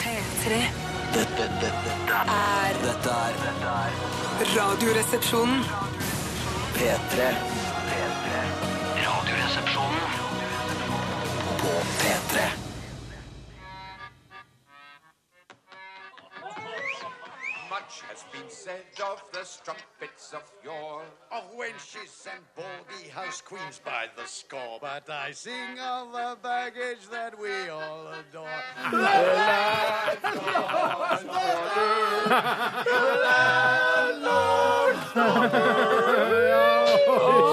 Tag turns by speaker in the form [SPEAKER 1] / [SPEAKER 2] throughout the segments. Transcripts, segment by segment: [SPEAKER 1] P3
[SPEAKER 2] Dette, dette, dette,
[SPEAKER 1] er
[SPEAKER 2] dette er dette er
[SPEAKER 1] Radioresepsjonen.
[SPEAKER 2] P3. P3. Radioresepsjonen på P3.
[SPEAKER 3] Much has been said of the strumpets of yore, of wenches and baldy house queens by the score. But I sing of the baggage that we all adore. The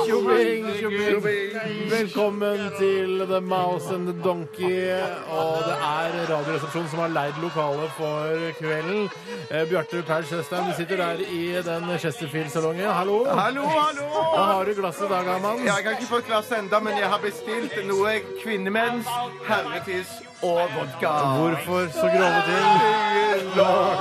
[SPEAKER 4] Tjobing, tjobing. Velkommen til The Mouse and the Donkey. Og det er Radioresepsjonen som har leid lokalet for kvelden. Eh, Bjarte Paul Tjøstheim, du sitter der i den Chesterfield-salongen. Hallo!
[SPEAKER 5] Hallo, hallo!
[SPEAKER 4] Hva har du i glasset i dag, Herman?
[SPEAKER 5] Jeg har ikke fått glass ennå, men jeg har bestilt noe kvinnemens, herrefiss og vodka.
[SPEAKER 4] Hvorfor så grove ting?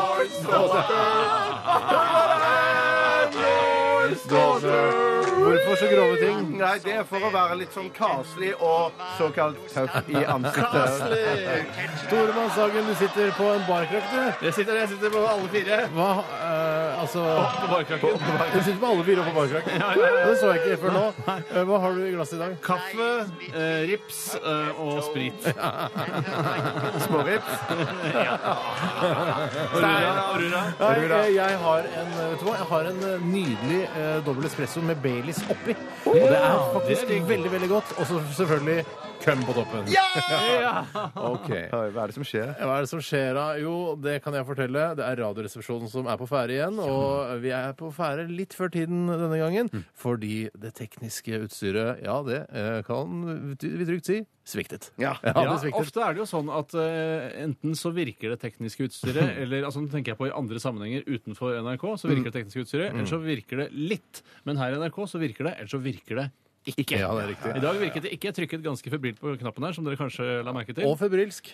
[SPEAKER 4] Hvorfor så grove ting?
[SPEAKER 5] Nei, det er for å være litt sånn kaselig og såkalt tøff i ansiktet.
[SPEAKER 4] Toremann Sagen, du sitter på en barkrakk, du.
[SPEAKER 6] Jeg sitter, jeg sitter på alle fire.
[SPEAKER 4] Hva? Eh, altså
[SPEAKER 6] På barkrakken.
[SPEAKER 4] Du sitter på alle fire på barkrakk. Det så jeg ikke før nå. Eh, Hva har du i glasset i dag?
[SPEAKER 6] Kaffe, eh, rips eh, og sprit.
[SPEAKER 5] Smårips.
[SPEAKER 6] Stein og Rura.
[SPEAKER 4] Nei, eh, jeg har en, eh, vet du hva? Jeg har en eh, nydelig eh, dobbel espresso med Baileys oppi. Og det er faktisk veldig, veldig godt. Og så selvfølgelig køm på toppen.
[SPEAKER 5] OK. Oi, Hva er det som skjer?
[SPEAKER 4] Hva er det som skjer da? Jo, det kan jeg fortelle. Det er Radioresepsjonen som er på ferde igjen. Og vi er på ferde litt før tiden denne gangen, fordi det tekniske utstyret, ja, det eh, kan vi trygt si, sviktet.
[SPEAKER 5] Ja.
[SPEAKER 4] det
[SPEAKER 6] Ja,
[SPEAKER 4] sviktet.
[SPEAKER 6] ofte er det jo sånn at eh, enten så virker det tekniske utstyret, eller altså, nå tenker jeg på i andre sammenhenger utenfor NRK, så
[SPEAKER 4] Mm.
[SPEAKER 6] virker det tekniske utstyret, eller så virker det litt. Men her i NRK så virker det, eller så virker det ikke.
[SPEAKER 4] Ja, det er riktig.
[SPEAKER 6] I dag virket det ikke. Jeg trykket ganske febrilt på knappen her, som dere kanskje la merke til.
[SPEAKER 4] Og febrilsk.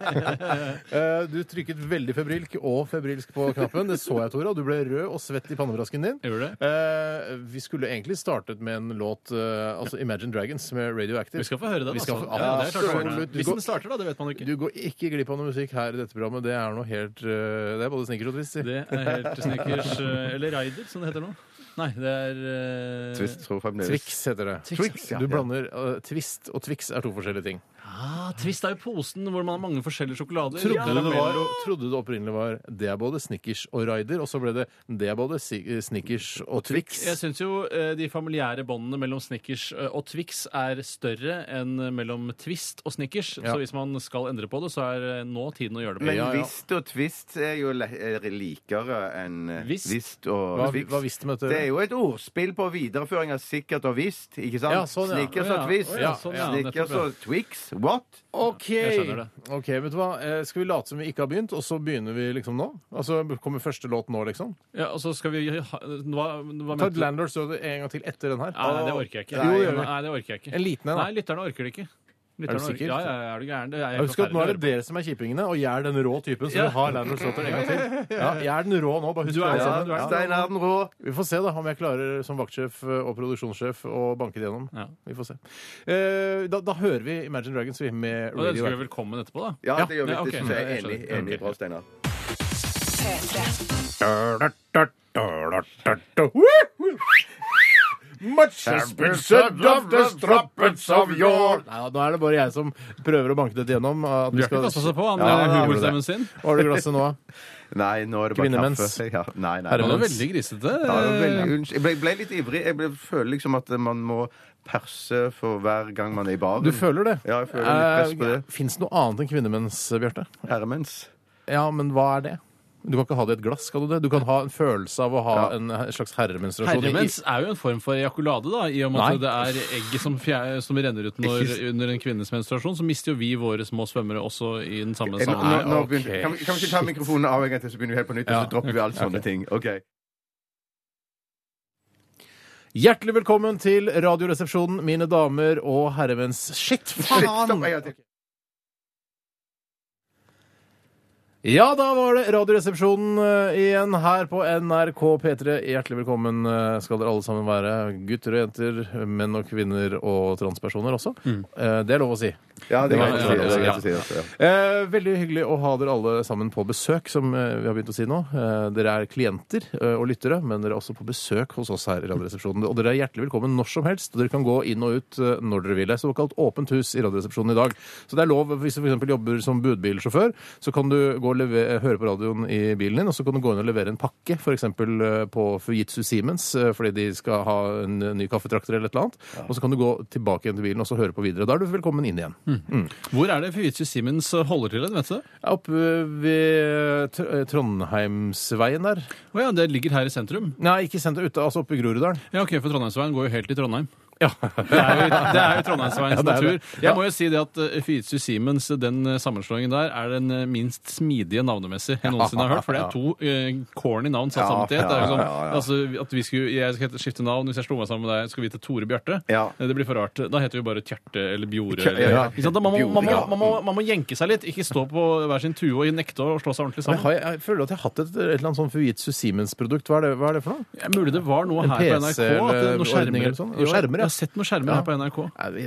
[SPEAKER 4] Eh, du trykket veldig febrilsk og febrilsk på knappen. Det så jeg, Tore. Og du ble rød og svett i pannebrasken din.
[SPEAKER 6] Jeg gjorde det.
[SPEAKER 4] Eh, vi skulle egentlig startet med en låt, eh, altså Imagine Dragons med Radioactive.
[SPEAKER 6] Vi skal få høre den,
[SPEAKER 4] Vi skal
[SPEAKER 6] altså.
[SPEAKER 4] få-
[SPEAKER 6] Ja, det er klart å høre
[SPEAKER 4] absolutt.
[SPEAKER 6] den. Hvis den starter, da, det vet man jo ikke.
[SPEAKER 4] Du går ikke glipp av noe musikk her i dette programmet. Det er noe helt eh, Det er både snickers og twist. sier.
[SPEAKER 6] Det er helt sneakers eh, Eller Raider, som det heter nå. Nei, det er eh,
[SPEAKER 5] Twist tror jeg fremdeles.
[SPEAKER 4] Twix heter det.
[SPEAKER 5] Twix, ja.
[SPEAKER 4] Du blander eh, Twist og Twix er to forskjellige ting.
[SPEAKER 6] Ah, Twist er jo posen hvor man har mange forskjellige sjokolader.
[SPEAKER 4] Trodde, du, det var,
[SPEAKER 6] Karamello.
[SPEAKER 4] trodde du opprinnelig var Det er både Snickers og Raider, og så ble det Det er både si- eh, Snickers og Twix.
[SPEAKER 6] Jeg syns jo eh, de familiære båndene mellom Snickers eh, og Twix er større enn mellom Twist og Snickers.
[SPEAKER 4] Ja.
[SPEAKER 6] Så hvis man skal endre på det, så er eh, nå tiden å gjøre det på.
[SPEAKER 5] Men
[SPEAKER 4] Ja, ja.
[SPEAKER 5] Vist og Twist er jo le- er likere enn
[SPEAKER 6] Vist?
[SPEAKER 5] Vist og
[SPEAKER 4] Hva,
[SPEAKER 5] Twix.
[SPEAKER 4] hva visste
[SPEAKER 6] eh?
[SPEAKER 4] du?
[SPEAKER 5] Det er jo et ordspill på videreføring av sikkert og visst, ikke sant?
[SPEAKER 4] Ja, sånn, ja.
[SPEAKER 5] Snickers
[SPEAKER 6] Å, ja.
[SPEAKER 5] og twist.
[SPEAKER 6] Å, ja, sånn, ja.
[SPEAKER 5] Snickers
[SPEAKER 6] Nettopp,
[SPEAKER 5] og twix. What?
[SPEAKER 4] OK!
[SPEAKER 6] Jeg skjønner
[SPEAKER 4] Ok, vet du hva? Eh, Skal vi late som vi ikke har begynt, og så begynner vi liksom nå? Altså, Kommer første låt nå, liksom?
[SPEAKER 6] Ja, og så skal vi ha, Hva, hva
[SPEAKER 4] Ta
[SPEAKER 6] mente du?
[SPEAKER 4] Landlord Støder en gang til etter den her.
[SPEAKER 6] Nei, nei, det orker jeg ikke.
[SPEAKER 4] Jo, det gjør vi.
[SPEAKER 6] nei, det orker jeg ikke.
[SPEAKER 4] En liten en, da.
[SPEAKER 6] Nei, lytterne orker det ikke. Lytterne orker-
[SPEAKER 4] sikker?
[SPEAKER 6] Ja, ja, ja, er du gæren? Det er
[SPEAKER 4] Jeg
[SPEAKER 6] helt
[SPEAKER 4] husker at Nå er det
[SPEAKER 6] forferdelig å høre på.
[SPEAKER 4] dere som er kjipingene, og jeg er den rå typen. Så vi har Landlord Støder en gang til. Ja, jeg er den rå nå. bare husk
[SPEAKER 6] Du er
[SPEAKER 4] det, alle
[SPEAKER 6] det,
[SPEAKER 4] sammen.
[SPEAKER 6] du er det.
[SPEAKER 5] Stein er den rå.
[SPEAKER 4] Vi får se da om jeg klarer som vaktsjef eh, og produksjonssjef å banke det gjennom.
[SPEAKER 6] Ja.
[SPEAKER 4] Vi får se. Eh, Da, da hører vi Imagine Dragons vi, med
[SPEAKER 6] Og da ønsker vi
[SPEAKER 4] Radio.
[SPEAKER 6] velkommen etterpå, da.
[SPEAKER 5] Ja,
[SPEAKER 4] Ja.
[SPEAKER 5] det gjør vi.
[SPEAKER 6] Ja, ok.
[SPEAKER 5] Det synes jeg er
[SPEAKER 6] Jeg skjønner.
[SPEAKER 5] enig, enig
[SPEAKER 6] Ok.
[SPEAKER 5] bra, Steinar.
[SPEAKER 4] Much has been said of the strumpets of yore. Nei, da er det bare jeg som prøver å banke dette gjennom. At vi
[SPEAKER 6] Bjarte
[SPEAKER 4] skal...
[SPEAKER 6] kasta seg på, han
[SPEAKER 5] Ja,
[SPEAKER 6] eh,
[SPEAKER 5] han gjorde
[SPEAKER 6] humorstemmen sin.
[SPEAKER 4] Hva har du i glasset nå?
[SPEAKER 5] Nei, nå er det bare
[SPEAKER 4] Kvinnemens.
[SPEAKER 5] kaffe. Ja, nei, nei.
[SPEAKER 4] Herremens.
[SPEAKER 6] Det var veldig grisete.
[SPEAKER 5] Ja, det
[SPEAKER 4] Eh.
[SPEAKER 5] var veldig unnskyld. Jeg ble, ble litt ivrig. Jeg ble, føler liksom at man må perse for hver gang man er i baren.
[SPEAKER 4] Du føler det?
[SPEAKER 5] Ja, jeg føler litt press på det.
[SPEAKER 4] Fins Eh, det noe annet enn kvinnemens, eh, Bjarte?
[SPEAKER 5] Herremens.
[SPEAKER 4] Ja, men hva er det? Du kan ikke ha det i et glass, skal du det? Du kan ha en følelse av å ha
[SPEAKER 5] Ja.
[SPEAKER 4] en slags herremenstruasjon.
[SPEAKER 6] Herremens er jo en form for ejakulade, da, i og med at
[SPEAKER 4] Nei.
[SPEAKER 6] det er egget som, fjer- som renner ut når, under en kvinnes menstruasjon. Så mister jo vi våre små svømmere også i den samme
[SPEAKER 5] Nå, nå,
[SPEAKER 6] sammenhengen.
[SPEAKER 5] nå
[SPEAKER 4] ok.
[SPEAKER 5] begynner, kan, vi- kan vi ikke ta mikrofonen av en gang til, så begynner vi helt på nytt, og
[SPEAKER 4] Ja,
[SPEAKER 5] så dropper vi alle sånne ting. Ok.
[SPEAKER 4] Hjertelig velkommen til Radioresepsjonen, mine damer og herremens Shit,
[SPEAKER 5] Shit, stopp,
[SPEAKER 4] faen!
[SPEAKER 5] en gang til.
[SPEAKER 4] Ja, da var det Radioresepsjonen eh, igjen her på NRK P3. Hjertelig velkommen eh, skal dere alle sammen være. Gutter og jenter, menn og kvinner og transpersoner også. Eh, Det er lov å si.
[SPEAKER 5] Ja, det er
[SPEAKER 4] Ja,
[SPEAKER 5] greit å
[SPEAKER 4] ja,
[SPEAKER 5] si. Det er
[SPEAKER 6] ja.
[SPEAKER 5] greit å si også, ja.
[SPEAKER 4] Eh, Veldig hyggelig å ha dere alle sammen på besøk, som eh, vi har begynt å si nå. Eh, Dere er klienter eh, og lyttere, men dere er også på besøk hos oss her i Radioresepsjonen. Og dere er hjertelig velkommen når som helst. og Dere kan gå inn og ut eh, når dere vil. Det er såkalt åpent hus i Radioresepsjonen i dag. Så det er lov hvis du f.eks. jobber som budbilsjåfør, så kan du gå og leve, høre på radioen i bilen din, og så kan du gå inn og levere en pakke, f.eks. på Fujitsu Siemens, eh, fordi de skal ha en ny kaffetrakter eller et eller annet. Og så kan du gå tilbake igjen til bilen og så høre på videre. Da er du velkommen inn igjen.
[SPEAKER 6] Hvor er det Fujitsu Siemens holder til hen, vet du det?
[SPEAKER 4] Ja, Oppe ved Tr- eh, Trondheimsveien der.
[SPEAKER 6] Å ja, det ligger her i sentrum.
[SPEAKER 4] Nei, ikke sendt ute, altså oppe i Groruddalen.
[SPEAKER 6] Ja, ok, for Trondheimsveien går jo helt til Trondheim.
[SPEAKER 4] Ja.
[SPEAKER 6] Det er jo, det er jo Trondheimsveiens
[SPEAKER 4] Ja, det er det.
[SPEAKER 6] natur. Jeg må jo si det at eh, Fujitsu Siemens, den eh, sammenslåingen der, er den eh, minst smidige navnemessig jeg noensinne har hørt. For det er to eh, corny navn satt
[SPEAKER 5] Ja,
[SPEAKER 6] sammen til ett. Det er
[SPEAKER 5] ja,
[SPEAKER 6] jo sånn
[SPEAKER 5] ja, ja.
[SPEAKER 6] altså, at vi skulle, jeg skal hete- skifte navn hvis jeg slo meg sammen med deg, skal vi hete Tore Bjarte?
[SPEAKER 5] Ja.
[SPEAKER 6] Eh, Det blir for rart. Da heter vi bare Tjerte eller Bjore.
[SPEAKER 5] Tja- ja,
[SPEAKER 6] Eller,
[SPEAKER 5] ja.
[SPEAKER 6] Ikke sant? Da, man, må, man, må,
[SPEAKER 5] Bjore, ja.
[SPEAKER 6] man, må, man må jenke seg litt, ikke stå på hver sin tue og nekte å slå seg ordentlig
[SPEAKER 4] Men
[SPEAKER 6] sammen.
[SPEAKER 4] har jeg, jeg føler at jeg har hatt et, et eller annet sånn Fujitsu Siemens-produkt. Hva, er det- hva er det for noe?
[SPEAKER 6] Ja, mulig det var noe
[SPEAKER 4] En
[SPEAKER 6] her på
[SPEAKER 4] PC
[SPEAKER 6] NRK. At det,
[SPEAKER 4] eller
[SPEAKER 6] noen
[SPEAKER 4] ordning
[SPEAKER 6] skjermer,
[SPEAKER 4] eller sånn.
[SPEAKER 6] Jo, jeg-
[SPEAKER 4] Skjermer, ja.
[SPEAKER 6] Jeg har sett noen skjermer
[SPEAKER 4] Ja.
[SPEAKER 6] her på NRK.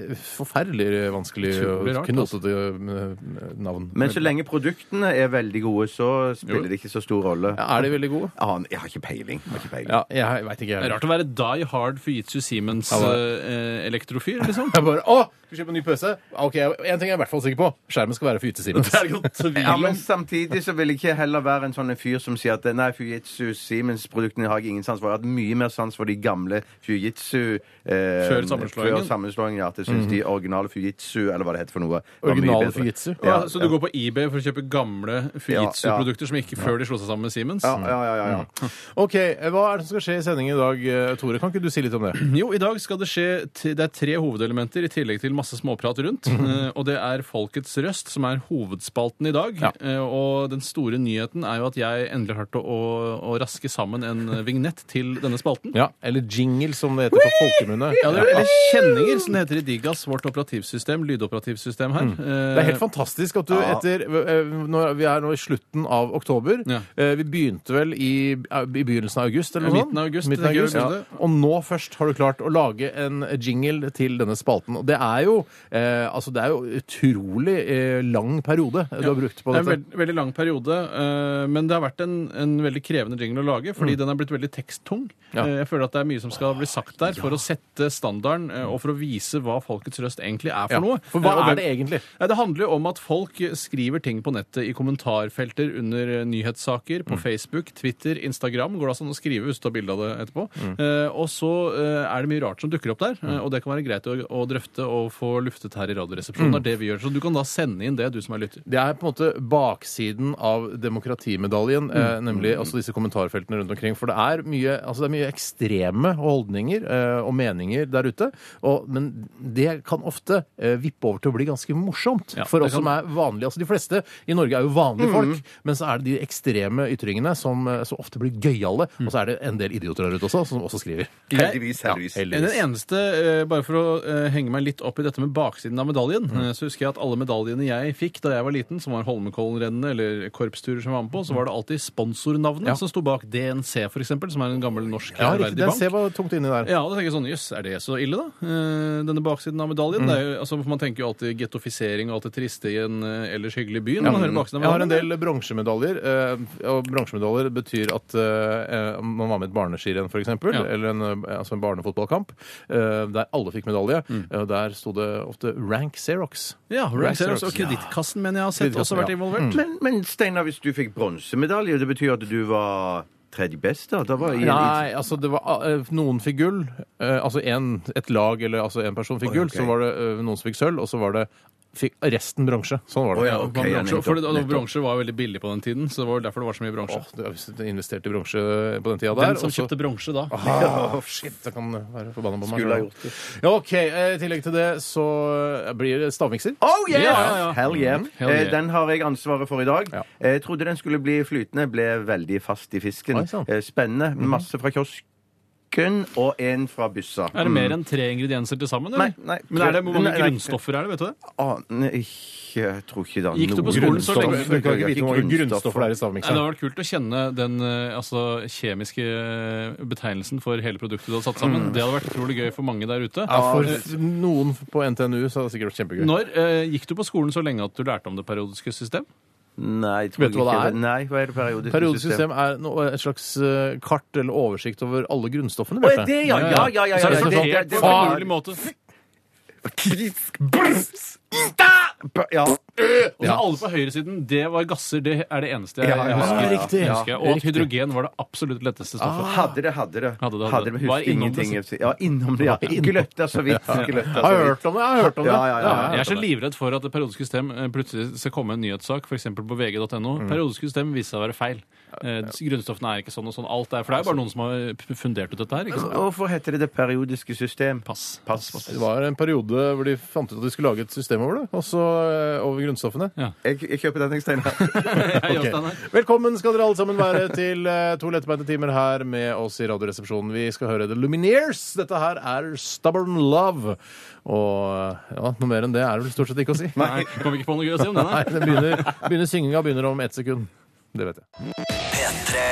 [SPEAKER 4] Nei, Forferdelig vanskelig
[SPEAKER 6] Utrolig
[SPEAKER 4] og
[SPEAKER 6] rart,
[SPEAKER 4] knotete eh, navn.
[SPEAKER 5] Men så lenge produktene er veldig gode, så spiller det ikke så stor rolle.
[SPEAKER 4] Ja, er de veldig gode?
[SPEAKER 5] Aner- Jeg har ikke peiling. Jeg har ikke peiling.
[SPEAKER 4] Ja, jeg veit ikke.
[SPEAKER 6] Det er
[SPEAKER 4] Jeg.
[SPEAKER 6] rart å være die hard Fujitsu Siemens
[SPEAKER 4] Ja,
[SPEAKER 6] eh, elektrofyr, liksom.
[SPEAKER 4] Jeg bare, Å! Skal vi kjøpe en ny pøse? Ok, En ting jeg er i hvert fall sikker på. Skjermen skal være Fujitsu Siemens.
[SPEAKER 6] Det er ikke noe tvil
[SPEAKER 5] Ja,
[SPEAKER 6] om.
[SPEAKER 5] men samtidig så vil jeg ikke heller være en sånn en fyr som sier at nei, Fujitsu Siemens-produktene har jeg ingen sans for. Jeg har hatt mye mer sans for de gamle Fujitsu eh,
[SPEAKER 6] Før sammenslåingen.
[SPEAKER 5] Før
[SPEAKER 6] Mhm.
[SPEAKER 5] sammenslåingen, ja. At jeg syns de originale Fujitsu, eller hva det heter for noe var mye
[SPEAKER 4] Originale
[SPEAKER 5] bedre.
[SPEAKER 4] Fujitsu?
[SPEAKER 5] Ja,
[SPEAKER 6] ja, Ah, så du går på eBay for å kjøpe gamle Fujitsu-produkter som ikke før de slo seg sammen med Siemens?
[SPEAKER 5] ja, ja, ja, ja,
[SPEAKER 6] Mm.
[SPEAKER 5] ja.
[SPEAKER 4] Ok, Hva er det som skal skje i sendingen i dag, eh, Tore? Kan ikke du si litt om det?
[SPEAKER 6] Jo, i dag skal det skje t- Det er tre hovedelementer i tillegg til masse småprat rundt. Eh, Og det er Folkets røst som er hovedspalten i dag. Eh, Og den store nyheten er jo at jeg endelig har klart å, å- å raske sammen en eh, vignett til denne spalten.
[SPEAKER 4] Ja, Eller jingle, som det heter på folkemunne.
[SPEAKER 6] Ja, det er, eller kjenninger, som det heter i Digas, vårt operativsystem, lydoperativsystem her. Eh,
[SPEAKER 4] Det er helt fantastisk at du
[SPEAKER 5] Ja.
[SPEAKER 4] etter eh, når Vi er nå i slutten av oktober.
[SPEAKER 6] Ja.
[SPEAKER 4] Eh, Vi begynte vel i, eh, i begynnelsen av august? eller
[SPEAKER 6] Ja,
[SPEAKER 4] noe
[SPEAKER 6] midten av august,
[SPEAKER 4] Midten av
[SPEAKER 6] tenker jeg
[SPEAKER 4] august.
[SPEAKER 6] vi begynte.
[SPEAKER 4] Ja. Og nå først har du klart å lage en jingle til denne spalten. Og det er jo eh, altså det er jo utrolig eh, lang periode du har brukt på
[SPEAKER 6] Det er en
[SPEAKER 4] dette.
[SPEAKER 6] veld, veldig lang periode, eh, men det har vært en, en veldig krevende jingle å lage, fordi den er blitt veldig teksttung.
[SPEAKER 4] Mm. Ja.
[SPEAKER 6] Eh, jeg føler at det er mye som skal bli sagt der for å sette standarden, eh, og for å vise hva Folkets røst egentlig er
[SPEAKER 4] Ja.
[SPEAKER 6] for noe.
[SPEAKER 4] For hva
[SPEAKER 6] Eh, og
[SPEAKER 4] er det egentlig?
[SPEAKER 6] Nei, det handler jo om at folk skriver ting på nettet i kommentarfelter under eh, nyhetssaker,
[SPEAKER 4] Mm.
[SPEAKER 6] på Facebook, Twitter, Instagram. Går det altså an å skrive hvis du tar bilde av det etterpå.
[SPEAKER 4] Mm.
[SPEAKER 6] Eh, og så eh, er det mye rart som dukker opp der, eh, og det kan være greit å, å drøfte og få luftet her i
[SPEAKER 4] Mm.
[SPEAKER 6] Radioresepsjonen. Det er det vi gjør. Så du kan da sende inn det, du som er lytter.
[SPEAKER 4] Det er på en måte baksiden av demokratimedaljen,
[SPEAKER 6] Mm.
[SPEAKER 4] eh, nemlig altså disse kommentarfeltene rundt omkring. For det er mye, altså det er mye ekstreme holdninger eh, og meninger der ute. Og, men det kan ofte eh, vippe over til å bli ganske morsomt
[SPEAKER 6] Ja,
[SPEAKER 4] for
[SPEAKER 6] det Mm.
[SPEAKER 4] oss som er vanlige. Altså de fleste i Norge er jo vanlige folk, men så er det de ekstreme ytringene som eh, så ofte blir gøyale.
[SPEAKER 6] Mm.
[SPEAKER 4] Og så er det en del idioter der ute også, som også skriver.
[SPEAKER 5] Heldigvis, heldigvis.
[SPEAKER 4] heldigvis.
[SPEAKER 6] Den eneste, eh, bare for å eh, henge meg litt opp i dette med baksiden av medaljen,
[SPEAKER 4] Mm.
[SPEAKER 6] eh, så husker jeg at alle medaljene jeg fikk da jeg var liten, som var Holmenkollenrennene eller korpsturer som jeg var med på, så var det alltid sponsornavnet
[SPEAKER 4] Mm. Ja.
[SPEAKER 6] som sto bak DNC, for eksempel, som er en gammel norsk
[SPEAKER 4] Ja,
[SPEAKER 6] ærverdig
[SPEAKER 4] riktig. Den
[SPEAKER 6] bank.
[SPEAKER 4] ser var tungt inni der.
[SPEAKER 6] Ja, og da tenker jeg sånn, jøss, er det så ille da? Eh, Denne baksiden av medaljen, det er jo,
[SPEAKER 4] Mm.
[SPEAKER 6] altså, for man tenker jo alltid gettofisering og alt det triste i en eh, ellers hyggelig by når man hører baksiden av
[SPEAKER 4] Jeg har en
[SPEAKER 6] medaljen.
[SPEAKER 4] del bronsemedaljer. eh, Og bronsemedaljer betyr at eh, man var med i et barneskirenn, f.eks.,
[SPEAKER 6] Ja.
[SPEAKER 4] eller en, eh, altså en barnefotballkamp, eh, der alle fikk medalje. og Der sto det ofte rank Xerox.
[SPEAKER 6] Ja,
[SPEAKER 4] Rank
[SPEAKER 6] Rank Xerox og
[SPEAKER 4] Xerox, ja.
[SPEAKER 6] kreditkassen, mener jeg har sett, også
[SPEAKER 4] Kreditkassen,
[SPEAKER 6] vært
[SPEAKER 4] ja. Mm.
[SPEAKER 6] involvert.
[SPEAKER 5] Men, men Steinar, hvis du fikk bronsemedalje, det betyr at du var tredje best, da? da var jeg,
[SPEAKER 4] Nei, altså det var eh, Noen fikk gull. eh, altså en, et lag eller altså en person fikk
[SPEAKER 5] Oi,
[SPEAKER 4] gull.
[SPEAKER 5] ok.
[SPEAKER 4] Så var det eh, noen som fikk sølv, og så var det fikk resten bronse. Sånn var det.
[SPEAKER 5] Å, ja, ok,
[SPEAKER 6] Blant
[SPEAKER 5] ja,
[SPEAKER 6] bransjer,
[SPEAKER 5] nettopp,
[SPEAKER 6] for det, og
[SPEAKER 5] nettopp.
[SPEAKER 6] bransjer var jo veldig billig på den tiden, så det var derfor det var så mye bransje.
[SPEAKER 4] Åh, det er investert i bronse på den tida der.
[SPEAKER 6] Den
[SPEAKER 4] og
[SPEAKER 6] som
[SPEAKER 4] så-
[SPEAKER 6] kjøpte bronse da.
[SPEAKER 4] Ah, shit, jeg kan være forbanna på meg.
[SPEAKER 5] Skulle ha
[SPEAKER 4] selv. Ja, ok, eh, I tillegg til det så eh, blir det stavmikser.
[SPEAKER 5] Oh yeah!
[SPEAKER 6] Ja, ja, ja.
[SPEAKER 5] Hell yeah.
[SPEAKER 6] Hell yeah.
[SPEAKER 5] Eh, Den har jeg ansvaret for i dag.
[SPEAKER 4] Mm, Ja.
[SPEAKER 5] Eh, Jeg trodde den skulle bli flytende, ble veldig fast i fisken.
[SPEAKER 4] Oi, sånn. Mhm. sann.
[SPEAKER 5] Eh, Spennende. Masse fra kiosk. bacon og en fra byssa.
[SPEAKER 6] Er det mer enn tre ingredienser til sammen? eller?
[SPEAKER 5] Mm. Nei, nei.
[SPEAKER 6] Men er det, Hvor mange
[SPEAKER 5] Nei, nei.
[SPEAKER 6] grunnstoffer er det? vet du det?
[SPEAKER 5] Aner ikke Jeg tror ikke det er
[SPEAKER 6] Gikk du på skolen så lenge?
[SPEAKER 4] Grunnstoff. Du kan ikke vite hvor mange grunnstoffer det er i
[SPEAKER 6] Nei, det
[SPEAKER 4] stavmikseren.
[SPEAKER 6] hadde vært kult å kjenne den eh, altså, kjemiske eh, betegnelsen for hele produktet du hadde
[SPEAKER 5] Mm.
[SPEAKER 6] satt sammen. Det hadde vært utrolig gøy for mange der ute. Eh,
[SPEAKER 4] Ja, for f- noen på NTNU så hadde det sikkert vært kjempegøy.
[SPEAKER 6] Når eh, gikk du på skolen så lenge at du lærte om det periodiske system?
[SPEAKER 5] Nei, jeg tror
[SPEAKER 4] Vet du hva
[SPEAKER 5] ikke
[SPEAKER 4] det er?
[SPEAKER 5] Nei, hva er det periodisk,
[SPEAKER 4] Periodisk system er noe, et slags eh, kart eller oversikt over alle grunnstoffene.
[SPEAKER 5] Å,
[SPEAKER 4] Bjarte.
[SPEAKER 5] det, ja, ja, ja, ja, ja,
[SPEAKER 6] Så er det
[SPEAKER 5] ja,
[SPEAKER 6] sortert
[SPEAKER 5] ja,
[SPEAKER 6] på
[SPEAKER 5] det-
[SPEAKER 6] en
[SPEAKER 5] det-
[SPEAKER 6] finurlig måte.
[SPEAKER 5] Ja.
[SPEAKER 6] Og så alle på høyresiden, det var gasser. Det er det eneste jeg,
[SPEAKER 5] Ja, ja,
[SPEAKER 6] jeg husker.
[SPEAKER 5] ja, ja.
[SPEAKER 6] jeg husker. Og at
[SPEAKER 4] Riktig.
[SPEAKER 6] hydrogen var det absolutt letteste
[SPEAKER 4] Ah.
[SPEAKER 6] stoffet.
[SPEAKER 5] Hadde det, hadde det.
[SPEAKER 6] Hadde det, hadde det.
[SPEAKER 5] men
[SPEAKER 6] Var
[SPEAKER 5] Husker
[SPEAKER 6] innom det,
[SPEAKER 5] ingenting. Ja, innom det, ja. Gløtta så vidt.
[SPEAKER 4] Jeg
[SPEAKER 5] Gløtta så
[SPEAKER 4] har
[SPEAKER 5] vidt.
[SPEAKER 4] hørt om det. jeg har hørt om det.
[SPEAKER 5] Ja, ja, ja, ja.
[SPEAKER 6] Jeg er så livredd for at det periodiske system eh, plutselig skal komme en nyhetssak, f.eks. på vg.no.
[SPEAKER 4] Mm.
[SPEAKER 6] Periodisk system viser seg å være feil. Eh, Grunnstoffene er ikke sånn og sånn. Alt er, for det er bare noen som har p- fundert ut dette her. ikke sant?
[SPEAKER 5] Hvorfor heter det det periodiske system?
[SPEAKER 6] Pass.
[SPEAKER 5] Pass.
[SPEAKER 4] Det var en periode hvor de fant ut at de skulle lage et system over det, også eh, over grunnstoffene.
[SPEAKER 5] Jeg, jeg kjøper den, jeg, Steinar.
[SPEAKER 6] Jeg,
[SPEAKER 4] Ok.
[SPEAKER 6] Jostein, her.
[SPEAKER 4] Velkommen skal dere alle sammen være til eh, to lettbeinte timer her med oss i Radioresepsjonen. Vi skal høre The Lumineers. Dette her er Stubborn Love. Og eh, ja, noe mer enn det er det vel stort sett ikke å si.
[SPEAKER 6] Nei, kom ikke på noe gøy å si om den.
[SPEAKER 4] Nei,
[SPEAKER 6] her.
[SPEAKER 4] det begynner, begynner synginga begynner om ett sekund. Det vet jeg.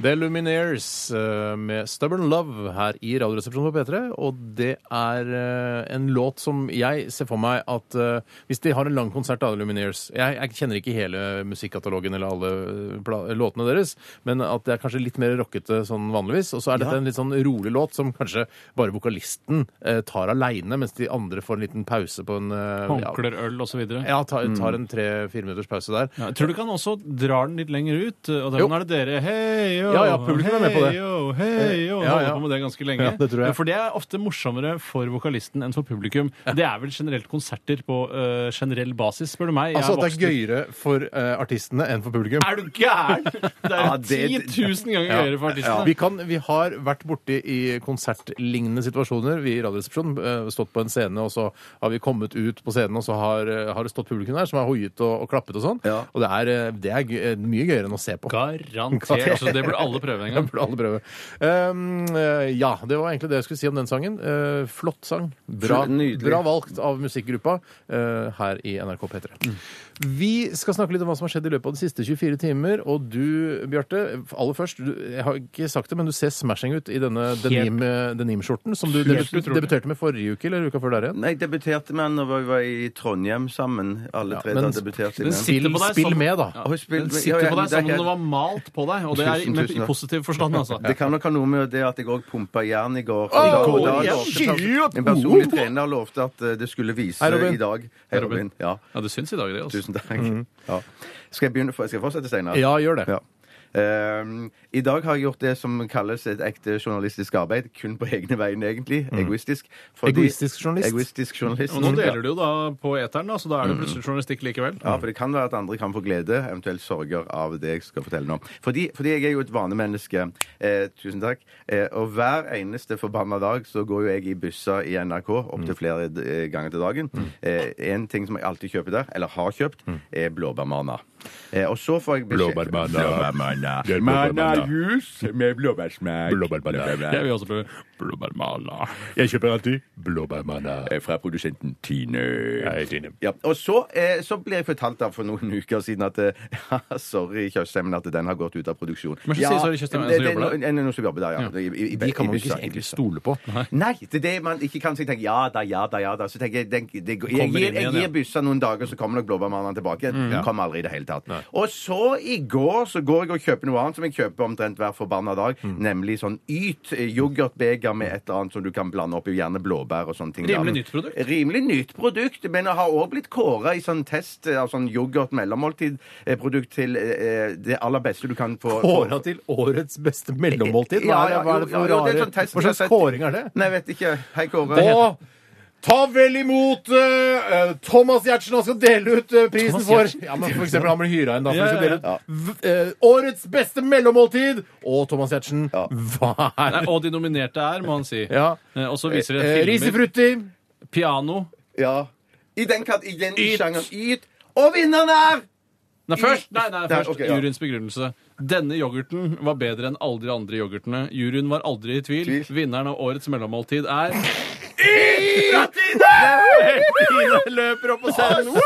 [SPEAKER 4] The Lumineers eh, med Stubborn Love her i Radioresepsjonen på P3. Og det er eh, en låt som jeg ser for meg at eh, Hvis de har en lang konsert av The Lumineers Jeg, jeg kjenner ikke hele musikkatalogen eller alle eh, pla låtene deres, men at det er kanskje litt mer rockete sånn vanligvis. Og så er dette en litt sånn rolig låt som kanskje bare vokalisten eh, tar aleine, mens de andre får en liten pause på en eh, ja,
[SPEAKER 6] Håndklær, øl osv. Ja,
[SPEAKER 4] ja, tar, tar en tre-fire minutters pause der.
[SPEAKER 6] Mm. jeg tror du kan også dra den litt lenger ut. Og da
[SPEAKER 4] Jo.
[SPEAKER 6] er det dere Hei, jo,
[SPEAKER 4] Ja, ja, publikum er med på det. Eh,
[SPEAKER 6] Hei, jo, hei, jo.
[SPEAKER 4] Ja, ja.
[SPEAKER 6] Holder på med det ganske lenge.
[SPEAKER 4] Ja, det tror jeg.
[SPEAKER 6] For det er ofte morsommere for vokalisten enn for publikum. Det er vel generelt konserter på eh, generell basis, spør du meg. Jeg
[SPEAKER 4] Altså at det
[SPEAKER 6] vokst
[SPEAKER 4] er gøyere for eh, artistene enn for publikum.
[SPEAKER 6] Er du gæren?! Det er
[SPEAKER 5] Ja,
[SPEAKER 6] jo
[SPEAKER 5] det-
[SPEAKER 6] 10 000 ganger
[SPEAKER 4] Ja.
[SPEAKER 6] gøyere for artistene.
[SPEAKER 4] Vi, kan, vi har vært borti i konsertlignende situasjoner. Vi i Radioresepsjonen eh, stått på en scene, og så har vi kommet ut på scenen, og så har, eh, har det stått publikum der som har hoiet og, og klappet og sånn.
[SPEAKER 5] Ja.
[SPEAKER 4] Og det er, eh, det er gøy, eh, mye gøyere enn å se på.
[SPEAKER 6] Garantert. Altså, det burde alle prøve en
[SPEAKER 4] Det
[SPEAKER 6] gang.
[SPEAKER 4] burde alle prøve. Um, eh, ja, det var egentlig det jeg skulle si om den sangen. Eh, flott sang. Bra,
[SPEAKER 5] Nydelig.
[SPEAKER 4] bra valgt av musikkgruppa eh, her i NRK P3. Vi skal snakke litt om hva som har skjedd i løpet av de siste 24 timer. Og du, Bjarte, aller først, du, jeg har ikke sagt det, men du ser smashing ut i denne denim, eh, denimskjorten som du
[SPEAKER 6] Helt
[SPEAKER 4] debut-
[SPEAKER 6] utrolig.
[SPEAKER 4] debuterte med forrige uke eller uka før der igjen.
[SPEAKER 5] Nei, jeg debuterte med han da vi var i Trondheim sammen. Alle tre
[SPEAKER 4] men-
[SPEAKER 5] da debuterte
[SPEAKER 6] Den
[SPEAKER 5] vi.
[SPEAKER 6] sitter
[SPEAKER 4] Spill,
[SPEAKER 6] på deg
[SPEAKER 4] spill
[SPEAKER 6] som-
[SPEAKER 4] med, da.
[SPEAKER 6] Ja.
[SPEAKER 5] Og hun spilte-
[SPEAKER 6] Den
[SPEAKER 5] ja,
[SPEAKER 6] sitter
[SPEAKER 5] ja,
[SPEAKER 6] på deg
[SPEAKER 5] det er
[SPEAKER 6] som om
[SPEAKER 5] helt-
[SPEAKER 6] den var malt på deg, og det er
[SPEAKER 5] Tusen,
[SPEAKER 6] med,
[SPEAKER 5] tusen
[SPEAKER 6] i
[SPEAKER 5] takk.
[SPEAKER 6] positiv forstand, altså.
[SPEAKER 5] Det kan nok ha noe med det at jeg òg pumpa jern i går.
[SPEAKER 4] Åh,
[SPEAKER 5] I går, da
[SPEAKER 4] jeg
[SPEAKER 5] lovte-
[SPEAKER 4] skyter!
[SPEAKER 5] Min personlige trener lovte at eh, det skulle vise
[SPEAKER 4] Hei, Robin.
[SPEAKER 5] i dag. Hei, Robin. Ja,
[SPEAKER 6] Ja, det syns i dag, det. altså.
[SPEAKER 5] tusen takk. Ja. Skal jeg begynne? for- Skal jeg fortsette, Steinar?
[SPEAKER 4] Ja, gjør det.
[SPEAKER 5] Ja. Ehm, I dag har jeg gjort det som kalles et ekte journalistisk arbeid. Kun på egne vegne, egentlig. Egoistisk. fordi-
[SPEAKER 4] Egoistisk journalist.
[SPEAKER 5] Egoistisk journalist.
[SPEAKER 6] Og nå deler du jo da på eteren, da, så da er det plutselig journalistikk likevel.
[SPEAKER 5] Mm. Ja, for det kan være at andre kan få glede, eventuelt sorger, av det jeg skal fortelle nå. Fordi, fordi jeg er jo et vanemenneske. Eh, tusen takk. Eh, og hver eneste forbanna dag så går jo jeg i busser i NRK opptil flere eh, ganger til dagen. Eh, en ting som jeg alltid kjøper der, eller har kjøpt, er blåbærmana. Eh, og så får jeg beskjed Blåbærmana. Manajus med blåbærsmak.
[SPEAKER 6] Jeg vil også prøve blåbærmala.
[SPEAKER 7] Jeg kjøper alltid blåbærmanna.
[SPEAKER 5] Fra produsenten Tine.
[SPEAKER 7] Jeg er enig.
[SPEAKER 5] Ja, og så, eh, så ble jeg fortalt da for noen uker siden at eh, sorry, Tjøstheim, men at den har gått ut av produksjon.
[SPEAKER 6] Men så sier sorry, Tjøstheim, en som
[SPEAKER 5] det- det er
[SPEAKER 6] jobber der.
[SPEAKER 5] no- En, en som jobber der, ja. I, i, i,
[SPEAKER 4] De kan man
[SPEAKER 5] i
[SPEAKER 4] jo
[SPEAKER 5] bussa,
[SPEAKER 4] ikke
[SPEAKER 5] i
[SPEAKER 4] egentlig
[SPEAKER 5] bussa.
[SPEAKER 4] stole på.
[SPEAKER 5] Nei, det er det man ikke kan si. Tenk, ja da, ja da, ja da. Så tenker jeg, den, det, går- jeg,
[SPEAKER 6] Kommer
[SPEAKER 5] gir,
[SPEAKER 6] inn igjen,
[SPEAKER 5] jeg
[SPEAKER 6] ja. Mm.
[SPEAKER 5] gir bussa noen dager, så kommer nok blåbærmannen tilbake igjen. Den Kommer aldri i det hele tatt. Og så i går så går jeg og kjøper noe annet som jeg kjøper omtrent hver forbanna dag,
[SPEAKER 6] Mm.
[SPEAKER 5] nemlig sånn Yt. eh, Yoghurtbeger med et eller annet som du kan blande opp i, gjerne blåbær og sånne ting. da.
[SPEAKER 6] Rimelig nytt produkt.
[SPEAKER 5] Rimelig nytt produkt, men det har òg blitt kåra i sånn test eh, av sånn yoghurt-mellommåltid-produkt til eh, det aller beste du kan få.
[SPEAKER 4] Kåra til årets beste mellommåltid? Hva
[SPEAKER 5] Ja,
[SPEAKER 4] er det,
[SPEAKER 5] ja,
[SPEAKER 4] hva er det
[SPEAKER 5] jo,
[SPEAKER 4] for
[SPEAKER 5] ja, jo, det er
[SPEAKER 4] rare
[SPEAKER 5] sånn test-
[SPEAKER 4] Hva slags kåring er det?
[SPEAKER 5] Nei, jeg vet ikke. Hei, Kåre.
[SPEAKER 4] Og ta vel imot eh, Thomas Giertsen! Han skal dele ut eh, prisen for Ja, men For eksempel han ble hyra inn, da. For
[SPEAKER 6] Ja,
[SPEAKER 4] han skal
[SPEAKER 6] ja,
[SPEAKER 4] dele ut v- eh, årets beste mellommåltid! Og Thomas Giertsen,
[SPEAKER 5] Ja.
[SPEAKER 4] hva er
[SPEAKER 6] Nei, og de nominerte er, må han si.
[SPEAKER 4] Ja.
[SPEAKER 6] Eh, Og så viser det
[SPEAKER 4] Eh,
[SPEAKER 6] filmer.
[SPEAKER 4] Risifrutti.
[SPEAKER 6] Piano.
[SPEAKER 5] Ja. I den, kat- i den sjangeren Yt. Og vinneren er
[SPEAKER 6] Nei, først, nei, nei, først
[SPEAKER 5] ok, ja.
[SPEAKER 6] juryens begrunnelse. Denne yoghurten var bedre enn alle de andre yoghurtene. Juryen var aldri i tvil.
[SPEAKER 5] Tvil.
[SPEAKER 6] Vinneren av årets mellommåltid er
[SPEAKER 4] Tina løper opp på scenen.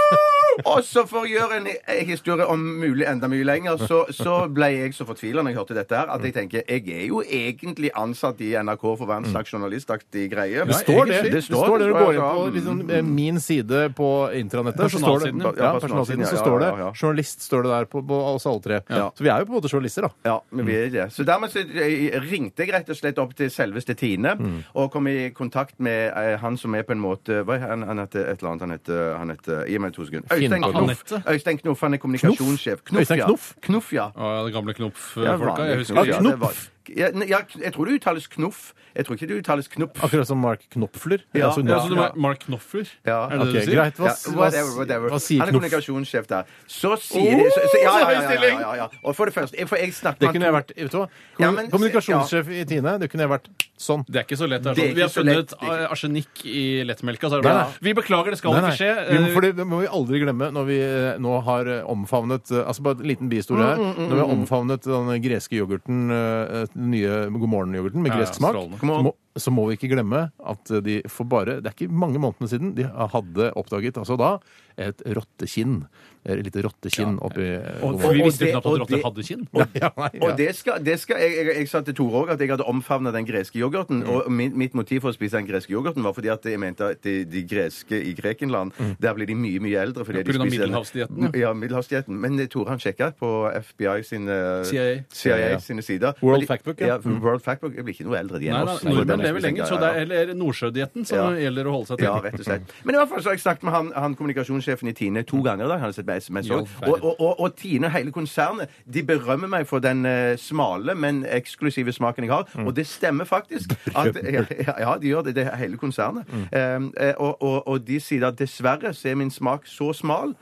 [SPEAKER 5] Og så for å gjøre en en historie om mulig enda mye lenger, så, så ble jeg så fortvila når jeg hørte dette her, at jeg tenker jeg er jo egentlig ansatt i NRK for å være en slags journalistaktig greie.
[SPEAKER 4] Mm. Det står det.
[SPEAKER 5] egentlig.
[SPEAKER 4] Det står det når du går inn på
[SPEAKER 5] ja.
[SPEAKER 4] liksom, eh, min side på intranettet. så står det-
[SPEAKER 6] Personalsiden,
[SPEAKER 5] ja.
[SPEAKER 4] Ja,
[SPEAKER 5] Ja,
[SPEAKER 4] personalsiden. Så
[SPEAKER 5] ja,
[SPEAKER 4] står det
[SPEAKER 5] ja, ja, ja.
[SPEAKER 4] journalist står det der på, på oss alle tre.
[SPEAKER 5] Ja.
[SPEAKER 4] Så vi er jo på en måte journalister, da.
[SPEAKER 5] Ja, men
[SPEAKER 4] Mm.
[SPEAKER 5] vi er det. Så dermed så eh, ringte jeg rett og slett opp til selveste Tine,
[SPEAKER 4] Mm.
[SPEAKER 5] og kom i kontakt med eh, han som er på en måte Hva er han, han heter? Et eller annet han heter, han heter Gi meg to sekunder. Øystein
[SPEAKER 4] Finn-
[SPEAKER 5] Knuff.
[SPEAKER 6] Anette.
[SPEAKER 5] Øystein Knuff, han er kommunikasjonssjef.
[SPEAKER 4] Øystein
[SPEAKER 5] ja.
[SPEAKER 4] Knuff?
[SPEAKER 5] Knuff, ja.
[SPEAKER 6] Å, ja, det gamle
[SPEAKER 5] Ja,
[SPEAKER 6] Knopf-folka.
[SPEAKER 5] vanlig
[SPEAKER 6] Jeg husker
[SPEAKER 5] Knuff,
[SPEAKER 6] det.
[SPEAKER 5] ja, det var- Ja, ne- ja, jeg tror det uttales Knuff. Jeg tror ikke det uttales Knupp.
[SPEAKER 4] Akkurat som Mark Knopfler.
[SPEAKER 5] Ja,
[SPEAKER 4] Altså,
[SPEAKER 6] Ja, så du
[SPEAKER 4] ja.
[SPEAKER 6] var Mark Knopfler?
[SPEAKER 5] Ja,
[SPEAKER 6] er det
[SPEAKER 4] ok,
[SPEAKER 6] det du sier?
[SPEAKER 4] greit. Hva,
[SPEAKER 5] Ja,
[SPEAKER 4] hva,
[SPEAKER 5] whatever, whatever.
[SPEAKER 4] hva sier
[SPEAKER 5] han er
[SPEAKER 4] Knopf?
[SPEAKER 5] kommunikasjonssjef der. Så sier de så, så, ja, ja, ja, ja, ja, ja. Og for det første jeg, for jeg snakker
[SPEAKER 4] Det
[SPEAKER 5] med
[SPEAKER 4] kunne jeg
[SPEAKER 5] han-
[SPEAKER 4] vært vet du hva?
[SPEAKER 5] Ja, men-
[SPEAKER 4] Kommunikasjonssjef i Tine. Det kunne jeg vært sånn.
[SPEAKER 6] Det er ikke så lett. Det er
[SPEAKER 5] Det er
[SPEAKER 6] sånn. Vi har
[SPEAKER 5] ikke så lett.
[SPEAKER 6] funnet eh, arsenikk i lettmelka. Så er det
[SPEAKER 4] Nei,
[SPEAKER 6] bare,
[SPEAKER 4] nei.
[SPEAKER 6] Vi beklager, det skal
[SPEAKER 4] Nei, nei.
[SPEAKER 6] ikke skje.
[SPEAKER 5] eh,
[SPEAKER 4] Vi må, for det, det må vi aldri glemme når vi eh, nå har eh, omfavnet eh, Altså bare en liten bihistorie
[SPEAKER 5] Mm,
[SPEAKER 4] her. Når vi har omfavnet den greske yoghurten, eh, den nye God morgen-yoghurten med
[SPEAKER 6] Ja,
[SPEAKER 4] gresk
[SPEAKER 6] ja,
[SPEAKER 4] smak,
[SPEAKER 6] strålende.
[SPEAKER 4] så må, så må vi ikke glemme at eh, de for bare Det er ikke mange månedene siden de hadde oppdaget altså da et rottekinn. Et lite rottekinn oppi eh,
[SPEAKER 6] Og,
[SPEAKER 4] God
[SPEAKER 6] for
[SPEAKER 4] morgen.
[SPEAKER 6] vi
[SPEAKER 5] og
[SPEAKER 6] visste jo
[SPEAKER 5] det-
[SPEAKER 6] knapt at
[SPEAKER 5] og
[SPEAKER 6] rotter
[SPEAKER 5] det-
[SPEAKER 6] hadde kinn.
[SPEAKER 4] Ja, nei, ja.
[SPEAKER 5] Og det skal, det skal, jeg, jeg, jeg sa til Tore òg at jeg hadde omfavna den greske yoghurten.
[SPEAKER 6] Mm.
[SPEAKER 5] Og mitt, mitt motiv for å spise den greske yoghurten var fordi at jeg mente at de, de greske i Grekenland Der blir de mye, mye eldre. Fordi
[SPEAKER 6] Mm. Ja, på
[SPEAKER 5] de
[SPEAKER 6] grunn av
[SPEAKER 5] spiser denne-
[SPEAKER 6] middelhavsdietten,
[SPEAKER 5] Ja, middelhavsdietten. Men eh, Tore han sjekka på FBI sine
[SPEAKER 6] CIA.
[SPEAKER 5] CIA sine sider.
[SPEAKER 4] World
[SPEAKER 5] Men de-
[SPEAKER 4] Factbook, ja.
[SPEAKER 5] ja. World Factbook jeg blir ikke noe eldre de
[SPEAKER 6] Mm. Nei,
[SPEAKER 5] enn
[SPEAKER 6] nei,
[SPEAKER 5] oss.
[SPEAKER 6] nordmenn
[SPEAKER 5] altså, Nordmenn,
[SPEAKER 6] lever lenger, så
[SPEAKER 5] ja,
[SPEAKER 6] det
[SPEAKER 5] ja.
[SPEAKER 6] er eller nordsjødietten som
[SPEAKER 5] Ja.
[SPEAKER 6] gjelder å holde seg til.
[SPEAKER 5] Ja, rett og slett. Men i hvert fall så har jeg snakket med han, han kommunikasjonssjefen i Tine to ganger. da, han har sett meg SMS
[SPEAKER 6] Jo,
[SPEAKER 5] også. og, og, og, og Tine og hele konsernet de berømmer meg for den eh, smale, men eksklusive smaken jeg har. Og Mm. det stemmer faktisk. At, ja, ja, de gjør det. Det er hele konsernet. Eh, eh, og, og, og de sier at dessverre så er min smak så smal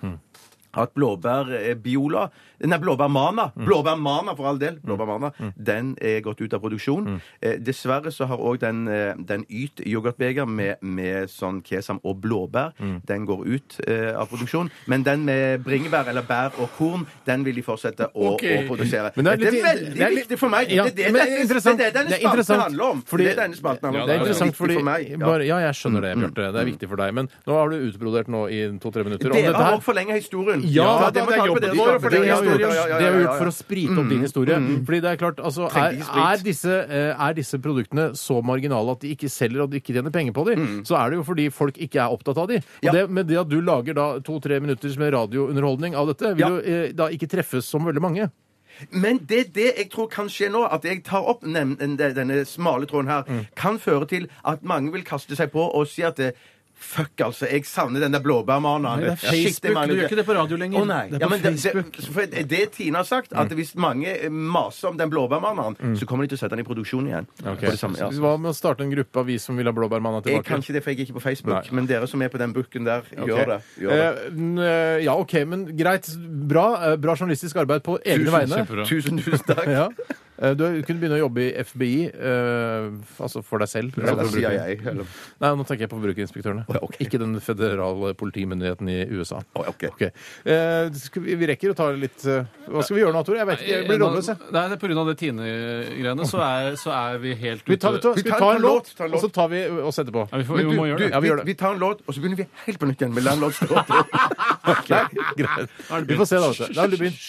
[SPEAKER 5] at blåbærbiola Nei, blåbærmana.
[SPEAKER 4] Mm.
[SPEAKER 5] Blåbærmana, for all del. Blåbærmana. Den er gått ut av produksjon.
[SPEAKER 4] Mm.
[SPEAKER 5] Eh, dessverre så har òg den, eh, den Yt yoghurtbeger med, med sånn kesam og blåbær,
[SPEAKER 4] Mm.
[SPEAKER 5] den går ut eh, av produksjon. Men den med bringebær eller bær og korn, den vil de fortsette å,
[SPEAKER 6] Ok.
[SPEAKER 5] å produsere.
[SPEAKER 4] Men det er
[SPEAKER 5] Dette
[SPEAKER 4] litt-
[SPEAKER 5] er veldig
[SPEAKER 4] det er litt-
[SPEAKER 5] viktig for meg.
[SPEAKER 4] Ja,
[SPEAKER 5] det, er det,
[SPEAKER 4] men
[SPEAKER 5] denne-
[SPEAKER 4] interessant.
[SPEAKER 5] det er det
[SPEAKER 4] Det er
[SPEAKER 5] denne spalten
[SPEAKER 4] interessant,
[SPEAKER 5] handler om.
[SPEAKER 4] fordi-
[SPEAKER 5] det er denne spalten handler om.
[SPEAKER 4] Det er
[SPEAKER 6] Ja, det er
[SPEAKER 4] interessant,
[SPEAKER 5] viktig
[SPEAKER 4] fordi
[SPEAKER 5] for meg. Ja. Mm.
[SPEAKER 4] bare, Ja, jeg skjønner det, Bjarte. Det er viktig for deg. Men nå har du utbrodert nå i to-tre minutter.
[SPEAKER 5] Dere
[SPEAKER 4] dette her-
[SPEAKER 5] har òg forlenga historien.
[SPEAKER 4] Ja, da,
[SPEAKER 5] det må
[SPEAKER 4] det er
[SPEAKER 5] ta på
[SPEAKER 4] jobben vår å
[SPEAKER 5] dere. Det er
[SPEAKER 4] forlenge
[SPEAKER 5] jobben
[SPEAKER 4] historien.
[SPEAKER 5] deres. Ja, ja,
[SPEAKER 4] Det har
[SPEAKER 5] ja,
[SPEAKER 4] vi
[SPEAKER 5] ja, ja.
[SPEAKER 4] gjort for å sprite opp din historie. Fordi det er klart, altså, er,
[SPEAKER 5] Trenger ikke sprit.
[SPEAKER 4] er, disse, eh, er disse produktene så marginale at de ikke selger og de ikke tjener penger på dem, så er det jo fordi folk ikke er opptatt av dem.
[SPEAKER 5] Mm. Ja.
[SPEAKER 4] Og det, med det at du lager da to-tre minutter med radiounderholdning av dette, vil
[SPEAKER 5] Ja.
[SPEAKER 4] jo eh, da ikke treffes som veldig mange.
[SPEAKER 5] Men det er det jeg tror kan skje nå, at jeg tar opp nem- den- denne smale tråden her,
[SPEAKER 6] Mm.
[SPEAKER 5] kan føre til at mange vil kaste seg på og si at det, Fuck, altså. Jeg savner den der blåbærmannen.
[SPEAKER 6] det er Facebook, du gjør ikke det på radio lenger.
[SPEAKER 5] Å, nei.
[SPEAKER 6] Det er
[SPEAKER 5] ja,
[SPEAKER 6] på
[SPEAKER 5] men det,
[SPEAKER 6] Facebook. Mm.
[SPEAKER 5] det, for det det Tina har sagt, at hvis mange eh, maser om den blåbærmannen, så kommer de til å sette den i produksjon igjen. På det samme, ja.
[SPEAKER 4] Hva med å starte en gruppe av vi som vil ha blåbærmanna
[SPEAKER 5] Jeg
[SPEAKER 4] tilbake?
[SPEAKER 5] kan ikke det, for jeg er ikke på Facebook.
[SPEAKER 4] Nei.
[SPEAKER 5] Men dere som er på den booken der,
[SPEAKER 4] Ok.
[SPEAKER 5] gjør det. Gjør det.
[SPEAKER 4] Eh, n- eh, ja, OK, men greit. Bra, eh, bra journalistisk arbeid på egne vegne.
[SPEAKER 6] kjempebra.
[SPEAKER 5] Tusen, tusen takk.
[SPEAKER 4] Ja. Eh, Du kunne begynne å jobbe i FBI, eh, altså for deg selv.
[SPEAKER 5] Eller
[SPEAKER 4] Altså
[SPEAKER 5] sier
[SPEAKER 4] forbruker-
[SPEAKER 5] jeg. Eller,
[SPEAKER 4] Nei, nå tenker jeg på forbrukerinspektørene.
[SPEAKER 5] Å, ja, ok.
[SPEAKER 4] Ikke den føderale politimyndigheten i USA.
[SPEAKER 5] Å, ja, ok.
[SPEAKER 4] Ok. Eh, skal vi, vi rekker å ta litt eh, Hva skal vi gjøre nå, Tore? Jeg vet ikke, jeg blir rådløs, jeg.
[SPEAKER 6] Nei, det er Pga. det Tine-greiene så, er- så er vi helt
[SPEAKER 4] Vi tar, vet du hva,
[SPEAKER 5] Vi
[SPEAKER 4] skal vi
[SPEAKER 5] tar-
[SPEAKER 4] ta en
[SPEAKER 5] tar låt,
[SPEAKER 4] låt,
[SPEAKER 5] tar
[SPEAKER 4] og
[SPEAKER 5] låt.
[SPEAKER 4] så tar vi oss etterpå?
[SPEAKER 6] Ja, vi, får,
[SPEAKER 5] Men
[SPEAKER 6] vi
[SPEAKER 5] du,
[SPEAKER 6] må gjøre
[SPEAKER 5] du,
[SPEAKER 6] det.
[SPEAKER 4] Ja, vi gjør
[SPEAKER 5] vi,
[SPEAKER 4] det.
[SPEAKER 5] vi tar en låt, og så begynner vi helt på nytt igjen med Land Lodge Låt.
[SPEAKER 4] Nei, greit. Vi får se, da. vet du. Da har du begynt.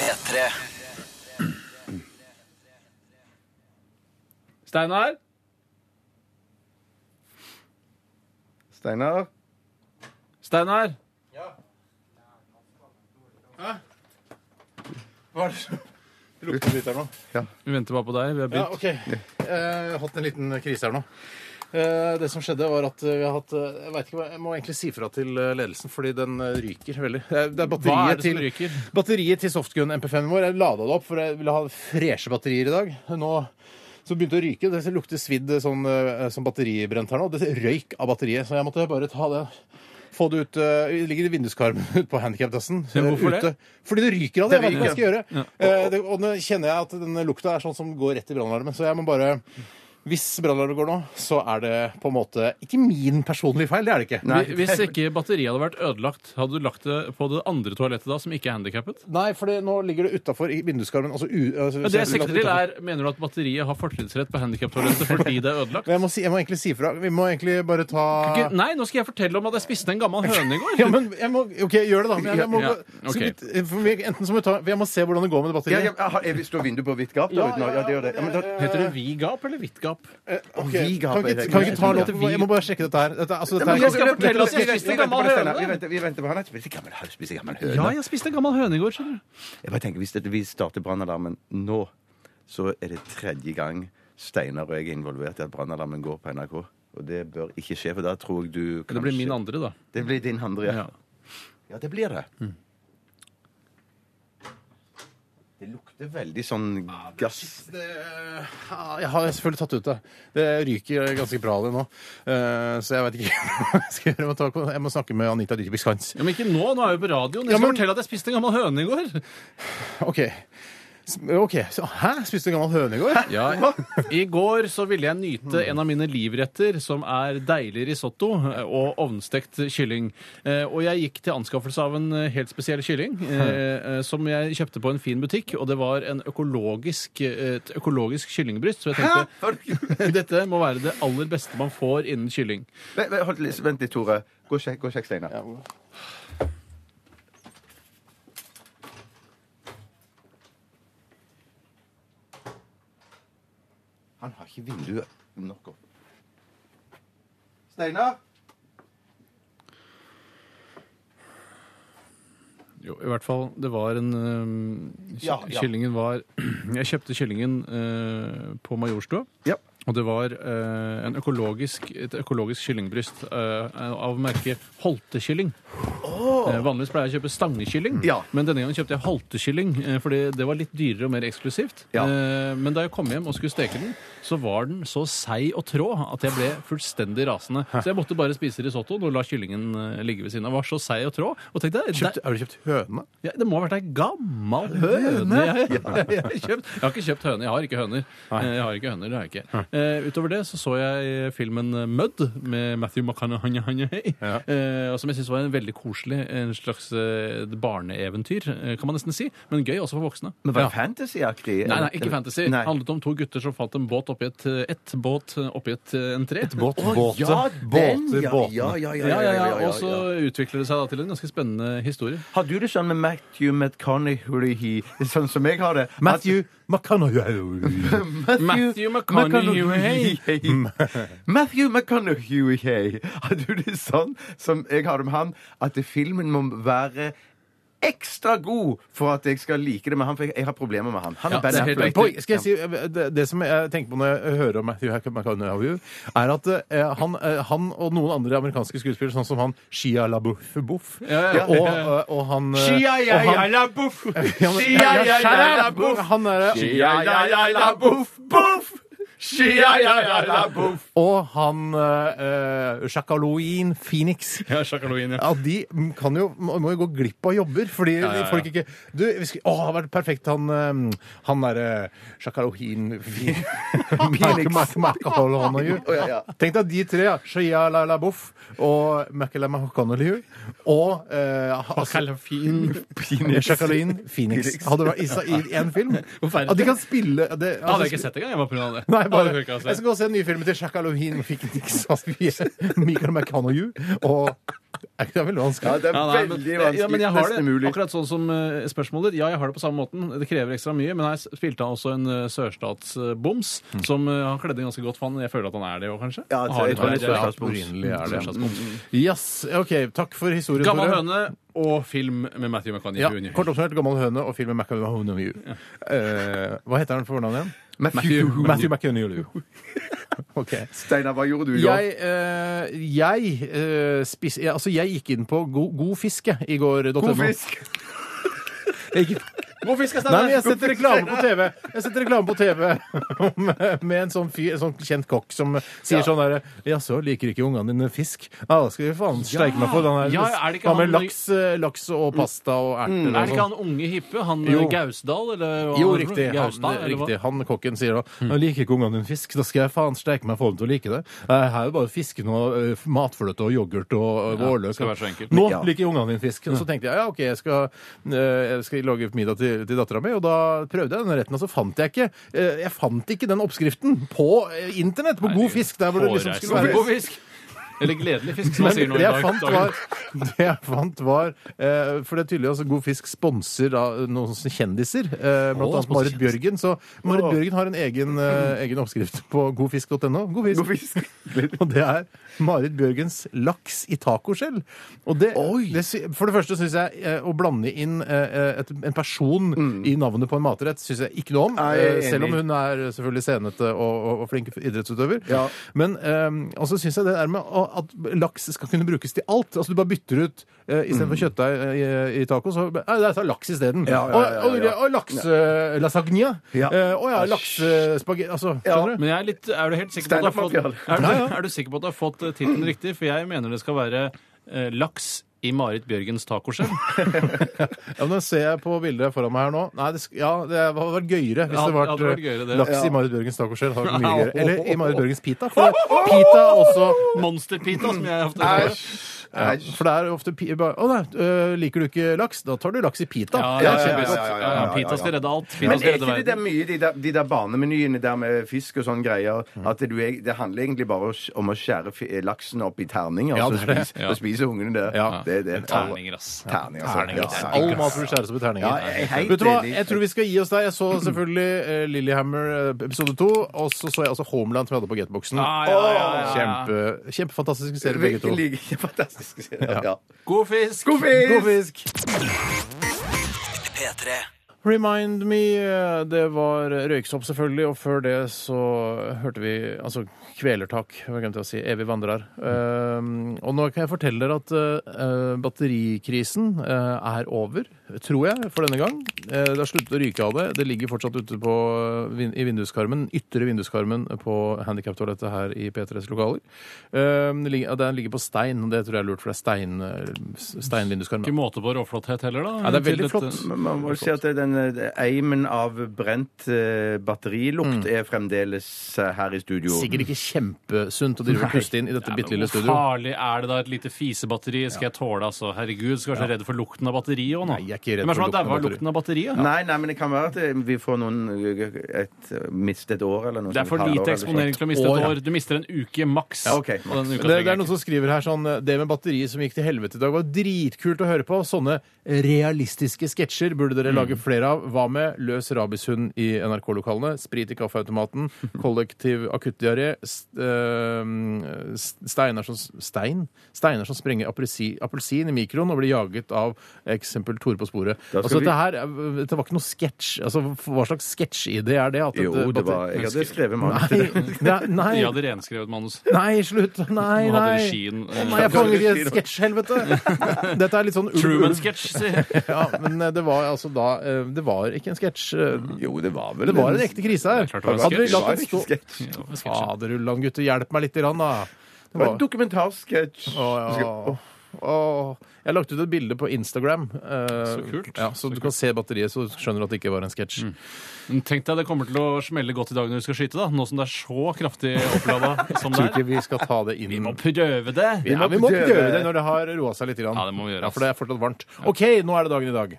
[SPEAKER 2] P3
[SPEAKER 6] Steinar?
[SPEAKER 5] Steinar?
[SPEAKER 6] Steinar?
[SPEAKER 4] Lukter litt her nå.
[SPEAKER 6] Vi venter bare på deg. Vi
[SPEAKER 4] Ja,
[SPEAKER 6] har begynt.
[SPEAKER 4] OK. Eh, Jeg har hatt en liten krise her nå. Eh, Det som skjedde, var at eh, vi har hatt eh, Jeg vet ikke hva Jeg må egentlig si fra til eh, ledelsen, fordi den eh, ryker veldig. Det er- det er
[SPEAKER 6] Hva er
[SPEAKER 4] batteriet
[SPEAKER 6] det som
[SPEAKER 4] til
[SPEAKER 6] ryker?
[SPEAKER 4] Batteriet til softgun MP5-en vår, jeg lada det opp, for jeg ville ha freshe batterier i dag. Nå så begynte det å ryke. Det lukter svidd sånn, eh, som batteribrent her nå. Det røyk av batteriet, så jeg måtte bare ta det. Få det ut eh, Det ligger i vinduskarmen ute på eh, handikapdassen.
[SPEAKER 6] Men hvorfor det?
[SPEAKER 4] Fordi det ryker av det. Jeg vet
[SPEAKER 5] Det
[SPEAKER 4] ikke hva jeg skal gjøre. Eh, det, og nå kjenner jeg at den lukta er sånn som går rett i brannalarmen, så jeg må bare Hvis brannalarmen går nå, så er det på en måte ikke min personlige feil. Det er det ikke.
[SPEAKER 5] Nei.
[SPEAKER 6] Hvis ikke batteriet hadde vært ødelagt, hadde du lagt det på det andre toalettet da, som ikke er handikappet?
[SPEAKER 4] Nei, for det, nå ligger det utafor vinduskarmen. Altså, u, altså,
[SPEAKER 6] Men det jeg
[SPEAKER 4] selv-
[SPEAKER 6] sikter til er, Mener du at batteriet har fortrinnsrett på handikaptoalettet fordi det er ødelagt?
[SPEAKER 4] Men jeg må, si, jeg må egentlig si fra. Vi må egentlig bare ta
[SPEAKER 6] Ikke- Nei, nå skal jeg fortelle om at jeg spiste en gammel høne i går.
[SPEAKER 4] ja, men jeg må, OK, gjør det, da. Men jeg, jeg må,
[SPEAKER 6] Ja,
[SPEAKER 4] så
[SPEAKER 6] ok.
[SPEAKER 4] vidt, eh, for vi, enten så må vi ta Jeg må se hvordan det går med det
[SPEAKER 5] Ja,
[SPEAKER 4] batteriet.
[SPEAKER 5] ja, har- er vi- Står vinduet på vidt gap? der ute nå? Ja, det gjør det. Ja, men da,
[SPEAKER 6] Heter det vi-gap eller hvitt-gap?
[SPEAKER 4] Ok,
[SPEAKER 5] vi ga
[SPEAKER 4] Kan vi
[SPEAKER 5] bare-
[SPEAKER 4] ikke, kan vi ikke ta
[SPEAKER 5] Ja.
[SPEAKER 4] låten? Jeg må bare sjekke dette her. Dette, altså, dette
[SPEAKER 6] men jeg skal
[SPEAKER 4] er,
[SPEAKER 6] fortelle oss-
[SPEAKER 5] Vi venter- vi venter på
[SPEAKER 6] Gammel
[SPEAKER 5] Steinar.
[SPEAKER 6] høne.
[SPEAKER 5] Vi venter- Vi venter på han. Han er ikke gammel høne. Spiser gammel høne.
[SPEAKER 6] Ja, jeg spiste en gammel høne i går. skjønner du.
[SPEAKER 5] Jeg bare tenker, Hvis dette, vi starter brannalarmen nå, så er det tredje gang Steinar og jeg er involvert i at brannalarmen går på NRK. Og det bør ikke skje, for da tror jeg du kanskje
[SPEAKER 6] Det blir min andre, da.
[SPEAKER 5] Det blir din andre, ja.
[SPEAKER 6] Ja.
[SPEAKER 5] ja. Mm. det blir det. Det lukter veldig sånn gass
[SPEAKER 4] eh, Ja, jeg har selvfølgelig tatt ut det. Det ryker ganske bra det nå. Eh, så jeg vet ikke hva jeg skal gjøre. Jeg må, ta, kon- jeg må snakke med Anita Dyrkebys Kantz.
[SPEAKER 6] Ja, men ikke nå. Nå er vi på radioen. Jeg
[SPEAKER 4] Ja,
[SPEAKER 6] skal
[SPEAKER 4] men-
[SPEAKER 6] fortelle at jeg spiste en gammel høne i går.
[SPEAKER 4] OK. S- ok, så, Hæ? Spiste du gammel høne i går?
[SPEAKER 6] Ja, I går så ville jeg nyte en av mine livretter, som er deilig risotto og ovnstekt kylling. Eh, Og jeg gikk til anskaffelse av en eh, helt spesiell kylling, eh, eh, som jeg kjøpte på en fin butikk. Og det var en økologisk, eh, et økologisk kyllingbryst. Så jeg tenkte dette må være det aller beste man får innen kylling.
[SPEAKER 5] Vent, vent, hold litt- vent litt, Tore. Gå og sjekk, gå og sjekk Steinar. Han har ikke vinduet nok opp. Steinar?
[SPEAKER 6] Jo, i hvert fall. Det var en eh, ky-
[SPEAKER 5] Ja, ja.
[SPEAKER 6] Kyllingen var Jeg kjøpte kyllingen eh, på Majorstua.
[SPEAKER 5] Ja.
[SPEAKER 6] Og det var eh, en økologisk, et økologisk kyllingbryst eh, av merket Holtekylling. Eh, vanligvis pleier jeg å kjøpe stangekylling,
[SPEAKER 5] Ja.
[SPEAKER 6] men denne gangen kjøpte jeg Holtekylling. Eh, fordi det var litt dyrere og mer eksklusivt.
[SPEAKER 5] Ja.
[SPEAKER 6] Eh, men da jeg kom hjem og skulle steke den, så var den så seig og trå at jeg ble fullstendig rasende. Så jeg måtte bare spise risottoen og la kyllingen eh, ligge ved siden av. Den Var så seig og trå. Og tenkte jeg,
[SPEAKER 4] Kjøpt, har du kjøpt høne?
[SPEAKER 6] ja, det må ha vært ei gammal høne jeg, jeg, har kjøpt. Jeg har ikke kjøpt høne. Jeg har ikke høner. Eh, Jeg har ikke høner, det har jeg ikke. Eh, utover det så så jeg filmen eh, Mud med Matthew McConaughey, eh, som jeg syns var en veldig koselig en slags eh, barneeventyr, eh, kan man nesten si. Men gøy også for voksne.
[SPEAKER 5] Men var
[SPEAKER 6] Ja.
[SPEAKER 5] det fantasyaktig?
[SPEAKER 6] Nei, nei, ikke fantasy. Det
[SPEAKER 5] Nei.
[SPEAKER 6] handlet om to gutter som fant en båt oppi et, et båt oppi et, eh, en tre. Et
[SPEAKER 4] Båt,
[SPEAKER 5] Å,
[SPEAKER 4] båte,
[SPEAKER 5] ja, den,
[SPEAKER 4] båter,
[SPEAKER 5] ja,
[SPEAKER 4] båtene.
[SPEAKER 5] Ja, ja, ja.
[SPEAKER 6] Ja,
[SPEAKER 5] ja,
[SPEAKER 6] ja, ja.
[SPEAKER 5] ja,
[SPEAKER 6] Og så utvikler det seg da til en ganske spennende historie.
[SPEAKER 5] Har du det sånn med Matthew McConaughey, sånn som jeg har det?
[SPEAKER 4] Matthew McConaughey.
[SPEAKER 6] Matthew McConaughey.
[SPEAKER 5] Matthew McConaughey. Har du det sånn som jeg har det med han, at filmen må være ekstra god for at jeg skal like det med han, for jeg- jeg har problemer med han. Han er
[SPEAKER 6] Ja,
[SPEAKER 5] Ben
[SPEAKER 6] det er helt
[SPEAKER 5] Affleck.
[SPEAKER 6] riktig.
[SPEAKER 4] Boy, skal jeg si, det, det som jeg tenker på når jeg hører om Matthew McConaughey, er at eh, han, eh, han og noen andre amerikanske skuespillere, sånn som han Shia LaBeouf Boff,
[SPEAKER 6] ja.
[SPEAKER 4] Og, eh, og han eh,
[SPEAKER 6] Shia, ja,
[SPEAKER 4] og han-
[SPEAKER 6] ja, la, boff.
[SPEAKER 4] Ja, men-
[SPEAKER 6] Shia, ja, ja, la, boff.
[SPEAKER 4] Han derre-
[SPEAKER 6] Shia, ja, ja, la, boff, boff! Shia, ja, ja, la, boff!
[SPEAKER 4] og han uh, Shakaloin Phoenix.
[SPEAKER 6] Ja, sjakalowin, ja.
[SPEAKER 4] Ja, De m- kan jo, må må jo gå glipp av jobber, fordi
[SPEAKER 6] ja, ja.
[SPEAKER 4] folk ikke du, vi skal, Å, det hadde vært perfekt, han, eh, han derre Shakalohin Phoenix.
[SPEAKER 5] Å, ja, ja.
[SPEAKER 4] Tenk deg de tre. ja. Shia La La Boff og Makelama Hokanolihu. Og eh, altså,
[SPEAKER 6] Sjakalofin.
[SPEAKER 4] Jacqueline Phoenix.
[SPEAKER 5] Phoenix.
[SPEAKER 4] Hadde vært i- i én film.
[SPEAKER 6] Forferdelig.
[SPEAKER 4] At de kan spille det,
[SPEAKER 6] Det hadde jeg ikke sett engang. Jeg var på grunn av det.
[SPEAKER 4] Nei, bare,
[SPEAKER 6] Hadde Altså, jeg ikke
[SPEAKER 4] jeg
[SPEAKER 5] altså.
[SPEAKER 6] sett.
[SPEAKER 4] skal gå og se den nye filmen til Shakalovin Phoenix. Altså, vi- Michael McConaughey og er ikke det veldig
[SPEAKER 5] Ja,
[SPEAKER 4] vanskelig?
[SPEAKER 5] det er
[SPEAKER 6] Ja, nei, men-
[SPEAKER 5] veldig vanskelig.
[SPEAKER 6] Ja, men jeg har
[SPEAKER 5] Nesten
[SPEAKER 6] det.
[SPEAKER 5] umulig.
[SPEAKER 6] Akkurat sånn som eh, spørsmålet. Ja, jeg har det på samme måten. Det krever ekstra mye. Men her spilte han også en eh, sørstatsboms, som eh, han kledde inn ganske godt for. Han. Jeg føler at han er det òg, kanskje.
[SPEAKER 5] Mm. Ja,
[SPEAKER 6] Han har
[SPEAKER 5] jeg
[SPEAKER 6] litt
[SPEAKER 5] tror
[SPEAKER 6] mer-
[SPEAKER 5] det er sørstatsboms.
[SPEAKER 6] opprinnelig er det sørstatsboms.
[SPEAKER 4] Yes, ok, Takk for historien.
[SPEAKER 6] Gammel
[SPEAKER 4] Tore.
[SPEAKER 6] høne og film med Matthew McCann
[SPEAKER 4] Ja, kort oppsummert Gammel høne og filmen McConaughey. Eh, hva heter han for fornavn igjen?
[SPEAKER 5] Matthew.
[SPEAKER 4] Matthew McConaughey. Ok.
[SPEAKER 5] Steinar, hva gjorde du i går?
[SPEAKER 4] Jeg, eh, jeg, eh, spis, jeg, altså jeg gikk inn på go, god fiske i går.
[SPEAKER 5] God fisk!
[SPEAKER 4] Jeg gikk,
[SPEAKER 6] God fisk er
[SPEAKER 4] Nei, men
[SPEAKER 6] standard!
[SPEAKER 4] jeg setter reklame på TV Jeg setter reklame på TV om, eh, med en sånn, fyr, en sånn kjent kokk som sier sånn derre Jaså, liker ikke ungene dine fisk? Ja, da skal vi faen streike meg for den her
[SPEAKER 6] Ja, er det ikke
[SPEAKER 4] hva med
[SPEAKER 6] han- Mm.
[SPEAKER 4] laks, eh, laks og pasta og erter
[SPEAKER 6] Er det
[SPEAKER 4] og
[SPEAKER 6] ikke
[SPEAKER 4] sånn?
[SPEAKER 6] han unge hippe? Han eh,
[SPEAKER 4] Jo.
[SPEAKER 6] Gausdal? Eller, hva
[SPEAKER 4] Jo,
[SPEAKER 6] han- eh,
[SPEAKER 4] riktig. Han,
[SPEAKER 6] Gausdal, eller hva?
[SPEAKER 4] riktig. han kokken sier da «Nå liker ikke ungene din fisk, da skal jeg faen streike meg for dem til å like det. Eh, Her er jo bare fisken og eh, matfløte og yoghurt og eh, vårløk.
[SPEAKER 6] skal være så enkelt.
[SPEAKER 4] Nå
[SPEAKER 5] Ja.
[SPEAKER 4] liker ungene din fisk. Og så tenkte jeg ja, OK, jeg skal, eh, jeg skal lage middag til, til dattera mi, og da prøvde jeg den retten, og så fant jeg ikke eh, Jeg fant ikke den oppskriften på eh, internett, på god fisk, der hvor det liksom skulle være.
[SPEAKER 6] God fisk! Eller gledelig fisk, som man
[SPEAKER 4] Men
[SPEAKER 6] sier nå i
[SPEAKER 4] det jeg
[SPEAKER 6] dag.
[SPEAKER 4] fant var, det jeg fant var eh, For det er tydelig altså, God Fisk sponser av noen sånne kjendiser. Eh, blant
[SPEAKER 6] Å,
[SPEAKER 4] annet
[SPEAKER 6] sponser
[SPEAKER 4] Marit Bjørgen. Så Marit Bjørgen har en egen, eh, egen oppskrift på godfisk.no. God fisk. Og det er Marit Bjørgens laks i tacoskjell. Og det, det, sy- for det første syns jeg eh, å blande inn eh, et, en person
[SPEAKER 6] Mm.
[SPEAKER 4] i navnet på en matrett syns jeg ikke noe om.
[SPEAKER 5] Nei, jeg er
[SPEAKER 4] eh, selv om
[SPEAKER 5] enig.
[SPEAKER 4] hun er selvfølgelig senete og, og, og flink idrettsutøver.
[SPEAKER 5] Ja.
[SPEAKER 4] Men eh, og så syns jeg det der med å- at laks skal kunne brukes til alt. Altså Du bare bytter ut eh, istedenfor kjøttdeig eh, i, i taco, så Nei, jeg tar laks isteden.
[SPEAKER 5] Mm. Ja, ja, ja, ja,
[SPEAKER 4] Og, og,
[SPEAKER 5] ja.
[SPEAKER 4] og lakselasagne.
[SPEAKER 5] Ja.
[SPEAKER 4] Eh, Å ja, laksespagetti Altså,
[SPEAKER 5] Ja.
[SPEAKER 4] skjønner du?
[SPEAKER 6] Men jeg er, litt, er du helt sikker på at du har fått,
[SPEAKER 5] Steinar Fabian.
[SPEAKER 6] er du, er du sikker på at du har fått eh, tittelen riktig? For jeg mener det skal være eh, laks i Marit Bjørgens tacoskjell.
[SPEAKER 4] Ja, men ser jeg på bildet foran meg her nå Nei, det, sk- ja, det hadde vært gøyere hvis
[SPEAKER 6] Ja,
[SPEAKER 4] det var
[SPEAKER 6] det hadde vært gøyere, det.
[SPEAKER 4] laks
[SPEAKER 5] Ja.
[SPEAKER 4] i Marit Bjørgens tacoskjell. hadde vært mye gøyere. Eller i Marit Bjørgens pita. For det- pita er også
[SPEAKER 6] Monsterpita, som jeg ofte kaller det.
[SPEAKER 4] ja, For det er ofte pi- bare, Å nei, øh, liker du ikke laks? Da tar du laks i pita.
[SPEAKER 6] Ja,
[SPEAKER 4] Det er
[SPEAKER 6] ja, ja,
[SPEAKER 4] kjempegodt.
[SPEAKER 6] ja, ja, ja, ja. Pita skal redde alt. Pita
[SPEAKER 5] Men
[SPEAKER 6] skal
[SPEAKER 5] er
[SPEAKER 6] redde
[SPEAKER 5] ikke det der
[SPEAKER 6] verden.
[SPEAKER 5] mye de der, de der barnemenyene der med fisk og sånne greier
[SPEAKER 4] Mm.
[SPEAKER 5] at det, du, er- det handler egentlig bare om å sk- om å skjære fi- laksen opp i terninger,
[SPEAKER 4] Ja,
[SPEAKER 5] og
[SPEAKER 4] det
[SPEAKER 5] så
[SPEAKER 4] er det.
[SPEAKER 5] spise, og spise ungene det.
[SPEAKER 4] Ja.
[SPEAKER 5] Det er det.
[SPEAKER 6] Terninger, ass.
[SPEAKER 5] Terninger, altså.
[SPEAKER 6] Terninger,
[SPEAKER 5] Ja,
[SPEAKER 6] terninger.
[SPEAKER 4] All mat blir skjæret som i terninger.
[SPEAKER 5] Ja, jeg er helt
[SPEAKER 4] Vet du hva,
[SPEAKER 5] enig.
[SPEAKER 4] jeg tror vi skal gi oss der. Jeg så selvfølgelig eh, Lillehammer eh, episode to, og så så jeg også Homeland som vi hadde på Gateboxen.
[SPEAKER 6] Ah, Ja, ja, ja, ja, ja.
[SPEAKER 4] Kjempe, kjempefantastiske serier, begge to.
[SPEAKER 5] Virkelig like fantastisk. Ja.
[SPEAKER 6] God fisk!
[SPEAKER 5] God fisk!
[SPEAKER 4] God fisk!
[SPEAKER 2] P3.
[SPEAKER 4] Remind Me, eh, det var Røyksopp selvfølgelig, og før det så hørte vi altså Kvelertak, hva glemte jeg å si, Evig vandrer. Ehm, og nå kan jeg fortelle dere at eh, batterikrisen eh, er over, tror jeg, for denne gang. Eh, det har sluttet å ryke av det. Det ligger fortsatt ute på, eh, vin- i vinduskarmen, ytre vinduskarmen på handikaptoalettet her i P3s lokaler. Ehm, det ligger, ja, den ligger på stein, og det tror jeg er lurt, for det er stein, eh, s- steinvinduskarm.
[SPEAKER 6] Ikke måte på råflotthet heller, da.
[SPEAKER 4] Ja, det er
[SPEAKER 6] til eh,
[SPEAKER 4] veldig
[SPEAKER 6] dette-
[SPEAKER 4] flott.
[SPEAKER 5] Men Man må jo si at den eh, eimen av brent eh, batterilukt er fremdeles eh, her i studio.
[SPEAKER 4] Mm. Sikkert ikke kjempesunt å drive og puste inn i dette
[SPEAKER 6] Ja, men
[SPEAKER 4] bitte lille
[SPEAKER 6] hvor
[SPEAKER 4] studioet.
[SPEAKER 6] farlig er det da? Et lite fisebatteri skal jeg tåle, altså. Herregud, skal jeg være så redd for lukten av batteriet òg nå.
[SPEAKER 4] Nei, jeg er ikke redd
[SPEAKER 6] Hvem er det som
[SPEAKER 4] for
[SPEAKER 6] har daua av
[SPEAKER 4] lukten
[SPEAKER 6] lukten av batteriet?
[SPEAKER 5] Nei, nei, men det kan være at eh, vi får noen eh, et, miste et år eller noe
[SPEAKER 6] Det er
[SPEAKER 5] sånt,
[SPEAKER 6] for
[SPEAKER 5] et halvår
[SPEAKER 6] lite
[SPEAKER 5] eller
[SPEAKER 6] eksponering
[SPEAKER 5] sånt.
[SPEAKER 6] til å miste
[SPEAKER 4] Å,
[SPEAKER 6] et
[SPEAKER 4] ja.
[SPEAKER 6] år. Du mister en uke maks.
[SPEAKER 5] Ja, ok,
[SPEAKER 6] Og
[SPEAKER 4] Det,
[SPEAKER 6] den uka
[SPEAKER 4] det
[SPEAKER 6] trenger
[SPEAKER 4] er
[SPEAKER 6] jeg
[SPEAKER 4] noen som skriver her sånn Det med batteriet som gikk til helvete i dag, var dritkult å høre på. Sånne realistiske sketsjer burde dere lage
[SPEAKER 5] Mm.
[SPEAKER 4] flere av. Hva med løs rabishund i NRK-lokalene? Sprit i kaffeautomaten? Kollektiv akuttdiaré? st- eh, st- Steiner som Stein? Steiner som sprenger apresi- appelsin i mikroen og blir jaget av eksempel Tore på sporet.
[SPEAKER 5] Da skal
[SPEAKER 4] Altså,
[SPEAKER 5] vi-
[SPEAKER 4] dette her eh, dette var ikke noe sketsj. Altså, hva slags sketsjidé er det? At et,
[SPEAKER 5] Jo,
[SPEAKER 4] eh,
[SPEAKER 5] det
[SPEAKER 4] batteri-
[SPEAKER 5] var Jeg hadde skrevet mange til
[SPEAKER 4] Nei,
[SPEAKER 5] det.
[SPEAKER 4] det er, nei,
[SPEAKER 6] De hadde renskrevet manus.
[SPEAKER 4] nei, slutt! Nei,
[SPEAKER 6] Nå hadde
[SPEAKER 4] nei!
[SPEAKER 6] regien
[SPEAKER 4] Å
[SPEAKER 6] eh,
[SPEAKER 4] Nei, jeg fanger i et sketsjhelvete! Dette er litt sånn ulv, ulv.
[SPEAKER 6] Truman-sketsj, sier
[SPEAKER 4] Ja, men eh, det var altså da eh, Det var ikke en sketsj. eh,
[SPEAKER 5] Jo, det var vel
[SPEAKER 4] Det var en ekte krise her.
[SPEAKER 6] Mm. Det er klart det var en
[SPEAKER 4] Hadde vi
[SPEAKER 6] sketsj.
[SPEAKER 4] latt
[SPEAKER 5] var
[SPEAKER 4] den
[SPEAKER 5] en
[SPEAKER 4] stå
[SPEAKER 5] sketsj.
[SPEAKER 6] sketsj.
[SPEAKER 4] Faderullan, gutter, hjelp meg litt, grann, da. Det
[SPEAKER 5] Det var
[SPEAKER 4] var,
[SPEAKER 5] en dokumentarsketsj.
[SPEAKER 4] Å, ja. Åh. Jeg lagt ut et bilde på Instagram, eh,
[SPEAKER 6] Så kult. Mm.
[SPEAKER 4] Ja, så,
[SPEAKER 6] Så
[SPEAKER 4] du kan se batteriet, så skjønner du at det ikke var en sketsj.
[SPEAKER 6] Men Tenk deg, det kommer til å smelle godt i dag når du skal skyte, da. Nå som det er så kraftig opplada som det
[SPEAKER 4] Tror ikke
[SPEAKER 6] er.
[SPEAKER 4] vi skal ta det inn
[SPEAKER 6] Vi må prøve det!
[SPEAKER 4] Ja, vi må prøve det når det har roa seg litt. Grann.
[SPEAKER 6] Ja, det må vi gjøre,
[SPEAKER 4] Ja, for det er fortsatt varmt. OK, nå er det dagen i dag.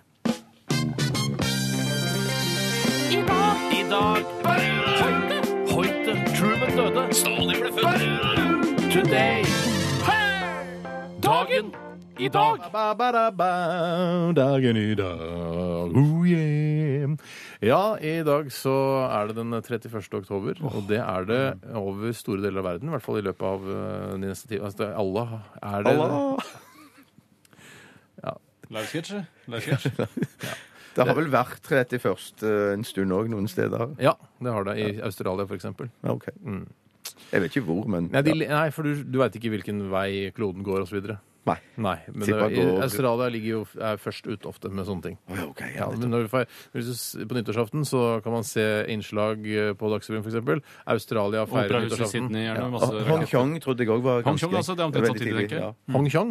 [SPEAKER 6] I dag Hoite, Hoite, Truman døde. Stalin ble født. Today. Dagen i dag.
[SPEAKER 4] Ba-ba-da-ba, Dagen i dag. Oh yeah. Ja, i dag så er det den 31. oktober, og det er det over store deler av verden. I hvert fall i løpet av eh, de neste ti Altså, det er Allah er det
[SPEAKER 6] Livesketsj. Livesketsj.
[SPEAKER 5] Det har vel vært 31. eh, en stund òg noen steder.
[SPEAKER 4] Ja, det har det. I Australia, for eksempel.
[SPEAKER 5] Ja, ok. Jeg vet ikke hvor, men
[SPEAKER 4] Nei, de, nei for du, du veit ikke hvilken vei kloden går, og så videre.
[SPEAKER 5] Nei.
[SPEAKER 4] Nei, men det,
[SPEAKER 5] Tipper
[SPEAKER 4] i,
[SPEAKER 5] går-
[SPEAKER 4] Australia ligger jo er først ute ofte med sånne ting.
[SPEAKER 5] Å, ja, ok, ja,
[SPEAKER 4] Ja, men når du får, hvis du, s- på nyttårsaften så kan man se innslag eh, på Dagsrevyen f.eks. Australia feirer
[SPEAKER 6] Operahuset i
[SPEAKER 4] nyttårsaften.
[SPEAKER 6] Sydney er det masse
[SPEAKER 5] Og Hong Kong trodde jeg òg var
[SPEAKER 6] Hong
[SPEAKER 5] ganske
[SPEAKER 6] Kong, altså, det er omtrent
[SPEAKER 5] veldig
[SPEAKER 6] samtidig,
[SPEAKER 5] tidlig,
[SPEAKER 6] tenker jeg.
[SPEAKER 5] ja.
[SPEAKER 4] Hongkong?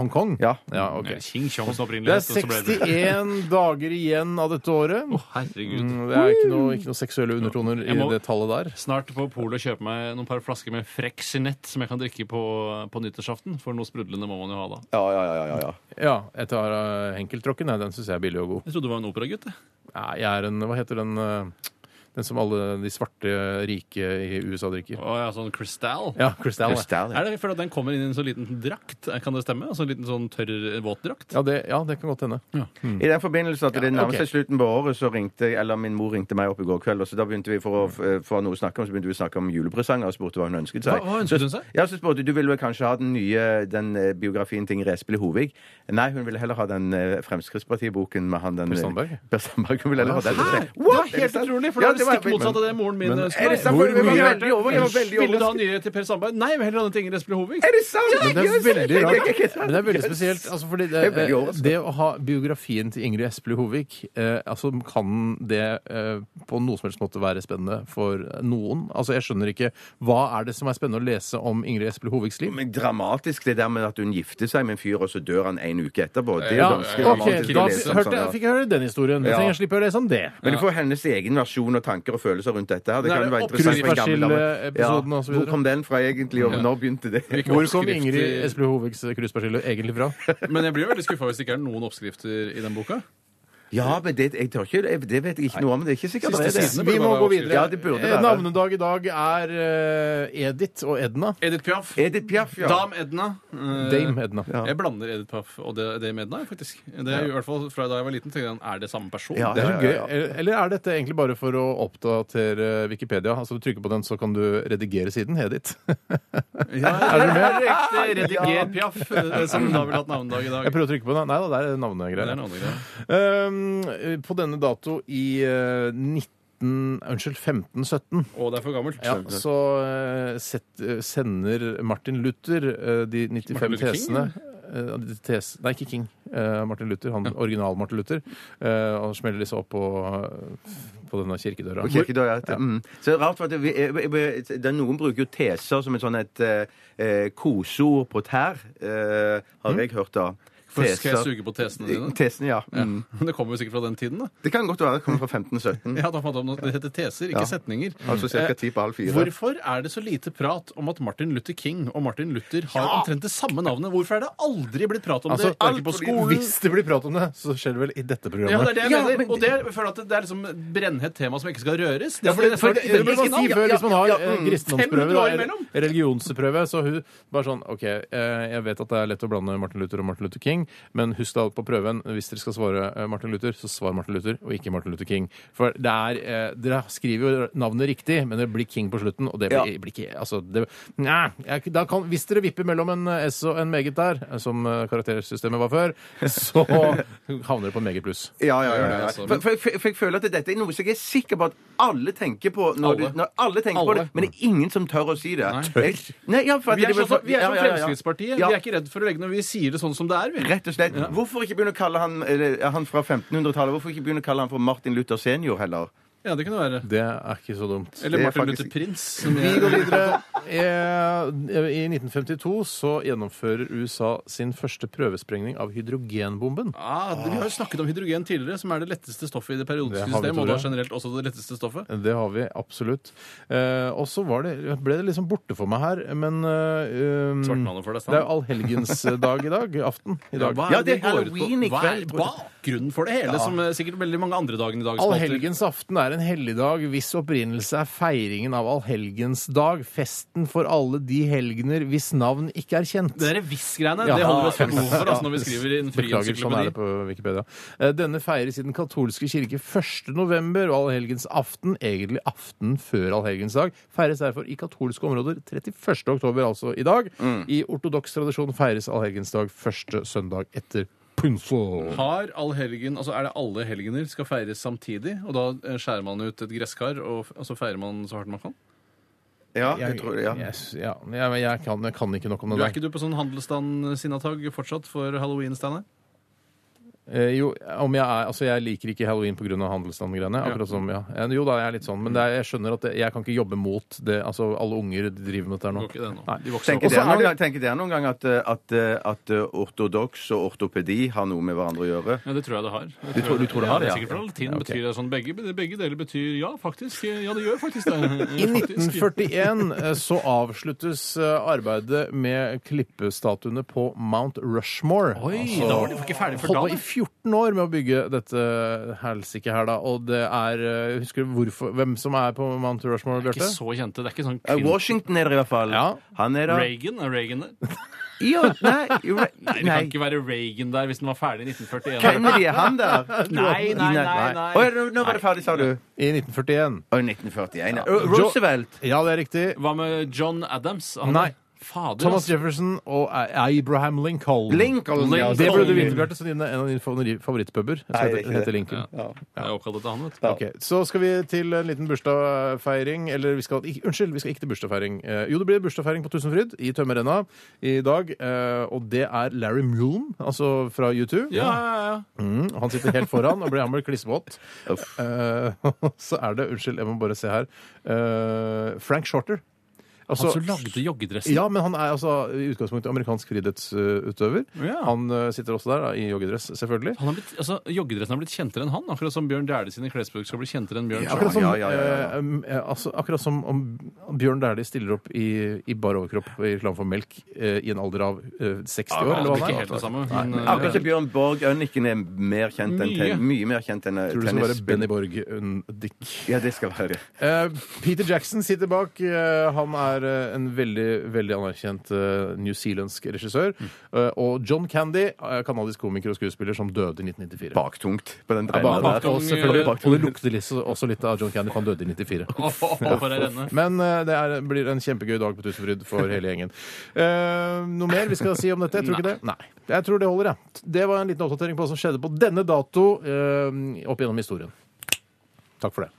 [SPEAKER 4] Hongkong?
[SPEAKER 5] Mm. Ja.
[SPEAKER 4] ja ok.
[SPEAKER 6] King Chongs
[SPEAKER 4] Det
[SPEAKER 6] opprinnelighet.
[SPEAKER 4] er 61 dager igjen av dette året.
[SPEAKER 6] herregud.
[SPEAKER 4] Mm, Det er ikke noe, ikke noe seksuelle undertoner i
[SPEAKER 6] Jeg må-
[SPEAKER 4] det tallet der.
[SPEAKER 6] Snart på polet kjøpe meg noen par flasker med Frexinett som jeg kan drikke på, på nyttårsaften. For noe sprudlende må man jo ha da.
[SPEAKER 5] Ja, ja, ja, ja, ja.
[SPEAKER 4] Ja, jeg tar uh, Henkeltråkken. Nei, den syns jeg er billig og god.
[SPEAKER 6] Jeg trodde du var en operagutt. jeg.
[SPEAKER 4] Nei, jeg er en Hva heter den eh, Den som alle de svarte rike i USA drikker?
[SPEAKER 6] Å ja, sånn Cristal.
[SPEAKER 4] Ja, Cristal. ja.
[SPEAKER 5] Crystal, ja.
[SPEAKER 6] Er det fordi at den kommer inn i en sånn liten drakt? Kan det stemme? Altså en liten sånn tørr, våt drakt?
[SPEAKER 4] Ja det, ja, det kan godt hende.
[SPEAKER 5] I den forbindelse at det nærmer
[SPEAKER 4] ok.
[SPEAKER 5] seg slutten på året, så ringte jeg, eller min mor ringte meg opp i går kveld, og så da begynte vi for å f- få noe å snakke om, så begynte vi å snakke om julepresanger og spurte hva hun ønsket seg.
[SPEAKER 6] Hva- hva ønsket hun
[SPEAKER 5] Så-
[SPEAKER 6] seg?
[SPEAKER 5] Ja, så spurte hun, du ville vel kanskje ha den nye den eh, biografien til Ingrid Espelid Hovig. Nei, hun ville heller ha den eh, Fremskrittspartiboken med han den eh,
[SPEAKER 4] Per Sandberg?
[SPEAKER 5] Per Sandberg, hun ville heller ha den.
[SPEAKER 6] Hæ?
[SPEAKER 5] What? Er
[SPEAKER 6] Det var
[SPEAKER 5] det
[SPEAKER 6] helt
[SPEAKER 5] sant?
[SPEAKER 6] utrolig, for
[SPEAKER 5] Ja,
[SPEAKER 6] det er
[SPEAKER 5] var-
[SPEAKER 6] stikk motsatt av det moren min
[SPEAKER 5] Men-
[SPEAKER 6] ønsker.
[SPEAKER 5] Er det sant?
[SPEAKER 4] Hvor
[SPEAKER 5] For vi var
[SPEAKER 4] mye-
[SPEAKER 5] veldig over, vi var veldig
[SPEAKER 6] Ville du ha
[SPEAKER 5] overrasket.
[SPEAKER 6] nye til Per Sandberg? Nei, jeg vil heller ha den til Ingrid Espelid Hovig.
[SPEAKER 5] Er det sant?
[SPEAKER 4] Men det er veldig rart. Men det er veldig
[SPEAKER 5] Yes.
[SPEAKER 4] spesielt. Altså fordi det,
[SPEAKER 5] Jeg er veldig overrasket.
[SPEAKER 4] det å ha biografien til Ingrid Espelid Hovig eh, altså Kan det eh, på noe som helst måte være spennende for noen? Altså Jeg skjønner ikke Hva er det som er spennende å lese om Ingrid Espelid Hovigs liv?
[SPEAKER 5] Men dramatisk det der med at hun gifter seg med en fyr, og så dør han en uke etterpå. Det er jo
[SPEAKER 4] Ja,
[SPEAKER 5] ganske
[SPEAKER 4] ok,
[SPEAKER 5] dramatisk. å
[SPEAKER 4] da
[SPEAKER 5] lese om
[SPEAKER 4] hørte,
[SPEAKER 5] sånn, ja.
[SPEAKER 4] jeg- fikk jeg høre den historien. Da
[SPEAKER 5] Ja.
[SPEAKER 4] trenger jeg slippe å lese om det.
[SPEAKER 5] Men du får hennes egen versjon og tanker og følelser rundt dette. her. Det
[SPEAKER 4] Men er
[SPEAKER 5] kan jo
[SPEAKER 4] det
[SPEAKER 5] være interessant for en gammel dame.
[SPEAKER 4] oppskriftsperskille-episoden og så videre?
[SPEAKER 5] Hvor kom den fra egentlig, og når begynte det?
[SPEAKER 4] Hvor kom Ingrid Espelid Hovigs cruisepersille egentlig fra?
[SPEAKER 6] Men jeg blir jo veldig skuffa hvis det ikke er noen oppskrifter i den boka.
[SPEAKER 5] Ja, men det, jeg tør ikke, jeg- det vet jeg ikke noe om. Det er ikke sikkert det er det.
[SPEAKER 6] sidene
[SPEAKER 4] Vi
[SPEAKER 6] burde
[SPEAKER 4] må
[SPEAKER 6] være
[SPEAKER 4] gå
[SPEAKER 6] oppskrift.
[SPEAKER 4] videre.
[SPEAKER 5] Ja, det burde
[SPEAKER 4] Eh,
[SPEAKER 5] være.
[SPEAKER 4] Navnedag i dag er eh, Edith og Edna.
[SPEAKER 6] Edith Piaf.
[SPEAKER 5] Edith Piaf, ja.
[SPEAKER 6] Dam Edna. Eh,
[SPEAKER 4] Dame Edna.
[SPEAKER 6] Jeg blander Edith Piaf og det- Dame Edna, jeg, faktisk. Det er jo i hvert fall Fra da jeg var liten, tenkte jeg er det samme person?
[SPEAKER 5] Ja,
[SPEAKER 4] Det er
[SPEAKER 5] ja,
[SPEAKER 4] så
[SPEAKER 5] ja,
[SPEAKER 4] gøy.
[SPEAKER 5] ja.
[SPEAKER 4] Eller er dette egentlig bare for å oppdatere Wikipedia? Altså Du trykker på den, så kan du redigere siden. Edith.
[SPEAKER 6] er du med? Riktig. Rediger Piaf, eh, som da ville hatt navnedag i dag.
[SPEAKER 4] Jeg prøver å trykke på den. Nei da, det er
[SPEAKER 6] Det er
[SPEAKER 4] navnegreier.
[SPEAKER 6] noen andre greier.
[SPEAKER 4] Um, på denne dato i eh, 19... Unnskyld, 1517
[SPEAKER 6] Og det er for gammelt.
[SPEAKER 4] ja, så eh, sett, eh, sender Martin Luther eh, de 95
[SPEAKER 6] Martin Luther King,
[SPEAKER 4] tesene eh, de tes, Nei, ikke King. Eh, Martin Luther, han original Martin Luther. eh, og smeller disse opp på, eh, på denne kirkedøra.
[SPEAKER 5] Og kirkedør, ja. Mm. Så det er rart, for at vi, vi- vi- det er noen bruker jo teser som et sånn et eh, koseord på tær, eh, har jeg hørt da.
[SPEAKER 6] Mm. For skal jeg suge på tesene dine?
[SPEAKER 5] Tesen, ja. Mm.
[SPEAKER 6] Men Det kommer jo sikkert fra den tiden, da.
[SPEAKER 5] Det kan godt være det kommer fra 1517.
[SPEAKER 6] Ja, da fant jeg opp noe. Det heter teser, ikke
[SPEAKER 5] Ja.
[SPEAKER 6] setninger.
[SPEAKER 5] Altså ca.
[SPEAKER 6] Eh,
[SPEAKER 5] ti på halv fire.
[SPEAKER 6] Hvorfor er det så lite prat om at Martin Luther King og Martin Luther har omtrent det samme navnet? Hvorfor er det aldri blitt prat om
[SPEAKER 4] Altså,
[SPEAKER 6] det? Verken på skolen
[SPEAKER 4] Hvis det blir prat om det, så skjer det vel i dette
[SPEAKER 6] Ja,
[SPEAKER 4] programmet.
[SPEAKER 6] det er det jeg
[SPEAKER 5] Ja,
[SPEAKER 6] mener.
[SPEAKER 5] men
[SPEAKER 6] Og det, jeg føler at det, det er liksom et brennhett tema som ikke skal røres. Det,
[SPEAKER 4] Ja, for det, for det, det,
[SPEAKER 6] det-
[SPEAKER 4] burde man si
[SPEAKER 6] ja,
[SPEAKER 4] før
[SPEAKER 6] ja,
[SPEAKER 4] hvis man har
[SPEAKER 6] ja,
[SPEAKER 4] eh,
[SPEAKER 6] mm. 500
[SPEAKER 4] kristendomsprøve
[SPEAKER 6] år
[SPEAKER 4] eller
[SPEAKER 6] imellom.
[SPEAKER 4] religionsprøve. Så hun bare sånn OK, eh, jeg vet at det er lett å blande Martin Luther og Martin Luther King, men husk da på prøven hvis dere skal svare eh, Martin Luther, så svar Martin Luther og ikke Martin Luther King. For det er eh, Dere skriver jo navnet riktig, men det blir King på slutten, og det blir, blir ikke Altså, det Nei. Jeg, da kan, hvis dere vipper mellom en eh, S og en meget der, eh, som eh, karaktersystemet var før, så havner dere på en meget pluss.
[SPEAKER 5] Ja, ja, ja. ja.
[SPEAKER 6] altså.
[SPEAKER 5] For, for, for, for jeg føler at dette er noe som jeg er sikker på at alle tenker på, når
[SPEAKER 6] Alle.
[SPEAKER 5] Du, når alle tenker på
[SPEAKER 6] Alle.
[SPEAKER 5] det, men det er ingen som tør å si det. Jeg, nei, ja, for at
[SPEAKER 6] Vi er,
[SPEAKER 5] jeg vil
[SPEAKER 6] sånn, som-
[SPEAKER 5] få-
[SPEAKER 6] vi er
[SPEAKER 5] ja,
[SPEAKER 6] som
[SPEAKER 5] ja, ja, ja.
[SPEAKER 6] Fremskrittspartiet.
[SPEAKER 5] Ja,
[SPEAKER 6] Vi er ikke redd for å legge noe. Vi sier det sånn som det er. Vi.
[SPEAKER 5] Rett og slett. Hvorfor ikke begynne å kalle han eller, han fra 1500-tallet Hvorfor ikke begynne å kalle han for Martin Luther senior heller?
[SPEAKER 6] Ja, det kunne være.
[SPEAKER 4] Det er ikke så dumt.
[SPEAKER 6] Eller
[SPEAKER 5] Det er
[SPEAKER 6] Martin
[SPEAKER 5] faktisk-
[SPEAKER 6] Luther Prins. Som
[SPEAKER 4] Vi går
[SPEAKER 6] jeg,
[SPEAKER 4] videre. Eh, I 1952 så gjennomfører USA sin første prøvesprengning av hydrogenbomben.
[SPEAKER 6] ah, vi har jo snakket om hydrogen tidligere, som er det letteste stoffet i det periodiske
[SPEAKER 4] Det har vi,
[SPEAKER 6] systemet. Og da
[SPEAKER 4] Tore.
[SPEAKER 6] generelt også det letteste stoffet.
[SPEAKER 4] Det har vi absolutt. Eh, og så var det, ble det liksom borte for meg her, men eh, um,
[SPEAKER 6] Svartmannen for deg,
[SPEAKER 4] Det er jo allhelgensdag i dag. Aften i dag.
[SPEAKER 6] hva
[SPEAKER 5] Ja, det
[SPEAKER 6] det
[SPEAKER 5] er
[SPEAKER 6] går ut på?
[SPEAKER 5] halloween i
[SPEAKER 6] Hva er
[SPEAKER 5] kveld.
[SPEAKER 6] bakgrunnen for det hele, som eh, sikkert veldig mange andre dager i dag spalter?
[SPEAKER 4] Allhelgensaften er en helligdag hvis opprinnelse er feiringen av allhelgensdag, festen for alle de helgener hvis navn ikke er kjent.
[SPEAKER 6] Det derre hvis-greiene,
[SPEAKER 4] Ja.
[SPEAKER 6] det holder vi oss for gode for altså, når vi skriver i en fri
[SPEAKER 4] Beklager, sånn er det
[SPEAKER 6] encyklopedi.
[SPEAKER 4] på Wikipedia. Eh, Denne feires i den katolske kirke 1. november og allhelgens aften, egentlig aften før allhelgensdag. Feires derfor i katolske områder 31. oktober, altså i dag. I ortodoks tradisjon feires allhelgensdag første søndag etter pinse.
[SPEAKER 6] Har allhelgen, altså er det alle helgener skal feires samtidig, og da eh, skjærer man ut et gresskar, og f- og så feirer man så hardt man kan?
[SPEAKER 5] Ja,
[SPEAKER 4] Jeg,
[SPEAKER 5] jeg tror det. Ja.
[SPEAKER 4] jeg, ja, men jeg, jeg, kan, jeg kan ikke nok om
[SPEAKER 6] Du
[SPEAKER 4] det
[SPEAKER 6] er
[SPEAKER 4] der.
[SPEAKER 6] ikke du på sånn handelsstand-sinnatag fortsatt for halloween, Steinar?
[SPEAKER 4] Eh, jo, om jeg, er, altså jeg liker ikke halloween pga. handelsstandgreiene. Akkurat som, ja. Eh, Jo da, jeg er litt sånn, men det er, jeg skjønner at det, jeg kan ikke jobbe mot det. Altså, alle unger driver med dette her
[SPEAKER 6] Det
[SPEAKER 4] nå.
[SPEAKER 6] går ikke det nå.
[SPEAKER 4] Nei.
[SPEAKER 6] De vokser
[SPEAKER 5] Tenker
[SPEAKER 4] Og så
[SPEAKER 5] dere
[SPEAKER 4] er
[SPEAKER 5] noen,
[SPEAKER 4] det-
[SPEAKER 5] gang- tenker dere noen gang at, eh, at, eh, at eh, ortodoks og ortopedi har noe med hverandre å gjøre?
[SPEAKER 6] Ja, det tror jeg det har. Det
[SPEAKER 5] tror- du tror det har det,
[SPEAKER 6] ja?
[SPEAKER 5] ja.
[SPEAKER 6] Sikkert fra latin betyr det sånn. Begge, begge deler betyr ja, faktisk. Ja, det gjør faktisk det.
[SPEAKER 4] I
[SPEAKER 6] Faktisk.
[SPEAKER 4] 1941 eh, så avsluttes eh, arbeidet med klippestatuene på Mount Rushmore.
[SPEAKER 6] Oi,
[SPEAKER 4] Altså,
[SPEAKER 6] da var de ikke ferdig for
[SPEAKER 4] Holdt på
[SPEAKER 6] dagen.
[SPEAKER 4] i 14 år med å bygge dette helsike her, da. Og det er eh, Husker du hvorfor, hvem som er på Mount Rushmore,
[SPEAKER 6] Ikke
[SPEAKER 4] Bjarte?
[SPEAKER 6] så kjente. Det er ikke sånn
[SPEAKER 5] Eh,
[SPEAKER 6] Clinton-
[SPEAKER 5] Washington er det i hvert fall.
[SPEAKER 4] Ja.
[SPEAKER 5] Han er der.
[SPEAKER 6] Reagan? Er Reagan der?
[SPEAKER 5] Ja, nei, Ra-
[SPEAKER 6] Nei, det kan ikke være Reagan der hvis den var ferdig i 1941.
[SPEAKER 5] Kennedy, er han der?
[SPEAKER 6] Nei, nei, nei, nei.
[SPEAKER 5] Å, ja, nå- nå var det ferdig, sa du.
[SPEAKER 4] I 1941.
[SPEAKER 5] Å, 1941. ja.
[SPEAKER 4] Jo-
[SPEAKER 5] Roosevelt.
[SPEAKER 4] Ja, det er riktig.
[SPEAKER 6] Hva med John Adams? Han-
[SPEAKER 4] Nei.
[SPEAKER 6] Fader,
[SPEAKER 4] Thomas
[SPEAKER 6] altså.
[SPEAKER 4] Jefferson og A- Abraham Lincoln.
[SPEAKER 5] Lincoln. ja.
[SPEAKER 4] Det burde du vite, Bjarte, så din er en av dine favori- favorittpuber som
[SPEAKER 5] Nei, det er
[SPEAKER 4] heter,
[SPEAKER 5] ikke det.
[SPEAKER 4] heter Lincoln.
[SPEAKER 6] Ja. Jeg er oppkalt etter han, vet du.
[SPEAKER 4] Ok, Så skal vi til en liten bursdagsfeiring. Eller vi skal, ikke- unnskyld, vi skal ikke til bursdagsfeiring. Eh, jo, det blir bursdagsfeiring på Tusenfryd i Tømmerrenna i dag. eh, og det er Larry Mullen, altså fra U2.
[SPEAKER 6] Ja, ja, ja.
[SPEAKER 4] Mm, han sitter helt foran og blir hammer klissvåt. Eh, så er det Unnskyld, jeg må bare se her. eh, Frank Shorter.
[SPEAKER 6] Han
[SPEAKER 4] Altså-
[SPEAKER 6] som lagde joggedressen.
[SPEAKER 4] ja, men han er altså i utgangspunktet amerikansk friidrettsutøver.
[SPEAKER 6] Ja.
[SPEAKER 4] Han eh, sitter også der da, i joggedress, selvfølgelig.
[SPEAKER 6] Han har blitt, altså, joggedressen har blitt kjentere enn han, akkurat som Bjørn Dæhlie sine klesbøker skal bli kjentere enn Bjørn
[SPEAKER 4] Akkurat som,
[SPEAKER 5] ja, ja, ja, ja.
[SPEAKER 4] eh, em, eh, altså, akkurat som om Bjørn Dæhlie stiller opp i, i bar overkropp i reklame for melk eh, i en alder av eh, 60 år,
[SPEAKER 6] Ja, det
[SPEAKER 4] eller hva
[SPEAKER 6] blir ikke
[SPEAKER 4] det
[SPEAKER 6] helt det
[SPEAKER 4] er.
[SPEAKER 6] samme. Men, eh,
[SPEAKER 5] Akkurat som Bjørn Borg Ønniken er mer kjent enn ten, mye mer kjent enn eh,
[SPEAKER 4] Tror du det skal være
[SPEAKER 5] tennisspill.
[SPEAKER 4] Benny Borg Undick?
[SPEAKER 5] Ja, det skal være det.
[SPEAKER 4] Eh, Peter Jackson sitter bak. Eh, han er eh, en veldig veldig anerkjent eh, newzealandsk regissør. Eh, og John Candy, eh, kanadisk komiker og skuespiller som døde i 1994.
[SPEAKER 5] Baktungt på den
[SPEAKER 4] Bak, bak,
[SPEAKER 5] drenna
[SPEAKER 4] og,
[SPEAKER 5] der.
[SPEAKER 6] Baktung,
[SPEAKER 4] selvfølgelig,
[SPEAKER 6] eh,
[SPEAKER 4] og det lukter litt, så- også litt av John Candy, for han døde i 94.
[SPEAKER 6] Å, for ei renne.
[SPEAKER 4] Men eh, det er, blir en kjempegøy dag på Tusenfryd for hele gjengen. Eh, noe mer vi skal si om dette? Jeg tror ikke det. Nei. Jeg tror det holder, jeg. Det var en liten oppdatering på hva som skjedde på denne dato eh, opp gjennom historien. Takk for det.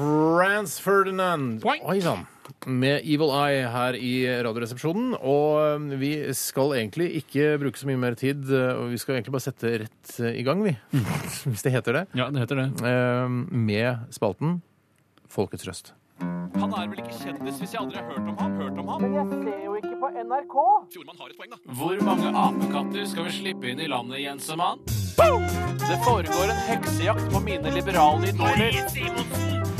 [SPEAKER 4] Rance Ferdinand.
[SPEAKER 6] Boing.
[SPEAKER 4] Oi sann. Med Evil Eye her i Radioresepsjonen. Og øhm, vi skal egentlig ikke bruke så mye mer tid. øh, og Vi skal egentlig bare sette rett øh, i gang, vi. Hvis det heter det.
[SPEAKER 6] Ja, det heter det.
[SPEAKER 4] Ehm, Med spalten Folkets røst.
[SPEAKER 6] Han er vel ikke kjendis hvis jeg aldri har hørt om ham? Hørt om ham? Men jeg ser jo ikke på NRK! Fjordmann har et poeng, da. Hvor mange apekatter skal vi slippe inn i landet, Jensemann? Det foregår en heksejakt på mine liberale idoler.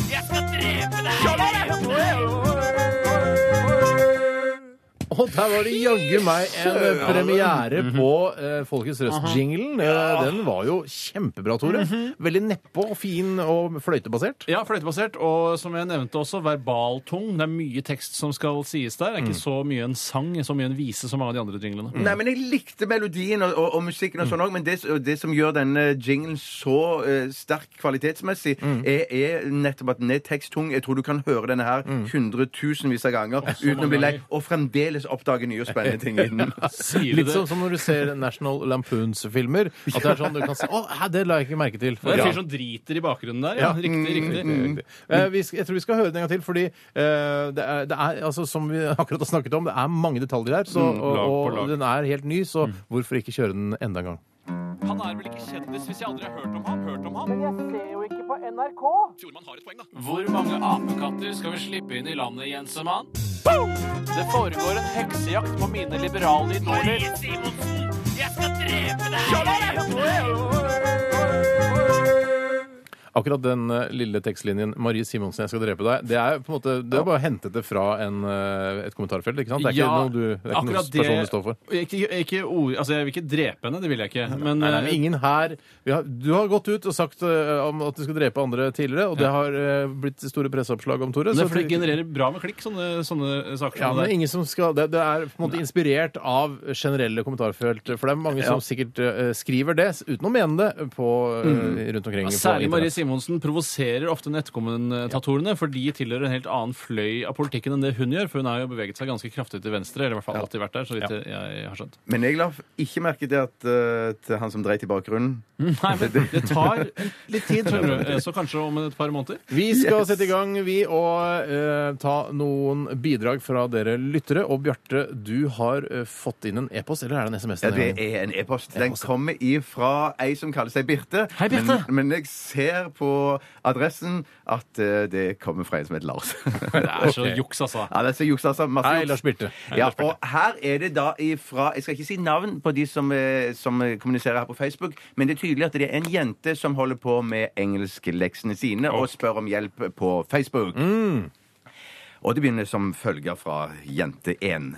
[SPEAKER 4] Og der var det jaggu meg en eh, premiere på eh, Folkets røst-jinglen. Eh, Den var jo kjempebra, Tore. Veldig nedpå og fin og fløytebasert.
[SPEAKER 6] Ja, fløytebasert, og som jeg nevnte også, verbaltung. Det er mye tekst som skal sies der. Det er ikke
[SPEAKER 4] Mm.
[SPEAKER 6] så mye en sang, så mye en vise som mange av de andre jinglene.
[SPEAKER 5] Nei, men Jeg likte melodien og, og, og musikken, og sånn også, men det, og det som gjør denne jinglen så eh, sterk kvalitetsmessig, er, er nettopp at den er teksttung. Jeg tror du kan høre denne her hundretusenvis av ganger uten å bli lei,
[SPEAKER 6] mange
[SPEAKER 5] og fremdeles oppdage nye og spennende ting i den.
[SPEAKER 6] Sier du
[SPEAKER 4] Litt sånn som når du ser National Lampoons-filmer. At det er sånn du kan si Å, hæ, det la jeg ikke merke til.
[SPEAKER 6] Det er en
[SPEAKER 4] Ja.
[SPEAKER 6] fyr som driter i bakgrunnen der. Ja,
[SPEAKER 4] Ja. Mm,
[SPEAKER 6] riktig, riktig.
[SPEAKER 4] Riktig. Eh, vi skal, jeg tror vi skal høre den en gang til, fordi eh, det, er, det er altså, som vi akkurat har snakket om, det er mange detaljer her, så,
[SPEAKER 6] Mm.
[SPEAKER 4] og, og den er helt ny, så hvorfor ikke kjøre den enda en gang?
[SPEAKER 6] Han er vel ikke kjendis hvis jeg aldri har hørt om ham? Hørt om ham? Men jeg ser jo ikke på NRK! Fjordmann har et poeng, da. Hvor mange apekatter skal vi slippe inn i landet, Jensemann? Det foregår en heksejakt på mine liberale idoler.
[SPEAKER 4] Akkurat den eh, lille tekstlinjen 'Marie Simonsen, jeg skal drepe deg', det er på en måte, det er bare hentet det fra en, eh, et kommentarfelt, ikke sant? Det er ikke noe du det er ikke noe
[SPEAKER 6] akkurat det-
[SPEAKER 4] personlig står for.
[SPEAKER 6] Ikke, ikke ord, altså, jeg vil ikke drepe henne, det vil jeg ikke. Men eh,
[SPEAKER 4] Nei, nei, ingen her vi har, Du har gått ut og sagt eh, om at du skal drepe andre tidligere, og det har eh, blitt store presseoppslag om Tore.
[SPEAKER 6] Men det
[SPEAKER 4] så
[SPEAKER 6] er fordi det
[SPEAKER 4] det-
[SPEAKER 6] genererer bra med klikk, sånne, sånne saker.
[SPEAKER 4] ja,
[SPEAKER 6] som
[SPEAKER 4] men
[SPEAKER 6] det der.
[SPEAKER 4] ingen som skal, det, det er på en måte inspirert av generelle kommentarfelt. For det er mange som sikkert eh, skriver det uten å mene det på, eh, rundt omkring. på
[SPEAKER 6] Mm. Særlig Marie
[SPEAKER 4] internett.
[SPEAKER 6] Simonsen provoserer ofte nettkommentatorene, for de tilhører en helt annen fløy av politikken enn det hun gjør, for hun har jo beveget seg ganske kraftig til venstre, eller i hvert fall alltid vært der, så vidt jeg har skjønt.
[SPEAKER 5] Men jeg la ikke merke til at eh, til han som dreit i bakgrunnen
[SPEAKER 6] Nei, men det tar litt tid, skjønner du. Eh, Så kanskje om et par måneder.
[SPEAKER 4] Vi skal sette i gang, vi, og eh, ta noen bidrag fra dere lyttere. Og Bjarte, du har eh, fått inn en e-post, eller er det en SMS?
[SPEAKER 5] Ja,
[SPEAKER 4] denne
[SPEAKER 5] det
[SPEAKER 4] gangen?
[SPEAKER 5] er en e-post. Den kommer ifra ei som kaller seg Birte.
[SPEAKER 6] Hei, Birte.
[SPEAKER 5] Men, men jeg ser på adressen at eh, det kommer fra en som heter Lars.
[SPEAKER 6] Det er så juks, altså.
[SPEAKER 5] Ja, det er så juks, altså. Masse
[SPEAKER 4] Hei,
[SPEAKER 5] juks.
[SPEAKER 4] Lars Birte.
[SPEAKER 5] Ja, og her er det da ifra Jeg skal ikke si navn på de som, eh, som eh, kommuniserer her på Facebook, men det er tydelig at det er en jente som holder på med engelskleksene sine og spør om hjelp på
[SPEAKER 4] Mm.
[SPEAKER 5] Facebook. Og det begynner som følger fra jente 1.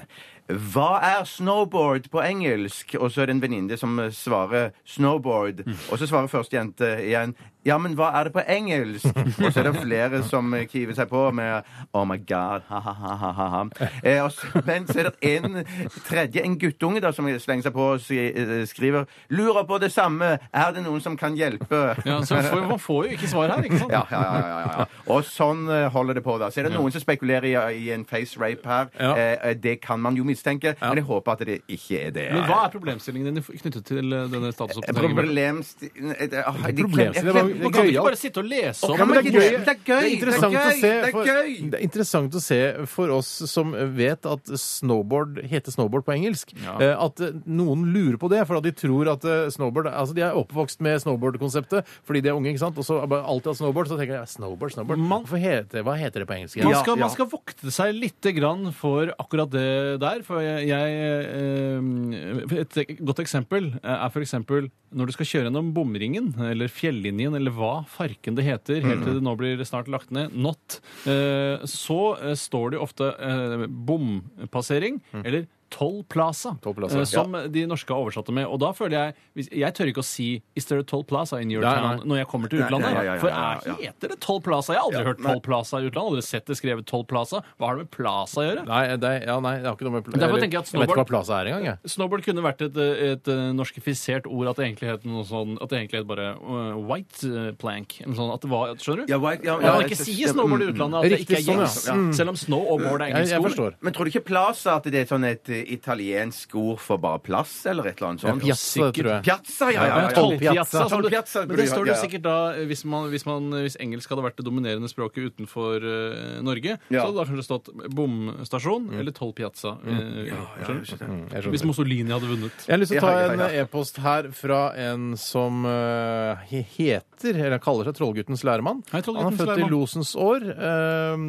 [SPEAKER 5] Hva er snowboard på engelsk? Og så er det en venninne som eh, svarer snowboard. Og så svarer første jente igjen ja, men hva er det på engelsk? Og så er det flere som eh, kiver seg på med oh my god, ha-ha-ha-ha. Eh, og så- men så er det en tredje, en guttunge, da, som slenger seg på og si- eh, skriver lurer på det samme, er det noen som kan hjelpe?
[SPEAKER 6] Ja, så får, man får jo ikke svar her, ikke sant?
[SPEAKER 5] Ja, ja, ja, ja, ja, ja. Og sånn eh, holder det på. da. Så er det noen som spekulerer i, i en face rape her.
[SPEAKER 4] Ja.
[SPEAKER 5] Eh, eh, det kan man jo mistenke, men jeg håper at det ikke er det.
[SPEAKER 6] Men hva er problemstillingen din knyttet til eh, denne statusoppdateringen? Bjarte?
[SPEAKER 5] Problemst... eh, eh, ah, de-
[SPEAKER 4] Problemstilling, det var-
[SPEAKER 6] Man kan
[SPEAKER 4] gøy,
[SPEAKER 6] ikke
[SPEAKER 4] alt.
[SPEAKER 6] bare sitte og lese om
[SPEAKER 5] Ja, men
[SPEAKER 6] det.
[SPEAKER 5] det er gøy! Det er
[SPEAKER 4] Det er interessant
[SPEAKER 5] gøy!
[SPEAKER 4] å se
[SPEAKER 5] Det
[SPEAKER 4] for-
[SPEAKER 5] er gøy!
[SPEAKER 4] Det er interessant å se for oss som vet at snowboard heter snowboard på engelsk, eh, at eh, noen lurer på det, for at de tror at eh, snowboard Altså, de er oppvokst med snowboard-konseptet fordi de er unge, ikke sant, og så er bare alltid har snowboard, så tenker jeg snowboard, snowboard.
[SPEAKER 6] Man-
[SPEAKER 4] Hvorfor heter, hva heter det på engelsk?
[SPEAKER 6] Man
[SPEAKER 5] Ja,
[SPEAKER 6] skal,
[SPEAKER 5] ja.
[SPEAKER 6] man skal vokte seg litt grann for akkurat det der. For jeg, jeg eh, Et godt eksempel eh, er f.eks. når du skal kjøre gjennom bomringen, eller fjellinjen, eller hva farken det heter,
[SPEAKER 5] Mm.
[SPEAKER 6] helt til det nå blir snart lagt ned, not, eh, så eh, står det jo ofte eh, bompassering,
[SPEAKER 5] Mm.
[SPEAKER 6] eller Toll Plaza,
[SPEAKER 4] Toll Plaza,
[SPEAKER 6] eh, som de norske har oversatt det med. Og da føler jeg hvis, Jeg tør ikke å si 'Is there a Toll Plaza in your
[SPEAKER 4] Nei,
[SPEAKER 6] town?' når jeg kommer til
[SPEAKER 5] Nei,
[SPEAKER 6] utlandet.
[SPEAKER 5] ja, ja, ja,
[SPEAKER 6] for
[SPEAKER 5] ja,
[SPEAKER 6] er
[SPEAKER 5] ja.
[SPEAKER 6] Heter det Toll Plaza? Jeg har aldri hørt
[SPEAKER 5] nei.
[SPEAKER 6] Toll Plaza i utlandet. Aldri sett det skrevet Toll Plaza. Hva har det med Plaza å gjøre?
[SPEAKER 4] Nei, det, er- ja, nei, det har ikke noe med pla-
[SPEAKER 6] Derfor
[SPEAKER 4] eller-
[SPEAKER 6] tenker jeg at
[SPEAKER 4] Jeg vet ikke
[SPEAKER 6] snowboard-
[SPEAKER 4] hva plaza er engang, jeg.
[SPEAKER 6] Snowboard kunne vært et, eh, et eh, norskifisert ord, at det egentlig het noe sånn At det egentlig het bare eh, white eh, plank. Eller noe sånt, at det var, skjønner du?
[SPEAKER 5] Ja, hva- ja, ja,
[SPEAKER 6] At
[SPEAKER 5] mm.
[SPEAKER 6] man
[SPEAKER 5] jeg-
[SPEAKER 6] ikke sier snowboard i utlandet, at
[SPEAKER 4] Riktig,
[SPEAKER 6] det ikke
[SPEAKER 4] sånn, ja.
[SPEAKER 6] er
[SPEAKER 5] Mm.
[SPEAKER 6] gjengs. Selv om snow og board er
[SPEAKER 4] Jeg,
[SPEAKER 6] engelske
[SPEAKER 4] jeg
[SPEAKER 6] ord.
[SPEAKER 4] forstår.
[SPEAKER 5] Men tror du ikke plaza at det er sånn et eh, italiensk ord for bare plass, eller et eller annet sånt?
[SPEAKER 4] Piazza, tror jeg.
[SPEAKER 5] Piazza, ja, ja,
[SPEAKER 6] Ja,
[SPEAKER 5] ja, ja.
[SPEAKER 6] Tollpiazza. som du-
[SPEAKER 5] Tollpiazza
[SPEAKER 6] Men
[SPEAKER 5] burde
[SPEAKER 6] det
[SPEAKER 5] ha-
[SPEAKER 6] står
[SPEAKER 5] ja, ja.
[SPEAKER 6] det sikkert da eh, hvis, man, hvis, man, hvis engelsk hadde vært det dominerende språket utenfor eh, Norge, så
[SPEAKER 5] Ja. Mm.
[SPEAKER 6] hadde det kanskje stått bomstasjon eller tollpiazza. eh, skjønner du?
[SPEAKER 4] Jeg skjønner.
[SPEAKER 6] Hvis Mussolini hadde vunnet.
[SPEAKER 4] Jeg har lyst til å
[SPEAKER 5] Ja, ja,
[SPEAKER 4] ta en
[SPEAKER 5] ja.
[SPEAKER 4] eh, e-post her fra en som eh, he- heter, eller kaller seg Trollguttens læremann. Han
[SPEAKER 6] Hei,
[SPEAKER 4] er
[SPEAKER 6] Trollguttens
[SPEAKER 4] født i
[SPEAKER 6] læremann.
[SPEAKER 4] losens år.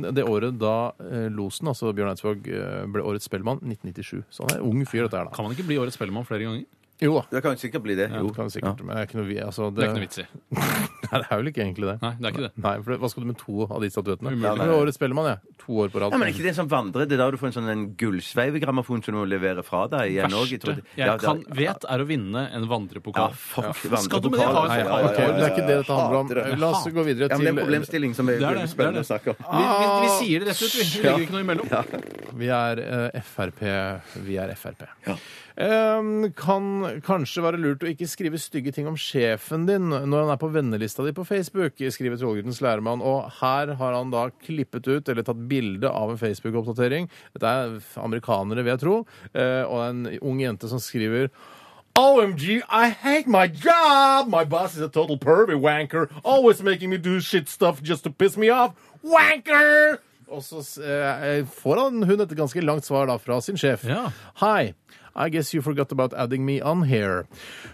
[SPEAKER 4] eh, Det året da eh, losen, altså Bjørn Eidsvåg, eh, ble årets spellemann, 1997. Så han er en ung fyr, dette her, da.
[SPEAKER 6] Kan man ikke bli årets spellemann flere ganger?
[SPEAKER 4] Jo da.
[SPEAKER 5] Det kan sikkert bli det. Jo.
[SPEAKER 4] Det kan det sikkert, men det er ikke noe, vi- altså,
[SPEAKER 6] Det er ikke noe vits i.
[SPEAKER 4] Nei, det er vel ikke egentlig det.
[SPEAKER 6] Nei, det er ikke det.
[SPEAKER 4] Nei, for det- Hva skal du med to av de statuettene?
[SPEAKER 6] Umulig.
[SPEAKER 4] Jeg ble årets spellemann, jeg. To år på rad.
[SPEAKER 5] Ja, men er ikke det sånn vandre? Det er da du får en sånn en gullsveivegrammofon som du må levere fra deg igjen òg.
[SPEAKER 6] Verste jeg kan vet, er å vinne en
[SPEAKER 5] Ja,
[SPEAKER 6] vandrepokal.
[SPEAKER 5] fuck
[SPEAKER 6] Skal du med det?
[SPEAKER 5] vandrepokal,
[SPEAKER 6] Nei,
[SPEAKER 5] altså.
[SPEAKER 4] Ja, ok, men det er ikke det dette handler om.
[SPEAKER 5] Hater det.
[SPEAKER 4] La oss gå videre
[SPEAKER 5] Ja, men det er en
[SPEAKER 4] til
[SPEAKER 5] problemstilling som er,
[SPEAKER 6] Det er det, det er
[SPEAKER 5] spennende
[SPEAKER 6] det.
[SPEAKER 5] å snakke om.
[SPEAKER 6] Vi, vi, vi sier det rett ut, vi. Vi legger ikke noe imellom.
[SPEAKER 4] Vi er eh, Frp. Vi er Frp. Eh, kan kanskje være lurt å ikke skrive stygge ting om sjefen din når han er på vennelista di på Facebook, skriver Trollguttens læremann. Og her har han da klippet ut eller tatt bilde av en Facebook-oppdatering. Dette er amerikanere, vil jeg tro. eh, og det er en ung jente som skriver OMG, I hate my job! My boss is a total pervy wanker, always making me do shit stuff just to piss me off. Wanker! Og så eh, får han hun et ganske langt svar da fra sin sjef.
[SPEAKER 6] Ja.
[SPEAKER 4] Hi. I guess you forgot about adding me on here.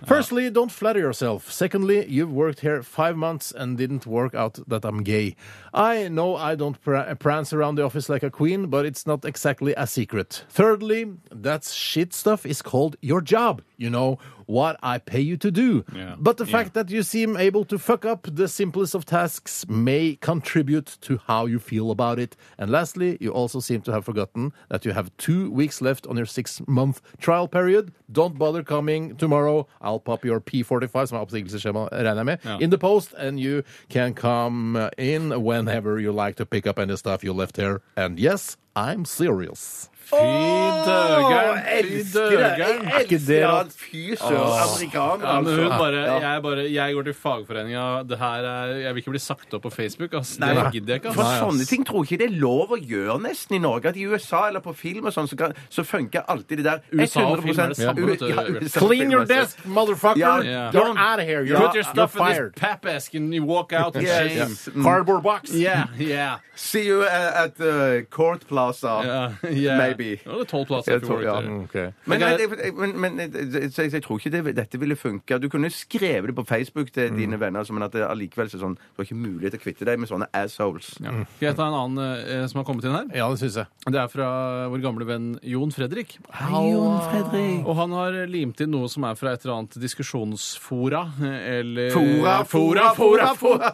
[SPEAKER 4] Firstly, don't flatter yourself. Secondly, you've worked here five months and didn't work out that I'm gay. I know I don't pra- prance around the office like a queen, but it's not exactly a secret. Thirdly, that shit stuff is called your job. You know, what I pay you to do.
[SPEAKER 6] Yeah.
[SPEAKER 4] But the fact that you seem able to fuck up the simplest of tasks may contribute to how you feel about it. And lastly, you also seem to have forgotten that you have two weeks left on your six month trial period. Don't bother coming tomorrow. I'll pop your P45, som er oppsigelsesskjema, regner jeg med, in the post, and you can come in whenever you like to pick up any stuff you left here. And yes, I'm serious.
[SPEAKER 6] Fy døgeren! Fy
[SPEAKER 5] elsker det!
[SPEAKER 6] døgeren!
[SPEAKER 4] Er
[SPEAKER 5] Jeg elsker
[SPEAKER 4] rått?
[SPEAKER 5] han. Fy søren. Amerikaner,
[SPEAKER 6] Ja, men
[SPEAKER 5] altså.
[SPEAKER 6] hun bare,
[SPEAKER 5] Ja.
[SPEAKER 6] jeg, bare, jeg går til fagforeninga. Det her er, jeg vil ikke bli sagt opp på Facebook. Ass. Det
[SPEAKER 5] Nei,
[SPEAKER 6] gidder jeg ikke.
[SPEAKER 5] For
[SPEAKER 6] Ass.
[SPEAKER 5] sånne ting tror jeg ikke det er lov å gjøre nesten i Norge. At i USA eller på film og sånn, så, kan- så funker alltid det der.
[SPEAKER 6] USA og film er det samme, vet du.
[SPEAKER 5] Ja, USA og
[SPEAKER 4] Clean
[SPEAKER 5] film
[SPEAKER 4] your
[SPEAKER 5] er det samme.
[SPEAKER 4] desk, motherfucker!
[SPEAKER 5] Ja.
[SPEAKER 6] Yeah.
[SPEAKER 4] You're out of here! You're,
[SPEAKER 6] Put your stuff
[SPEAKER 4] you're
[SPEAKER 6] in
[SPEAKER 4] fired!
[SPEAKER 6] this pap-ask and you walk out in
[SPEAKER 5] Yes.
[SPEAKER 6] shame.
[SPEAKER 5] Mm.
[SPEAKER 4] Cardboard box!
[SPEAKER 6] Yeah, yeah.
[SPEAKER 5] See you uh, at uh, Court Plaza.
[SPEAKER 6] yeah, yeah.
[SPEAKER 5] Maybe.
[SPEAKER 6] Ja, det er tolv plasser
[SPEAKER 5] Jeg
[SPEAKER 6] if you
[SPEAKER 5] tror-
[SPEAKER 6] work
[SPEAKER 5] ja.
[SPEAKER 6] there.
[SPEAKER 4] Mm, Ok.
[SPEAKER 5] Men, nei, det- men, men jeg, jeg, jeg tror ikke det, dette ville funka. Du kunne skrevet det på Facebook
[SPEAKER 4] Mm.
[SPEAKER 5] til dine venner, altså, men at det allikevel så er sånn, du har ikke mulighet til å kvitte deg med sånne assholes.
[SPEAKER 6] Skal jeg ta en annen eh, som har kommet inn her?
[SPEAKER 4] Ja, det syns jeg.
[SPEAKER 6] Det er fra vår gamle venn Jon Fredrik. Og han har limt inn noe som er fra et eller annet diskusjonsfora. eh, Eller
[SPEAKER 5] Fora, fora, fora, fora!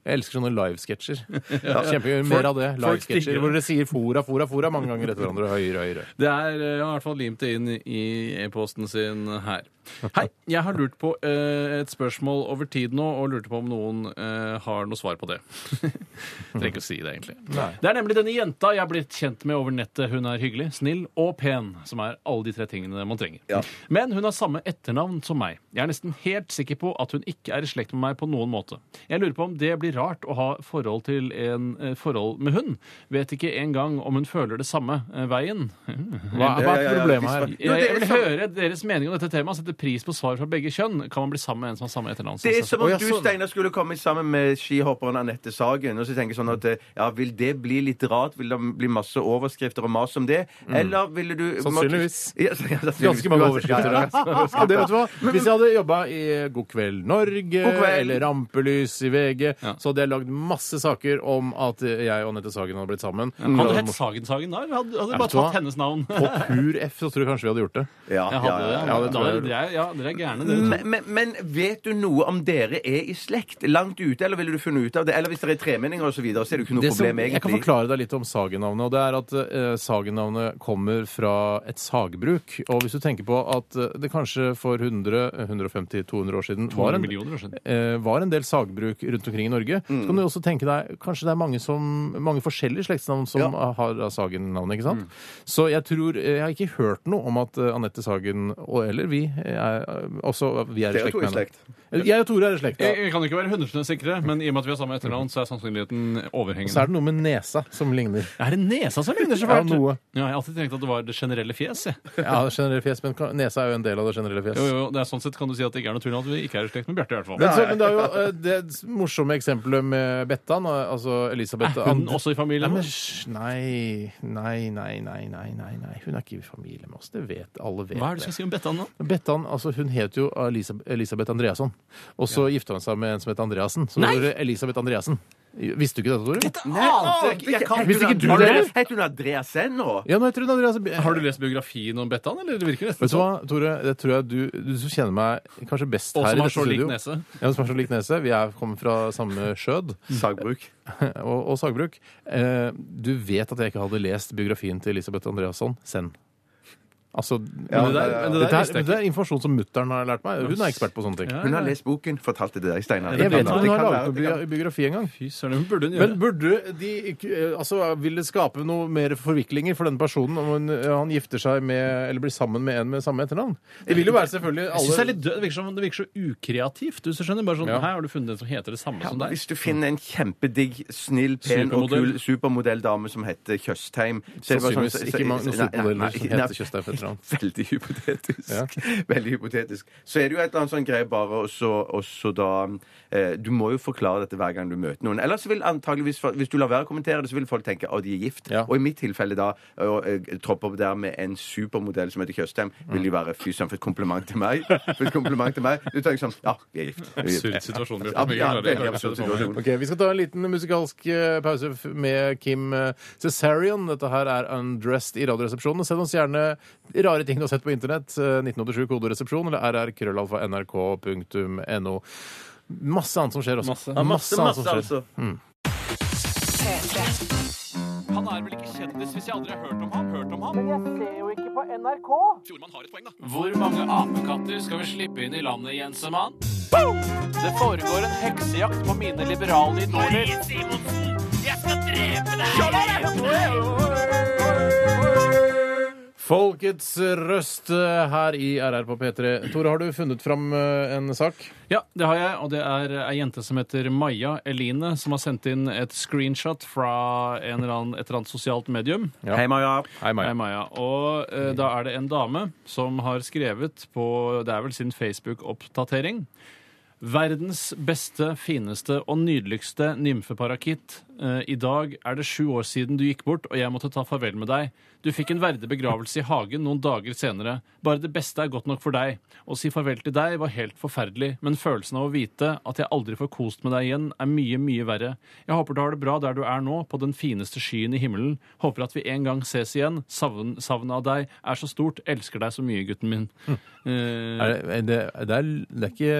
[SPEAKER 4] Jeg elsker sånne livesketsjer. Kjempegøy. Mer av det.
[SPEAKER 6] folk
[SPEAKER 4] Livesketsjer
[SPEAKER 6] stikker.
[SPEAKER 4] hvor dere sier 'fora, fora, fora' mange ganger etter hverandre. Høyere, høyere.
[SPEAKER 6] Det er eh, i hvert fall limt det inn i e-posten sin her. Hei, jeg har lurt på eh, et spørsmål over tid nå, og lurte på om noen eh, har noe svar på det. Trenger ikke å si det, egentlig. Det er nemlig denne jenta jeg har blitt kjent med over nettet. Hun er hyggelig, snill og pen, som er alle de tre tingene man trenger. Men hun har samme etternavn som meg. Jeg er nesten helt sikker på at hun ikke er i slekt med meg på noen måte. Jeg lurer på om det blir rart å ha forhold til en eh, forhold med hun. Vet ikke engang om hun føler det samme eh, veien.
[SPEAKER 4] Hva, hva er problemet her?
[SPEAKER 5] Jo, det
[SPEAKER 6] Jeg
[SPEAKER 5] er liksom-
[SPEAKER 6] vil
[SPEAKER 5] som-
[SPEAKER 6] høre deres mening om dette temaet. Sette pris på svar fra begge kjønn. Kan man bli sammen med en som har samme etternavn?
[SPEAKER 5] Det er som om
[SPEAKER 4] Å, ja,
[SPEAKER 5] du,
[SPEAKER 4] sånn.
[SPEAKER 5] Steinar, skulle komme sammen med skihopperen Anette Sagen. Og så tenker jeg sånn at eh, ja, vil det bli litt rart? Vil det bli masse overskrifter og mas om det? Eller ville du
[SPEAKER 4] Mm. Sannsynligvis.
[SPEAKER 5] Ja, så- ja, sannsynligvis.
[SPEAKER 4] Ganske mange
[SPEAKER 5] Ja,
[SPEAKER 4] overskrifter.
[SPEAKER 5] ja, ja.
[SPEAKER 4] ja. Og det vet du hva? Hvis jeg hadde jobba i eh, God kveld Norge
[SPEAKER 5] God kveld.
[SPEAKER 4] eller Rampelys i VG,
[SPEAKER 6] Ja.
[SPEAKER 4] så hadde jeg lagd masse saker om at eh, jeg og Anette Sagen hadde blitt sammen.
[SPEAKER 6] Hadde det hett Sagen-Sagen da? eller Hadde, hadde det
[SPEAKER 4] vet
[SPEAKER 6] bare
[SPEAKER 4] du hva?
[SPEAKER 6] tatt hennes navn?
[SPEAKER 4] På pur F så tror jeg kanskje vi hadde gjort det.
[SPEAKER 5] Ja,
[SPEAKER 6] Jeg hadde
[SPEAKER 5] ja,
[SPEAKER 6] det.
[SPEAKER 5] ja,
[SPEAKER 6] Ja,
[SPEAKER 5] ja.
[SPEAKER 4] det tror jeg.
[SPEAKER 6] dere er- ja, dere er gærne, dere.
[SPEAKER 5] Men, men, men vet du noe om dere er i slekt? Langt ute, eller ville du funnet ut av det? Eller hvis det er tremenninger og så videre, så er det jo ikke noe
[SPEAKER 4] Det som,
[SPEAKER 5] problem,
[SPEAKER 4] jeg kan
[SPEAKER 5] egentlig.
[SPEAKER 4] forklare deg litt om Sagen-navnet. og det er at eh, Sagen-navnet kommer fra et sagbruk. Og hvis du tenker på at eh, det kanskje for 100-150-200 år siden var
[SPEAKER 6] 200
[SPEAKER 4] en,
[SPEAKER 6] millioner år siden.
[SPEAKER 4] eh, var en del sagbruk rundt omkring i Norge. Så kan du også tenke deg kanskje det er mange, som, mange forskjellige slektsnavn som har da Sagen-navnet. ikke sant? Så jeg tror eh, Jeg har ikke hørt noe om at eh, Anette Sagen og eller vi eh, er, også, vi er i
[SPEAKER 5] Dere
[SPEAKER 4] slekt
[SPEAKER 5] to er i
[SPEAKER 4] med
[SPEAKER 5] slekt.
[SPEAKER 4] henne. Eh, Jeg og Tore er i slekt.
[SPEAKER 6] Jeg,
[SPEAKER 4] Ja.
[SPEAKER 6] jeg kan ikke være 100 sikre, men i og med at vi har samme etternavn, så er sannsynligheten
[SPEAKER 4] Så
[SPEAKER 6] overhengende.
[SPEAKER 4] er det noe med nesa som ligner.
[SPEAKER 6] Er det nesa som ligner så
[SPEAKER 4] Ja,
[SPEAKER 6] fælt?
[SPEAKER 4] noe.
[SPEAKER 6] Ja, jeg har alltid tenkt at det var det generelle fjes. jeg.
[SPEAKER 4] Ja, det generelle fjes, men ka- nesa er jo en del av det generelle fjes.
[SPEAKER 6] Jo, jo, det er sånn sett kan du si at det ikke er noe tull at vi ikke er i slekt med Bjarte. i hvert fall.
[SPEAKER 4] Men, så, men det er jo eh, det morsomme eksempelet med Bettan, eh, altså Elisabeth
[SPEAKER 6] Er hun
[SPEAKER 4] andre-
[SPEAKER 6] også i
[SPEAKER 4] Nei,
[SPEAKER 6] familien?
[SPEAKER 4] men,
[SPEAKER 6] med?
[SPEAKER 4] hysj, nei, nei, nei, nei, nei, nei, nei. Hun er ikke i familie med oss. Det vet alle. vet
[SPEAKER 6] Hva er det du skal si om Bettan nå?
[SPEAKER 4] Bettan altså hun het jo Elisa, Elisabeth Andreasson. Og så gifta hun seg med en som het Andreassen. Så nå
[SPEAKER 6] Nei!
[SPEAKER 4] gjorde Elisabeth Andreassen. Visste du ikke dette, Tore?
[SPEAKER 5] Nei, ante ikke. Jeg kan-
[SPEAKER 4] Hvis ikke du
[SPEAKER 5] Har
[SPEAKER 4] det-
[SPEAKER 5] lest- Heter hun Andreassen nå?
[SPEAKER 4] Ja, nå heter hun Andreassen.
[SPEAKER 6] Har du lest biografien om Bettan, eller det virker nesten
[SPEAKER 4] Vet du hva, Tore? Det tror jeg du, du som kjenner meg kanskje best
[SPEAKER 6] Og
[SPEAKER 4] her.
[SPEAKER 6] som
[SPEAKER 4] i
[SPEAKER 6] har
[SPEAKER 4] dette
[SPEAKER 6] så lik
[SPEAKER 4] studio.
[SPEAKER 6] nese.
[SPEAKER 4] Ja, som har så lik nese. Vi er, kommer fra samme skjød.
[SPEAKER 5] Sagbruk.
[SPEAKER 4] og, og sagbruk. Eh, du vet at jeg ikke hadde lest biografien til Elisabeth Andreasson Send. Altså,
[SPEAKER 6] det der- men det der
[SPEAKER 4] dette her-
[SPEAKER 6] visste jeg
[SPEAKER 4] det er informasjon som mutter'n har lært meg. Hun er ekspert på sånne ting.
[SPEAKER 5] Hun har lest boken, fortalte det deg, Steinar.
[SPEAKER 4] Jeg vet ikke om hun har
[SPEAKER 5] kan
[SPEAKER 4] laget
[SPEAKER 5] være- det kan-
[SPEAKER 4] noen biografi engang.
[SPEAKER 6] Fy søren, hun burde hun gjøre.
[SPEAKER 4] Men burde de ikke- eh, altså, Vil det skape noe mer forviklinger for denne personen om hun, han gifter seg med eller blir sammen med en med samme etternavn? Det vil jo være selvfølgelig
[SPEAKER 6] Jeg synes det, er
[SPEAKER 4] alle
[SPEAKER 6] litt død. det virker som det virker så ukreativt. hvis Du skjønner bare sånn,
[SPEAKER 4] Ja.
[SPEAKER 6] Her har du funnet en som heter det samme som deg.
[SPEAKER 5] Hvis du finner en kjempedigg, snill, pen og
[SPEAKER 6] Supermodell.
[SPEAKER 5] kul supermodelldame som heter Tjøstheim så er det bare sånn-
[SPEAKER 4] Sannsynligvis ikke mange- noen
[SPEAKER 5] Nei, nei,
[SPEAKER 4] supermodeller som
[SPEAKER 5] nei, nei.
[SPEAKER 4] heter Tjøstheim for etternavn.
[SPEAKER 5] Veldig hypotetisk. Veldig hypotetisk. Så er det jo et eller annet sånn greie bare, og så, og så da eh, Du må jo forklare dette hver gang du møter noen. Ellers vil antageligvis, Hvis du lar være å kommentere det, så vil folk tenke at de er gift.
[SPEAKER 4] Ja.
[SPEAKER 5] Og i mitt tilfelle da, å eh, troppe opp der med en supermodell som heter Tjøstheim, vil jo være fy søren for et kompliment til meg. For et kompliment til meg. Du tenker sånn Ja, vi er gift. Vi er gift.
[SPEAKER 6] Absurd situasjon. Bjørte.
[SPEAKER 5] Ja,
[SPEAKER 6] Mye
[SPEAKER 5] ja,
[SPEAKER 6] klarer jeg
[SPEAKER 5] veldig
[SPEAKER 6] ikke å se
[SPEAKER 5] absurd
[SPEAKER 6] det sånn. for meg.
[SPEAKER 5] situasjon.
[SPEAKER 4] Ok, Vi skal ta en liten musikalsk eh, pause f- med Kim eh, Cesarion. Dette her er Undressed i Radioresepsjonen. Send oss gjerne rare ting du har sett på internett. eh, 1987 koderesepsjon eller rrkrøllalfa.nrk.no. Masse annet som skjer også.
[SPEAKER 6] Masse.
[SPEAKER 4] Ja, masse, annet som skjer.
[SPEAKER 5] altså.
[SPEAKER 6] Han er vel ikke kjendis hvis jeg aldri har hørt om ham? Hørt om ham? Men jeg ser jo ikke på NRK! Fjordmann har et poeng, da. Hvor mange apekatter skal vi slippe inn i landet, Jensemann? Det foregår en heksejakt på mine liberale idoler.
[SPEAKER 8] Simonsen, jeg skal drepe deg!
[SPEAKER 4] Folkets røst eh, her i RR på P3. Tore, har du funnet fram eh, en sak?
[SPEAKER 6] Ja, det har jeg, og det er ei jente som heter Maja Eline, som har sendt inn et screenshot fra en eller annen, et eller annet sosialt medium.
[SPEAKER 4] Ja.
[SPEAKER 5] Hei, Maja.
[SPEAKER 4] Hei,
[SPEAKER 6] Hei, Maja. Og eh, da er det en dame som har skrevet på Det er vel sin Facebook-oppdatering. Verdens beste, fineste og nydeligste nymfeparakitt. Eh, I dag er det sju år siden du gikk bort, og jeg måtte ta farvel med deg. Du fikk en verdig begravelse i hagen noen dager senere. Bare det beste er godt nok for deg. Å si farvel til deg var helt forferdelig, men følelsen av å vite at jeg aldri får kost med deg igjen, er mye, mye verre. Jeg håper du har det bra der du er nå, på den fineste skyen i himmelen. Håper at vi en gang ses igjen. Savn, savnet av deg er så stort. Elsker deg så mye, gutten min. Eh,
[SPEAKER 4] Er det, er det, det, er, det er ikke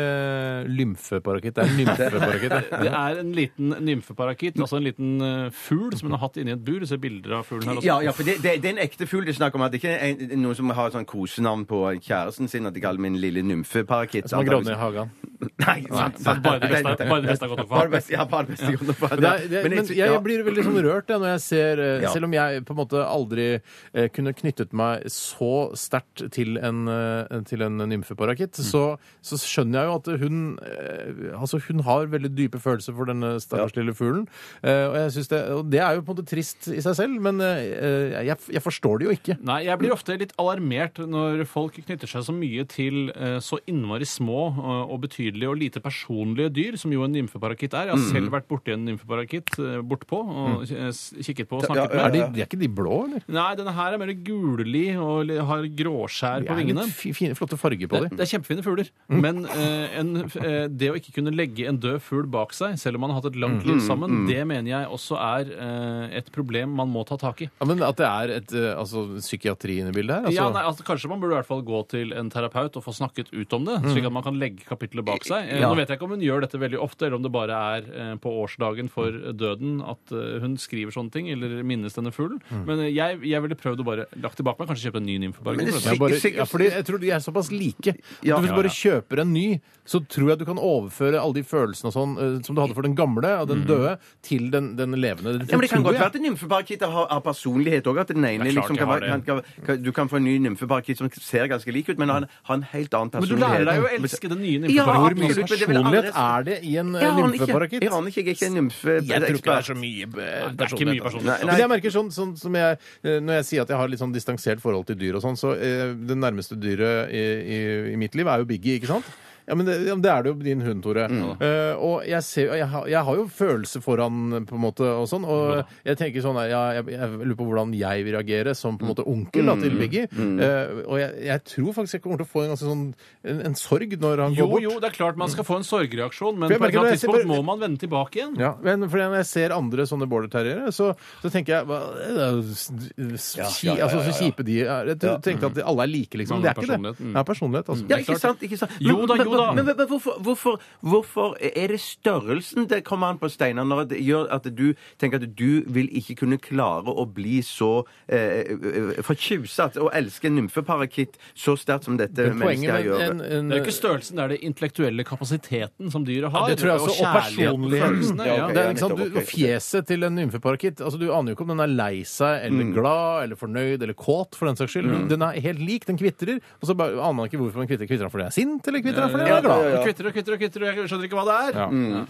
[SPEAKER 4] lymfeparakitt, det er nymfeparakitt. det.
[SPEAKER 6] Det er en liten nymfeparakitt, altså en liten eh, fugl som hun har hatt inni et bur. Du ser bilder av fuglen her også.
[SPEAKER 5] Ja, ja, for det, det, det er en ekte fugl det er snakk om. At det ikke er en, noen som har sånn kosenavn på kjæresten sin. At de kaller min lille nymfeparakitt.
[SPEAKER 4] Som har gravd ned i hagen.
[SPEAKER 5] Nei, sant,
[SPEAKER 6] Så
[SPEAKER 5] sant.
[SPEAKER 6] bare det beste er- bare det beste er godt nok for
[SPEAKER 5] Bare
[SPEAKER 6] ham.
[SPEAKER 5] det beste, ja, bare det beste er godt nok for ham.
[SPEAKER 4] Men, det er, det,
[SPEAKER 5] Men
[SPEAKER 4] men jeg,
[SPEAKER 5] jeg- ja.
[SPEAKER 4] jeg blir veldig sånn rørt jeg, når jeg ser eh,
[SPEAKER 5] Ja.
[SPEAKER 4] Selv om jeg på en måte aldri eh, kunne knyttet meg så sterkt til en, eh, til en nymfeparakitt,
[SPEAKER 5] Mm.
[SPEAKER 4] så, så skjønner jeg jo at hun eh, Altså, hun har veldig dype følelser for denne stakkars lille fuglen. Eh, og, jeg synes det, og det er jo på en måte trist i seg selv, men eh, jeg, jeg forstår det jo ikke.
[SPEAKER 6] Nei, jeg blir ofte litt alarmert når folk knytter seg så mye til eh, så innmari små eh, og betydelige og lite personlige dyr, som jo en nymfeparakitt er. Jeg
[SPEAKER 5] Mm.
[SPEAKER 6] har selv vært borti en nymfeparakitt eh, bortpå og eh, s- kikket på og
[SPEAKER 5] Ja,
[SPEAKER 6] snakket
[SPEAKER 5] ja,
[SPEAKER 4] Er,
[SPEAKER 6] med.
[SPEAKER 4] de, er ikke de blå, eller?
[SPEAKER 6] Nei, denne her er mer gullig og li- har gråskjær
[SPEAKER 4] Det
[SPEAKER 6] på
[SPEAKER 4] er
[SPEAKER 6] vingene.
[SPEAKER 4] litt fi- fine, flotte farger på
[SPEAKER 6] Det,
[SPEAKER 4] dem. Mm.
[SPEAKER 6] det er kjempefine fugler, men eh, en, f- eh, det å ikke kunne legge en død fugl bak seg, selv om man har hatt et
[SPEAKER 4] Mm.
[SPEAKER 6] langt liv sammen, det mener jeg også er eh, et problem man må ta tak i.
[SPEAKER 4] Ja, men at det er et eh, altså, psykiatri inne i bildet her? Altså,
[SPEAKER 6] ja, nei, altså, kanskje man burde i hvert fall gå til en terapeut og få snakket ut om det, slik at man kan legge kapitlet bak seg. Eh,
[SPEAKER 4] Mm. Ja.
[SPEAKER 6] Nå vet jeg ikke om hun gjør dette veldig ofte, eller om det bare er eh, på årsdagen for døden at eh, hun skriver sånne ting, eller minnes denne fuglen.
[SPEAKER 4] Mm.
[SPEAKER 6] Men eh, jeg, jeg ville prøvd å bare lagt det bak meg, kanskje kjøpe en ny
[SPEAKER 5] Men
[SPEAKER 6] nymfepark.
[SPEAKER 5] det
[SPEAKER 4] Jeg, bare,
[SPEAKER 5] Sikkert-
[SPEAKER 4] ja, fordi jeg tror de er såpass like.
[SPEAKER 5] Ja.
[SPEAKER 4] at hvis du bare kjøper en ny, så tror jeg du kan overføre alle de følelsene og sånn, eh, som du hadde for den gamle og den døde, til den, den levende.
[SPEAKER 5] Ja, men Det kan
[SPEAKER 4] tror
[SPEAKER 5] godt være
[SPEAKER 4] jeg.
[SPEAKER 5] at nymfeparakitter har, har personlighet òg. At den ene
[SPEAKER 6] klart
[SPEAKER 5] liksom
[SPEAKER 6] de
[SPEAKER 5] kan,
[SPEAKER 6] har
[SPEAKER 5] være- kan,
[SPEAKER 6] det.
[SPEAKER 5] kan, kan, du kan få en ny nymfeparakitt som ser ganske lik ut, men har en, har en helt annen
[SPEAKER 6] Men du
[SPEAKER 5] personlighet.
[SPEAKER 6] lærer deg jo å elske den nye
[SPEAKER 5] Ja,
[SPEAKER 6] nymfeparken.
[SPEAKER 4] Hvor mye
[SPEAKER 5] absolutt, men det vil
[SPEAKER 4] personlighet
[SPEAKER 5] aldri-
[SPEAKER 4] er det i en eh,
[SPEAKER 5] Jeg aner ikke.
[SPEAKER 4] nymfeparakitt?
[SPEAKER 5] Jeg aner ikke. Jeg er ikke en
[SPEAKER 4] Jeg tror ikke det er
[SPEAKER 5] nymfeekspert.
[SPEAKER 4] så mye eh,
[SPEAKER 6] det er ikke mye personlighet.
[SPEAKER 5] Nei, nei.
[SPEAKER 4] Men jeg merker sånn, sånn som jeg, eh, Når jeg sier at jeg har litt sånn distansert forhold til dyr, og sånn, så eh, det nærmeste dyret i, i, i mitt liv er jo Biggie, ikke sant? Ja, men det, ja, men det er det jo din hund, Tore. Eh, og jeg, ser, jeg, har, jeg har jo følelse for han, på en måte, og sånn. Og jeg tenker sånn ja, jeg, jeg lurer på hvordan jeg vil reagere som på en måte onkel da, til Biggie. Eh, og jeg, jeg tror faktisk jeg kommer til å få en ganske sånn en, en sorg når han
[SPEAKER 6] Jo,
[SPEAKER 4] går bort.
[SPEAKER 6] jo, det er klart man skal få en sorgreaksjon, men
[SPEAKER 4] For jeg
[SPEAKER 6] på et eller
[SPEAKER 4] merker
[SPEAKER 6] annet
[SPEAKER 4] det, jeg
[SPEAKER 6] tidspunkt
[SPEAKER 4] ser-
[SPEAKER 6] må man vende tilbake igjen.
[SPEAKER 4] Ja, men fordi når jeg ser andre sånne border terriere, så, så tenker jeg hva, det er jo s- s- ki- altså, Så kjipe de er. Jeg tro- tenkte at alle er like, liksom.
[SPEAKER 6] Mangler
[SPEAKER 4] Det er ikke det.
[SPEAKER 6] personlighet, mm.
[SPEAKER 4] Det er personlighet, altså.
[SPEAKER 5] Ja, ikke sant? ikke sant.
[SPEAKER 6] Jo da, jo da.
[SPEAKER 5] Men, men, men, men hvorfor, hvorfor, hvorfor er det størrelsen det kommer an på, Steinar, når det gjør at du tenker at du vil ikke kunne klare å bli så eh, eh, fortjuset og elske en nymfeparakitt så sterkt som dette
[SPEAKER 4] Men Poenget
[SPEAKER 5] mennesket
[SPEAKER 4] med
[SPEAKER 5] gjør?
[SPEAKER 4] en, en,
[SPEAKER 6] Det er jo ikke størrelsen, det er den intellektuelle kapasiteten som dyret har.
[SPEAKER 4] det tror jeg også, og
[SPEAKER 6] kjærligheten,
[SPEAKER 4] personligheten.
[SPEAKER 6] følelsene,
[SPEAKER 4] Ja,
[SPEAKER 6] Ja,
[SPEAKER 5] ok.
[SPEAKER 4] det er, ikke sant,
[SPEAKER 5] nettopp,
[SPEAKER 4] du,
[SPEAKER 5] ok.
[SPEAKER 4] og fjeset til en nymfeparakitt altså, Du aner jo ikke om den er lei seg, eller glad, eller fornøyd, eller kåt, for den saks skyld. Den er helt lik. Den kvitrer. Og så bare, aner man ikke hvorfor den kvitrer. Kvitrer han fordi han er sint, eller kvitrer han fordi han er glad?
[SPEAKER 6] Du Kvitter og kvitter og kvitter, og jeg skjønner ikke hva det er.
[SPEAKER 4] Ja.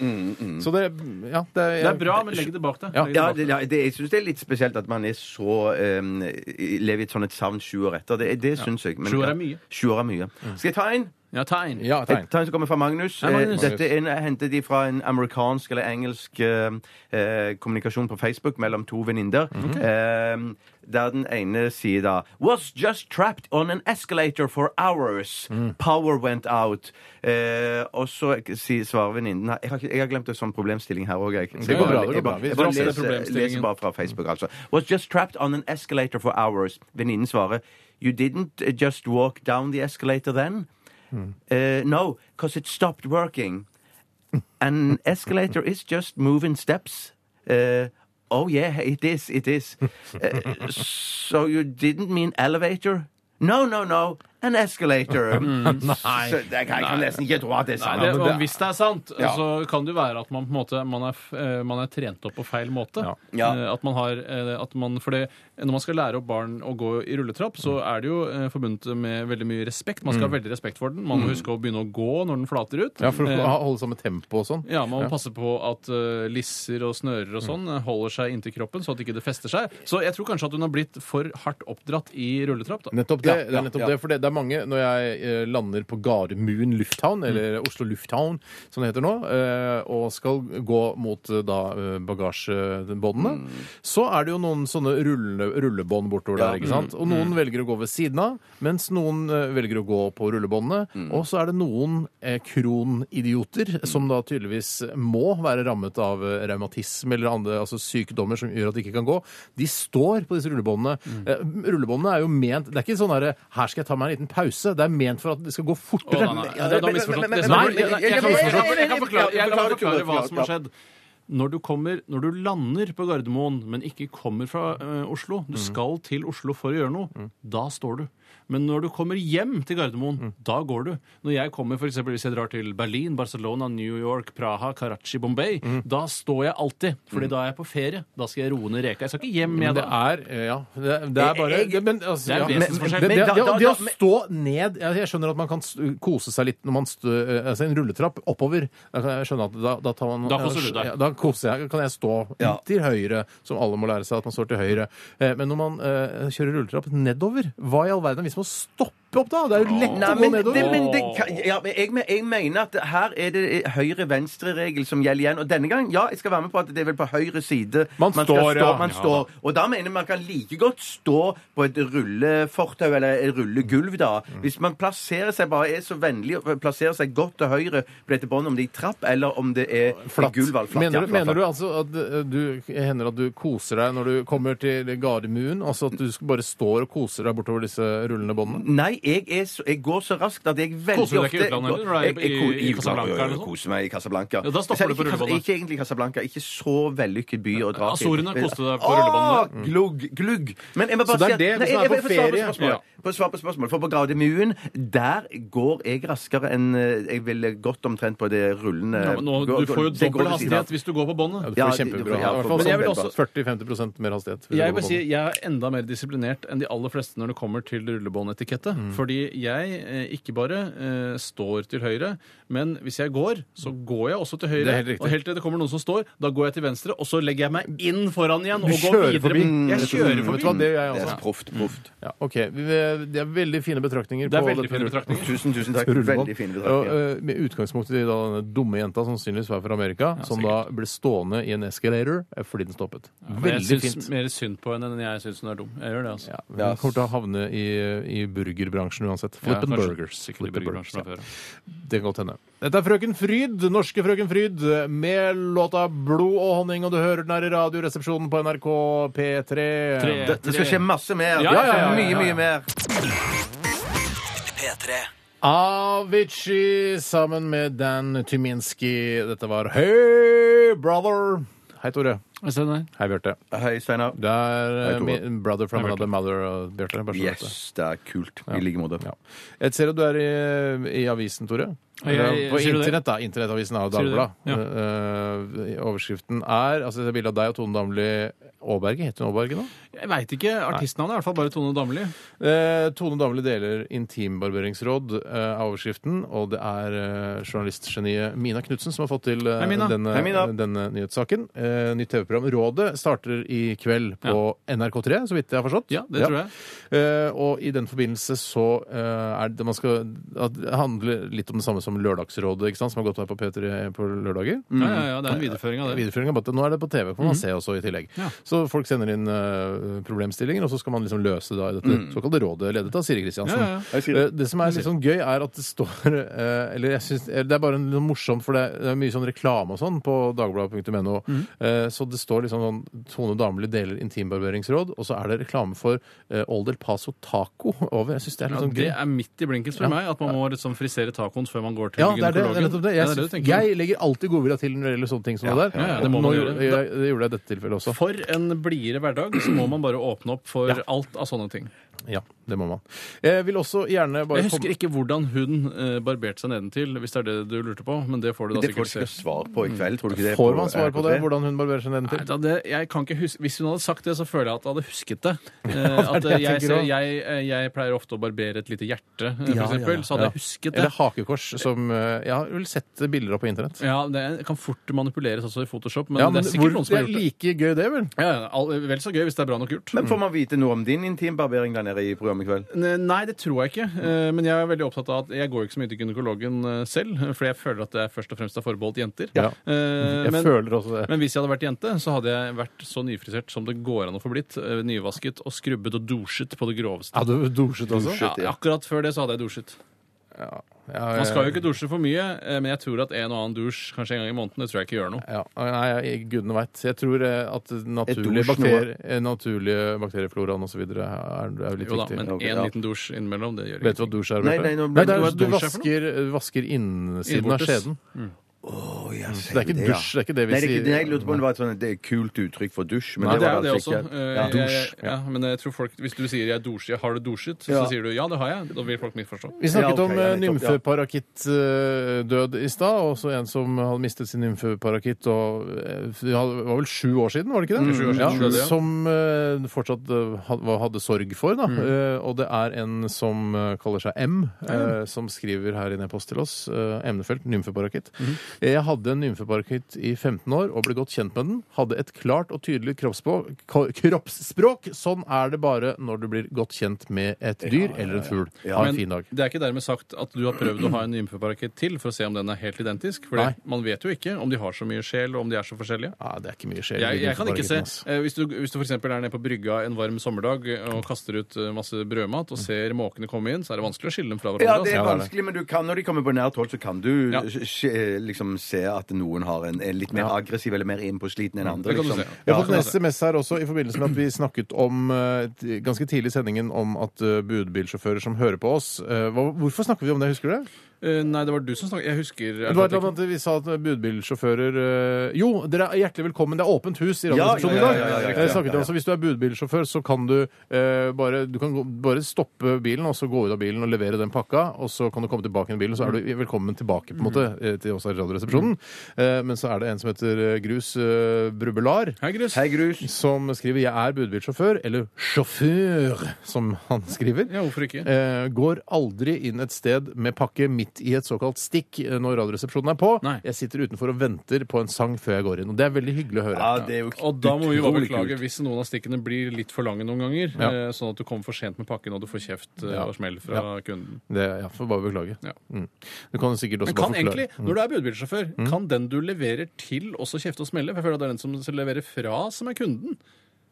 [SPEAKER 4] Så det, ja, det,
[SPEAKER 6] Det er bra, men legg det bak deg.
[SPEAKER 4] Ja.
[SPEAKER 6] Legg det
[SPEAKER 5] Ja,
[SPEAKER 6] bak deg.
[SPEAKER 5] det, ja det, jeg syns det er litt spesielt at man er så um, lever i et sånt et savn sju år etter. Det, det syns jeg. men-
[SPEAKER 6] Sju år er mye.
[SPEAKER 5] Sju år er mye. Skal jeg ta en?
[SPEAKER 6] Ja, tegn.
[SPEAKER 4] Ja,
[SPEAKER 5] Jeg
[SPEAKER 4] tegn.
[SPEAKER 5] tar en som kommer fra Magnus.
[SPEAKER 6] Hei, Magnus.
[SPEAKER 5] Eh, Dette er en, jeg hentet de fra en amerikansk eller engelsk eh, eh, kommunikasjon på Facebook mellom to venninner.
[SPEAKER 4] Mhm.
[SPEAKER 5] eh, der den ene sier da Was just trapped on an escalator for hours.
[SPEAKER 4] Mm.
[SPEAKER 5] Power went out. Eh, og så sier- svarer venninnen her Jeg har, ikke, jeg har glemt en sånn problemstilling her òg, jeg. Så jeg
[SPEAKER 4] går bra,
[SPEAKER 5] bare-
[SPEAKER 4] det går
[SPEAKER 5] jeg
[SPEAKER 4] bra.
[SPEAKER 5] bare-
[SPEAKER 4] Vi
[SPEAKER 5] jeg bare
[SPEAKER 4] drar
[SPEAKER 6] oss til
[SPEAKER 5] leser- leser
[SPEAKER 6] problemstillingen.
[SPEAKER 5] bare fra Facebook, altså. Was just trapped on an escalator for hours. Venninnen svarer You didn't uh, just walk down the escalator then? Uh, no, because it stopped working. An escalator is just moving steps. Uh, oh, yeah, it is, it is. Uh, so you didn't mean elevator? No, no, no. an escalator. Så det, jeg kan jeg kan nesten ikke tro at det er sant.
[SPEAKER 6] det, og hvis det er sant,
[SPEAKER 5] Ja.
[SPEAKER 6] så kan det jo være at man på en måte man er, f- eh, man er trent opp på feil måte.
[SPEAKER 4] Ja.
[SPEAKER 5] Ja.
[SPEAKER 6] Eh, At man har eh, at man, For det, når man skal lære opp barn å gå i rulletrapp, så er det jo eh, forbundet med veldig mye respekt. Man skal ha veldig respekt for den. Man må huske å begynne å gå når den flater ut.
[SPEAKER 4] Mm. Ja, for å
[SPEAKER 6] Eh,
[SPEAKER 4] ha- holde samme tempo og sånn.
[SPEAKER 6] ja, Man må passe på at eh, lisser og snører
[SPEAKER 4] Mm.
[SPEAKER 6] og sånn eh, holder seg inntil kroppen, så at ikke det fester seg. Så jeg tror kanskje at hun har blitt for hardt oppdratt i rulletrapp. da.
[SPEAKER 4] Nettopp det.
[SPEAKER 5] Ja,
[SPEAKER 4] det, er nettopp
[SPEAKER 5] ja.
[SPEAKER 4] det, for det, det er mange Når jeg eh, lander på Gardermoen lufthavn, eller
[SPEAKER 5] Mm.
[SPEAKER 4] Oslo lufthavn som det heter nå, eh, og skal gå mot eh, da eh, bagasjebåndene,
[SPEAKER 5] Mm.
[SPEAKER 4] så er det jo noen sånne rulle, rullebånd bortover der. ikke
[SPEAKER 5] mm,
[SPEAKER 4] sant? Og noen velger å gå ved siden av, mens noen eh, velger å gå på rullebåndene.
[SPEAKER 6] Mm.
[SPEAKER 4] Og så er det noen eh, kronidioter som da tydeligvis må være rammet av eh, revmatisme eller andre altså sykdommer som gjør at de ikke kan gå. De står på disse rullebåndene.
[SPEAKER 6] Mm.
[SPEAKER 4] Eh, Rullebåndene er jo ment Det er ikke sånn herre Her skal jeg ta meg en liten pause. Det er ment for at det skal gå fortere.
[SPEAKER 6] Å, nei, nei,
[SPEAKER 5] Ja,
[SPEAKER 6] nei,
[SPEAKER 5] det-
[SPEAKER 6] da har jeg misforstått.
[SPEAKER 5] men- men-
[SPEAKER 6] Det som
[SPEAKER 5] men-
[SPEAKER 6] er-
[SPEAKER 5] men-
[SPEAKER 6] nei, jeg kan
[SPEAKER 5] men-
[SPEAKER 6] misforstå.
[SPEAKER 5] men-
[SPEAKER 6] Jeg kan forklare, jeg kan
[SPEAKER 5] forklare-
[SPEAKER 6] forklare hva som har
[SPEAKER 5] ja.
[SPEAKER 6] skjedd. Når du, kommer, når du lander på Gardermoen, men ikke kommer fra eh, Oslo Du skal til Oslo for å gjøre noe. Da står du. Men når du kommer hjem til Gardermoen, da går du. Når jeg kommer, for eksempel, Hvis jeg drar til Berlin, Barcelona, New York, Praha, Karachi, Bombay, da står jeg alltid. Fordi da er jeg på ferie. Da skal jeg roe ned reka. Jeg skal ikke hjem,
[SPEAKER 4] Men
[SPEAKER 6] jeg
[SPEAKER 4] det
[SPEAKER 6] da.
[SPEAKER 4] er eh, Ja. Det, det er bare
[SPEAKER 5] Jeg-
[SPEAKER 4] det, men, altså,
[SPEAKER 6] Det er
[SPEAKER 4] ja.
[SPEAKER 6] en vesensforskjell.
[SPEAKER 4] Men- men-
[SPEAKER 5] Men da-
[SPEAKER 4] det- det-
[SPEAKER 5] da-
[SPEAKER 4] Det å
[SPEAKER 5] da- men-
[SPEAKER 4] stå ned Jeg jeg skjønner at man kan s- kose seg litt når man stø, eh, altså en rulletrapp oppover. Da kan jeg skjønne at da, da tar man
[SPEAKER 6] Da koser du deg.
[SPEAKER 4] Ja, Da koser jeg, kan jeg stå
[SPEAKER 5] Ja.
[SPEAKER 4] til høyre, som alle må lære seg at man står til høyre. Eh, Men når man eh, kjører rulletrapp nedover, hva i all verden er det som å stoppe opp da? Det er jo lett
[SPEAKER 5] Nei,
[SPEAKER 4] å gå
[SPEAKER 5] men,
[SPEAKER 4] nedover.
[SPEAKER 5] det, men det, kan- ja, men jeg, men jeg mener at her er det høyre-venstre-regel som gjelder igjen. Og denne gang, ja, jeg skal være med på at det er vel på høyre side
[SPEAKER 4] Man
[SPEAKER 5] skal
[SPEAKER 4] står, ja.
[SPEAKER 5] man
[SPEAKER 4] Ja,
[SPEAKER 5] står. Og da mener jeg man kan like godt stå på et rullefortau eller et rullegulv, da.
[SPEAKER 4] Mm.
[SPEAKER 5] Hvis man plasserer seg, bare er så vennlig og plasserer seg godt til høyre på dette båndet, om det er i trapp eller om det er
[SPEAKER 4] Flatt.
[SPEAKER 5] gulv eller flatt.
[SPEAKER 4] Mener,
[SPEAKER 5] Ja,
[SPEAKER 4] du,
[SPEAKER 5] flatt,
[SPEAKER 4] mener
[SPEAKER 5] flatt.
[SPEAKER 4] du altså at eh, du hender at du koser deg når du kommer til Gardermoen? Altså at du sk- bare står og koser deg bortover disse rullende båndene?
[SPEAKER 5] Nei, jeg, er så, jeg går så raskt at jeg veldig
[SPEAKER 6] Koser du deg ikke i
[SPEAKER 5] ofte
[SPEAKER 6] utlandet, eller?
[SPEAKER 5] Jeg- jeg-
[SPEAKER 6] I- i-
[SPEAKER 5] ko-
[SPEAKER 6] i Casablanca
[SPEAKER 5] utlandet, jo, jo,
[SPEAKER 6] eller noe sånt?
[SPEAKER 5] Koser meg i Casablanca.
[SPEAKER 6] Ja, da stopper
[SPEAKER 5] Men så er
[SPEAKER 6] du
[SPEAKER 5] det
[SPEAKER 6] på
[SPEAKER 5] ikke Casa-
[SPEAKER 6] rullebåndet.
[SPEAKER 5] Ikke egentlig Casablanca. Ikke så vellykket by å dra
[SPEAKER 6] Azorene koste deg på Mm.
[SPEAKER 5] Åh,
[SPEAKER 6] rullebåndet.
[SPEAKER 5] Glugg, glugg. Men jeg må
[SPEAKER 4] Så
[SPEAKER 5] bare
[SPEAKER 4] det er
[SPEAKER 5] si at-
[SPEAKER 4] det,
[SPEAKER 5] Nei,
[SPEAKER 4] hvis man er
[SPEAKER 5] jeg-
[SPEAKER 4] på
[SPEAKER 5] jeg- jeg får svare
[SPEAKER 4] ferie.
[SPEAKER 5] på spørsmål. På svar på spørsmål. For på Gardermoen, der går jeg raskere enn eh, jeg ville gått omtrent på det rullende
[SPEAKER 6] Ja, men nå,
[SPEAKER 5] går-
[SPEAKER 6] du får jo
[SPEAKER 5] går- det går
[SPEAKER 6] dobbel
[SPEAKER 5] ved siden av.
[SPEAKER 6] hastighet hvis du går på båndet.
[SPEAKER 4] Ja, du får
[SPEAKER 5] Ja, det-
[SPEAKER 4] kjempebra.
[SPEAKER 5] det- ja,
[SPEAKER 4] I hvert
[SPEAKER 5] men
[SPEAKER 4] fall
[SPEAKER 6] jeg vil
[SPEAKER 4] sånn
[SPEAKER 6] også-
[SPEAKER 4] 40-50 mer hastighet. vil
[SPEAKER 6] Jeg
[SPEAKER 4] gå
[SPEAKER 6] vil
[SPEAKER 4] på
[SPEAKER 6] si
[SPEAKER 4] båten.
[SPEAKER 6] jeg er enda mer disiplinert enn de aller fleste når det kommer til rullebåndetikette.
[SPEAKER 4] Mm.
[SPEAKER 6] Fordi jeg eh, ikke bare eh, står til høyre, men hvis jeg går, så går jeg også til høyre.
[SPEAKER 4] Det er helt riktig.
[SPEAKER 6] og helt til det kommer noen som står, da går jeg til venstre, og så legger jeg meg inn foran igjen
[SPEAKER 4] Du
[SPEAKER 6] og går
[SPEAKER 4] kjører
[SPEAKER 6] videre.
[SPEAKER 4] forbi.
[SPEAKER 6] Jeg kjører
[SPEAKER 4] Vet du
[SPEAKER 6] forbi.
[SPEAKER 4] hva, det gjør jeg
[SPEAKER 5] Det
[SPEAKER 4] også.
[SPEAKER 5] er
[SPEAKER 6] altså.
[SPEAKER 5] proft, proft.
[SPEAKER 4] Ja, ok, Vi- Det er veldig fine betraktninger.
[SPEAKER 6] Det
[SPEAKER 4] på
[SPEAKER 6] er veldig
[SPEAKER 4] dette
[SPEAKER 6] fine betraktninger.
[SPEAKER 5] Tusen, tusen takk.
[SPEAKER 4] rullebånd.
[SPEAKER 5] Veldig fine betraktninger.
[SPEAKER 4] Og, eh, med utgangspunkt i da, denne dumme jenta, som sannsynligvis var fra Amerika, som da ble stående i en escalator eh, fordi den stoppet.
[SPEAKER 6] Men jeg
[SPEAKER 4] Veldig
[SPEAKER 6] syns
[SPEAKER 4] fint.
[SPEAKER 6] mer synd på henne enn jeg syns hun er dum. Jeg gjør det, altså.
[SPEAKER 4] Ja, men Hun kommer til å havne i, i burgerbransjen uansett. Flippin'
[SPEAKER 6] kanskje.
[SPEAKER 4] burgers.
[SPEAKER 6] Sikkert i
[SPEAKER 4] Flippin' burgers,
[SPEAKER 6] burgerbransjen
[SPEAKER 4] ja.
[SPEAKER 6] fra før, ja.
[SPEAKER 4] Det kan godt hende. Dette er Frøken Fryd, norske Frøken Fryd, med låta 'Blod og honning', og du hører den her i Radioresepsjonen på NRK P3.
[SPEAKER 6] Tre.
[SPEAKER 5] Det, det skal skje masse mer.
[SPEAKER 6] Ja, ja, ja, ja,
[SPEAKER 5] Det skal skje
[SPEAKER 6] ja, ja.
[SPEAKER 5] Mye, mye mer.
[SPEAKER 2] P3.
[SPEAKER 4] Avicii sammen med Dan Tyminski. Dette var Hey Brother. Hei, Tore.
[SPEAKER 6] Jeg ser det.
[SPEAKER 4] Hei, Bjarte.
[SPEAKER 5] Hei, Steinar.
[SPEAKER 4] Det er
[SPEAKER 5] Hei,
[SPEAKER 4] eh,
[SPEAKER 5] Tore.
[SPEAKER 4] min brother from another mother, og Bjarte. bare så du vet det.
[SPEAKER 5] Yes, det er kult. I like måte.
[SPEAKER 4] Ja. Jeg ser at du er i, i avisen, Tore.
[SPEAKER 6] Ja, jeg-
[SPEAKER 4] Eller på
[SPEAKER 6] sier du det?
[SPEAKER 4] internett, da. Internettavisen er jo
[SPEAKER 6] Sier du det?
[SPEAKER 4] Dagbladet.
[SPEAKER 6] Ja.
[SPEAKER 4] Eh, eh, overskriften er altså Det er bilde av deg og Tone Damli Aaberge. Heter hun Aaberge nå?
[SPEAKER 6] Jeg veit ikke. Artistnavnet er i hvert fall bare Tone Damli.
[SPEAKER 4] Eh, Tone Damli deler intimbarberingsråd, eh, er overskriften. Og det er eh, journalistgeniet Mina Knutsen som har fått til eh,
[SPEAKER 6] Hei, Mina.
[SPEAKER 4] denne,
[SPEAKER 5] Hei, Mina.
[SPEAKER 4] denne nyhetssaken. Eh, nytt TV-program Rådet starter i kveld på NRK3, så vidt jeg har forstått.
[SPEAKER 6] Ja, det tror jeg.
[SPEAKER 4] Eh, og i den forbindelse så eh, er det man skal at Det handler litt om det samme som Lørdagsrådet, ikke sant, som har gått her på P3 på lørdager.
[SPEAKER 6] Ja, ja, ja, det er en videreføring av det.
[SPEAKER 4] Videreføring av bare at Nå er det på TV, kan man
[SPEAKER 6] Mhm.
[SPEAKER 4] se også i tillegg. Så folk sender inn eh, problemstillinger, og så skal man liksom løse da, i dette såkalte rådet ledet av Siri Kristiansen.
[SPEAKER 6] Mhm. Ja, ja, ja.
[SPEAKER 5] Hei, Siri.
[SPEAKER 4] Eh, Det som er litt sånn gøy, er at det står eh, Eller jeg synes, eller det er bare noe morsomt, for det det er mye sånn reklame og sånn på dagbladet.no.
[SPEAKER 6] Mhm.
[SPEAKER 4] Eh, Så det står liksom sånn Tone Damli deler intimbarberingsråd, og så er det reklame for eh, Old El Paso Taco over. Jeg syns det er litt
[SPEAKER 6] Ja,
[SPEAKER 4] sånn
[SPEAKER 6] det
[SPEAKER 4] gøy.
[SPEAKER 6] er midt i blinken for meg at man må liksom frisere tacoen før man går til
[SPEAKER 4] Ja, det er det. det, er
[SPEAKER 6] gynekologen.
[SPEAKER 4] nettopp det.
[SPEAKER 6] Ja,
[SPEAKER 4] Jeg,
[SPEAKER 6] det er det du
[SPEAKER 4] synes-
[SPEAKER 6] tenker.
[SPEAKER 4] jeg legger alltid godvilja til når det gjelder sånne ting som det der.
[SPEAKER 6] ja, ja, det må
[SPEAKER 4] Og
[SPEAKER 6] man
[SPEAKER 4] nå
[SPEAKER 6] gjøre.
[SPEAKER 4] gjorde jeg, det gjorde jeg i dette tilfellet også.
[SPEAKER 6] For en blidere hverdag så må man bare åpne opp for alt av sånne ting.
[SPEAKER 4] Ja, det må man. Jeg vil også gjerne bare
[SPEAKER 6] Jeg husker ikke hvordan hun eh, barberte seg nedentil, hvis det er det du lurte på. Men det får du da
[SPEAKER 5] Det får du
[SPEAKER 6] sikkert se.
[SPEAKER 5] ikke svar på i kveld, tror du ikke det?
[SPEAKER 4] Får man svar på det?
[SPEAKER 5] RKT?
[SPEAKER 4] Hvordan hun barberer seg
[SPEAKER 6] Nei,
[SPEAKER 4] nedentil?
[SPEAKER 6] da, det, jeg kan ikke huske, Hvis hun hadde sagt det, så føler jeg at jeg hadde husket det. Eh,
[SPEAKER 4] er
[SPEAKER 6] at
[SPEAKER 4] det
[SPEAKER 6] eh,
[SPEAKER 4] jeg
[SPEAKER 6] jeg,
[SPEAKER 4] tenker
[SPEAKER 6] ser,
[SPEAKER 4] også.
[SPEAKER 6] jeg, eh, jeg pleier ofte å barbere et lite hjerte, eh, for
[SPEAKER 4] Ja,
[SPEAKER 6] eksempel.
[SPEAKER 4] ja,
[SPEAKER 6] Så hadde
[SPEAKER 4] ja.
[SPEAKER 6] jeg husket det.
[SPEAKER 4] Eller hakekors, som eh, Jeg har vel sett bilder av på internett.
[SPEAKER 6] Ja, det kan fort manipuleres også i Photoshop, men,
[SPEAKER 4] Ja, men
[SPEAKER 6] det er sikkert
[SPEAKER 4] hvor-
[SPEAKER 6] noen som har
[SPEAKER 4] det er
[SPEAKER 6] gjort det.
[SPEAKER 4] like gøy, det, vel?
[SPEAKER 6] Ja, ja, all, vel så gøy hvis det er bra nok gjort.
[SPEAKER 5] Men får man vite noe om din intimbarbering der nede i programmet i kveld?
[SPEAKER 6] Nei, det tror jeg ikke. Eh, Men jeg er veldig opptatt av at jeg går ikke så mye til gynekologen eh, selv, for jeg føler at det er først og fremst er forbeholdt jenter.
[SPEAKER 4] Ja.
[SPEAKER 6] Eh,
[SPEAKER 4] Jeg
[SPEAKER 6] men,
[SPEAKER 4] føler også det.
[SPEAKER 6] men hvis jeg hadde vært jente, så hadde jeg vært så nyfrisert som det går an å få blitt. eh, Nyvasket og skrubbet og dusjet på det groveste.
[SPEAKER 4] Ja, du Ah, dusjet også?
[SPEAKER 5] Dusjet, ja.
[SPEAKER 6] Ja, akkurat før det så hadde jeg dusjet.
[SPEAKER 4] Ja,
[SPEAKER 6] Man skal jo ikke dusje for mye, eh, men jeg tror at en og annen dusj kanskje en gang i måneden, det tror jeg ikke gjør noe.
[SPEAKER 4] ja, nei, jeg- gudene veit. Jeg tror eh, at naturlige,
[SPEAKER 5] dusj
[SPEAKER 4] bakter, eh, naturlige bakteriefloraen osv. er, er jo litt
[SPEAKER 6] Jo da,
[SPEAKER 4] viktig.
[SPEAKER 6] men
[SPEAKER 5] Ok,
[SPEAKER 6] én
[SPEAKER 5] ja.
[SPEAKER 6] liten dusj innimellom, det gjør
[SPEAKER 4] Vet du
[SPEAKER 6] ingenting.
[SPEAKER 4] hva dusj er?
[SPEAKER 5] Nei,
[SPEAKER 4] Bjarte?
[SPEAKER 5] nei, nå ble-
[SPEAKER 4] det er
[SPEAKER 5] hva
[SPEAKER 4] at du
[SPEAKER 6] dusj er for noe?
[SPEAKER 4] vasker, vasker innsiden av
[SPEAKER 6] Innvortes.
[SPEAKER 4] skjeden.
[SPEAKER 5] Å,
[SPEAKER 6] Mm.
[SPEAKER 5] ja,
[SPEAKER 4] Så det er ikke
[SPEAKER 5] ja.
[SPEAKER 4] dusj, det er ikke det vi
[SPEAKER 5] Nei, det er
[SPEAKER 4] sier.
[SPEAKER 5] ikke, nei, jeg lurte på om det var et sånt, det er et kult uttrykk for dusj. Men
[SPEAKER 6] Ja,
[SPEAKER 5] det,
[SPEAKER 6] det er jo
[SPEAKER 5] var
[SPEAKER 6] det også.
[SPEAKER 5] altså ikke.
[SPEAKER 6] Eh,
[SPEAKER 5] Ja.
[SPEAKER 6] jeg-
[SPEAKER 5] Dusj.
[SPEAKER 6] Ja, men jeg tror folk, hvis du sier 'jeg dusjer', 'har du dusjet', så,
[SPEAKER 5] Ja.
[SPEAKER 6] sier du 'ja, det har jeg'. Da vil folk misforstå.
[SPEAKER 4] Vi snakket
[SPEAKER 5] Ja, ok, ja,
[SPEAKER 4] om eh,
[SPEAKER 5] nettopp, ja.
[SPEAKER 4] nymfeparakittdød i stad, og så en som hadde mistet sin nymfeparakitt og eh, Det var vel sju år siden, var det ikke det?
[SPEAKER 6] sju år siden, tror jeg det,
[SPEAKER 4] ja,
[SPEAKER 6] ja.
[SPEAKER 4] som eh, fortsatt eh, had- hva- hadde sorg for,
[SPEAKER 6] Mm.
[SPEAKER 4] da. Eh, Og det er en som eh, kaller seg M, eh, som skriver her i en e-post til oss. eh, Emnefelt nymfeparakitt.
[SPEAKER 6] Mhm.
[SPEAKER 4] Jeg hadde en nymfeparakitt i 15 år og ble godt kjent med den. Hadde et klart og tydelig kroppsspråk. kroppsspråk. Sånn er det bare når du blir godt kjent med et dyr eller en fugl. Ha en
[SPEAKER 6] Men
[SPEAKER 4] fin dag.
[SPEAKER 6] det er ikke dermed sagt at du har prøvd å ha en nymfeparakett til for å se om den er helt identisk. For
[SPEAKER 4] Nei.
[SPEAKER 6] man vet jo ikke om de har så mye sjel, og om de er så forskjellige.
[SPEAKER 4] Ja, det er ikke mye sjel. i
[SPEAKER 6] Jeg, jeg kan ikke
[SPEAKER 4] Nymfeparasitten,
[SPEAKER 6] se, eh, Hvis du, hvis du f.eks. er nede på brygga en varm sommerdag og kaster ut eh, masse brødmat og ser måkene komme inn, så er det vanskelig å skille dem fra hverandre.
[SPEAKER 5] Ja,
[SPEAKER 6] altså.
[SPEAKER 5] det
[SPEAKER 4] Ja, det
[SPEAKER 5] er
[SPEAKER 4] er det.
[SPEAKER 5] vanskelig, men du kan, når de kommer på nært hold, så kan du
[SPEAKER 6] Ja.
[SPEAKER 5] s- se- liksom se at noen har en, er litt mer aggressiv eller mer innpåsliten enn andre.
[SPEAKER 6] Det kan du
[SPEAKER 5] Liksom.
[SPEAKER 6] se, ja. altså-
[SPEAKER 4] Jeg
[SPEAKER 5] Ja.
[SPEAKER 4] har fått en SMS her også i forbindelse med at vi snakket om eh, t- ganske tidlig i sendingen om at eh, budbilsjåfører som hører på oss eh, hva- Hvorfor snakker vi om det, husker du det?
[SPEAKER 6] Eh, Nei, det var du som snakket Jeg husker
[SPEAKER 4] Det var et eller annet vi sa at budbilsjåfører eh, Jo, dere er hjertelig velkommen. Det er åpent hus i
[SPEAKER 5] Ja,
[SPEAKER 4] Radioresepsjonen
[SPEAKER 5] ja, ja,
[SPEAKER 4] i
[SPEAKER 5] ja, ja,
[SPEAKER 4] dag.
[SPEAKER 5] ja, ja,
[SPEAKER 4] Eh, snakket vi
[SPEAKER 5] ja,
[SPEAKER 4] om, Så hvis du er budbilsjåfør, så kan du eh, bare, du kan gå- bare stoppe bilen, og så gå ut av bilen og levere den pakka, og så kan du komme tilbake i bilen, så er du velkommen tilbake på en måte eh, til oss her i Radioresepsjonen. Eh, Men så er det en som heter eh, Grus eh, Brubbelar.
[SPEAKER 6] Hei, Grus.
[SPEAKER 5] Hei, Grus.
[SPEAKER 4] som skriver 'Jeg er budbilsjåfør', eller 'sjåfør', som han skriver.
[SPEAKER 6] Ja, hvorfor ikke?
[SPEAKER 4] Eh, går aldri inn et sted med pakke midt i et såkalt stikk eh, når Radioresepsjonen er på.
[SPEAKER 6] Nei.
[SPEAKER 4] Jeg sitter utenfor og venter på en sang før jeg går inn. Og det er veldig hyggelig å høre.
[SPEAKER 5] Ja, det er jo
[SPEAKER 6] Og da må vi jo bare
[SPEAKER 5] utrolig
[SPEAKER 6] beklage
[SPEAKER 5] kult.
[SPEAKER 6] hvis noen av stikkene blir litt for lange noen ganger,
[SPEAKER 4] Ja.
[SPEAKER 6] eh, sånn at du kommer for sent med pakken og du får kjeft eh,
[SPEAKER 4] Ja.
[SPEAKER 6] og smell fra kunden.
[SPEAKER 4] Det, ja, får bare beklage.
[SPEAKER 6] Ja.
[SPEAKER 4] Mm. Du kan sikkert også
[SPEAKER 6] Men kan
[SPEAKER 4] bare Mm. forklare.
[SPEAKER 6] egentlig, når du er budbilsjåfør, kan den du leverer til også kjefte og smelle? For jeg føler at det er den som leverer fra, som er kunden.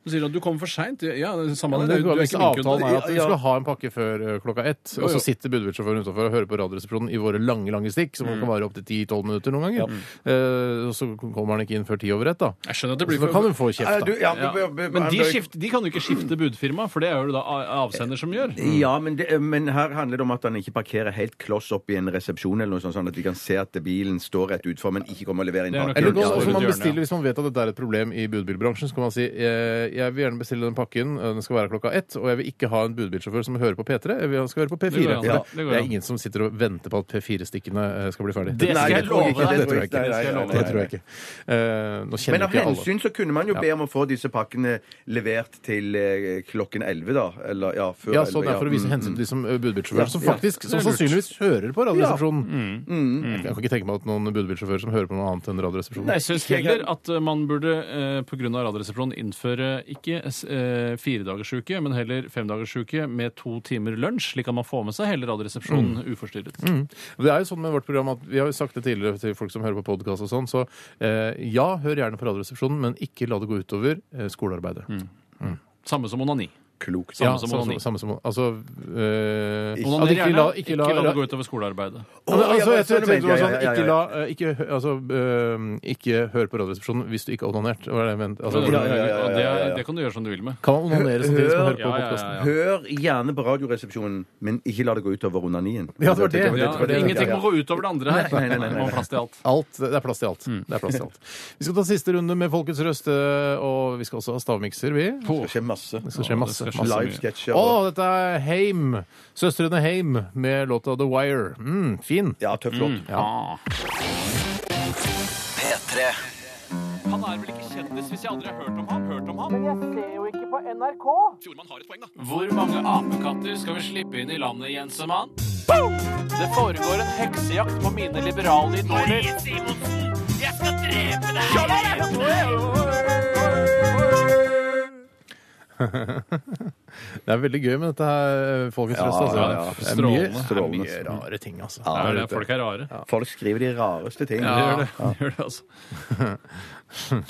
[SPEAKER 6] Du sier at du kommer for seint. Ja, det er samme
[SPEAKER 4] Men
[SPEAKER 6] det.
[SPEAKER 4] det
[SPEAKER 6] Du
[SPEAKER 4] går
[SPEAKER 6] er
[SPEAKER 4] an hvis
[SPEAKER 6] ikke min
[SPEAKER 4] avtalen
[SPEAKER 6] kunde.
[SPEAKER 4] er at du skal ha en pakke før eh, klokka ett, og
[SPEAKER 6] jo.
[SPEAKER 4] så sitter budbilsjåføren utenfor og hører på Radioresepsjonen i våre lange lange stikk, som
[SPEAKER 6] Mm.
[SPEAKER 4] kan vare opptil 10-12 minutter noen ganger, Eh, og så kommer han ikke inn før ti over ett, da.
[SPEAKER 6] Jeg skjønner at det blir
[SPEAKER 4] Så da kan du få kjeft,
[SPEAKER 5] Ja,
[SPEAKER 4] da.
[SPEAKER 5] du, ja,
[SPEAKER 6] ja.
[SPEAKER 5] b- b- b-
[SPEAKER 6] Men
[SPEAKER 5] han
[SPEAKER 6] de,
[SPEAKER 5] bør-
[SPEAKER 6] skifter, de kan jo ikke skifte budfirma, for det er jo da a- avsender som gjør.
[SPEAKER 5] Ja, men, det, men her handler det om at han ikke parkerer helt kloss opp i en resepsjon, eller noe sånt, sånn at de kan se at bilen står rett utfor, men ikke kommer og leverer inn
[SPEAKER 6] Det er nok
[SPEAKER 5] pakken.
[SPEAKER 4] Eller gå,
[SPEAKER 6] Ja, det
[SPEAKER 4] så
[SPEAKER 6] er
[SPEAKER 4] man
[SPEAKER 6] et hjørne,
[SPEAKER 4] bestiller, Hvis man vet at dette er et problem i budbilbransjen, så kan man si eh, jeg vil gjerne bestille den pakken, eh, den skal være klokka ett, og jeg vil ikke ha en budbilsjåfør som hører på P3, jeg vil han skal høre på P4.
[SPEAKER 6] Det går an.
[SPEAKER 4] for
[SPEAKER 6] Ja,
[SPEAKER 4] det,
[SPEAKER 6] det går
[SPEAKER 4] det
[SPEAKER 6] an.
[SPEAKER 4] er ingen som sitter og venter på at P4-stikkene eh, skal bli ferdig.
[SPEAKER 6] Det
[SPEAKER 5] Nei,
[SPEAKER 6] skal
[SPEAKER 5] det
[SPEAKER 6] jeg
[SPEAKER 5] tror jeg
[SPEAKER 6] love
[SPEAKER 5] ikke,
[SPEAKER 6] deg.
[SPEAKER 5] det tror jeg ikke.
[SPEAKER 6] Det skal jeg love
[SPEAKER 4] Det
[SPEAKER 6] deg.
[SPEAKER 4] tror jeg ikke. Eh, nå
[SPEAKER 5] Men
[SPEAKER 4] kjenner
[SPEAKER 5] av
[SPEAKER 4] ikke alle.
[SPEAKER 5] hensyn så kunne man jo be om å få disse pakkene levert til eh, klokken 11, da. Eller ja, før
[SPEAKER 4] Ja, sånn
[SPEAKER 5] 11.
[SPEAKER 4] det er for å vise
[SPEAKER 5] Mm,
[SPEAKER 4] hensyn til de som eh, budbilsjåfører, som
[SPEAKER 5] Ja, ja.
[SPEAKER 4] faktisk,
[SPEAKER 6] Det
[SPEAKER 4] som
[SPEAKER 6] er lurt. Mm.
[SPEAKER 4] sannsynligvis hører på Radioresepsjonen.
[SPEAKER 5] Mm.
[SPEAKER 4] Jeg kan ikke tenke meg at noen budbilsjåfører som hører på noe annet enn Radioresepsjonen.
[SPEAKER 6] Jeg syns heller at eh, man burde eh, pga. Radioresepsjonen innføre ikke eh, firedagersuke, men heller femdagersuke med to timer lunsj. Slik at man får med seg hele Radioresepsjonen
[SPEAKER 4] Mm.
[SPEAKER 6] uforstyrret.
[SPEAKER 4] Det er jo sånn med vårt program at Vi har jo sagt det tidligere til folk som hører på podkast og sånn, så eh, ja, hør gjerne på Radioresepsjonen, men ikke la det gå utover eh, skolearbeidet.
[SPEAKER 6] Samme som onani.
[SPEAKER 5] Klokt.
[SPEAKER 6] Samme
[SPEAKER 4] Ja,
[SPEAKER 6] som
[SPEAKER 4] samme
[SPEAKER 6] onani.
[SPEAKER 4] Samme som Altså eh,
[SPEAKER 6] Onaner
[SPEAKER 4] at
[SPEAKER 6] gjerne,
[SPEAKER 4] ikke la, ikke la,
[SPEAKER 6] det gå utover skolearbeidet.
[SPEAKER 4] Ja, men altså, jeg tror- jeg tror det var
[SPEAKER 5] Ja, ja,
[SPEAKER 4] sånn,
[SPEAKER 5] ja, ja,
[SPEAKER 4] Ikke la eh, ikke, hø- altså, eh, ikke hør på Radioresepsjonen hvis du ikke har onanert. Hva er det jeg mente? Altså,
[SPEAKER 6] Og
[SPEAKER 5] ja, ja, ja, ja,
[SPEAKER 6] det,
[SPEAKER 5] ja, ja.
[SPEAKER 6] det kan du gjøre som du vil med.
[SPEAKER 4] Kan man onanere samtidig som man hører
[SPEAKER 6] Ja,
[SPEAKER 4] på
[SPEAKER 6] ja, ja,
[SPEAKER 4] podkasten?
[SPEAKER 6] ja.
[SPEAKER 5] Hør gjerne på Radioresepsjonen, men ikke la det gå utover onanien.
[SPEAKER 4] Ja, det var det.
[SPEAKER 6] Ja,
[SPEAKER 4] det- det-
[SPEAKER 6] ingenting må gå utover det andre her.
[SPEAKER 5] Nei, nei, nei, nei, nei.
[SPEAKER 6] Det må ha plass til alt.
[SPEAKER 4] Alt, det er plass til alt. Det er plass til alt. Vi skal ta siste runde med Folkets røst, eh, og vi skal også ha stavmikser, vi.
[SPEAKER 5] Det skjer masse.
[SPEAKER 4] Det skal skje masse. masse
[SPEAKER 6] sketsjer.
[SPEAKER 4] mye.
[SPEAKER 5] Livesketsjer.
[SPEAKER 4] Å,
[SPEAKER 5] og-
[SPEAKER 4] dette er Heim. Søstrene Heim med låta The Wire. Mm, fin.
[SPEAKER 5] Ja, tøff låt.
[SPEAKER 2] P3.
[SPEAKER 8] Han er vel ikke kjendis hvis jeg aldri har hørt om ham. Hørt om ham. Men jeg ser jo ikke på NRK. Fjordmann har et poeng, da. Hvor mange apekatter skal vi slippe inn i landet, Jensemann? Det foregår en heksejakt på mine liberale idoler. Marie Simonsen, jeg skal drepe deg!
[SPEAKER 4] Det er veldig gøy med dette her Folkets Røst. Altså.
[SPEAKER 5] ja, ja.
[SPEAKER 4] Det er mye,
[SPEAKER 6] Strålende.
[SPEAKER 4] det er mye
[SPEAKER 5] Strålende.
[SPEAKER 4] rare ting, altså.
[SPEAKER 6] Det er jo det, folk er rare.
[SPEAKER 4] Mm.
[SPEAKER 5] Folk skriver de rareste ting.
[SPEAKER 6] De gjør det, de gjør det altså.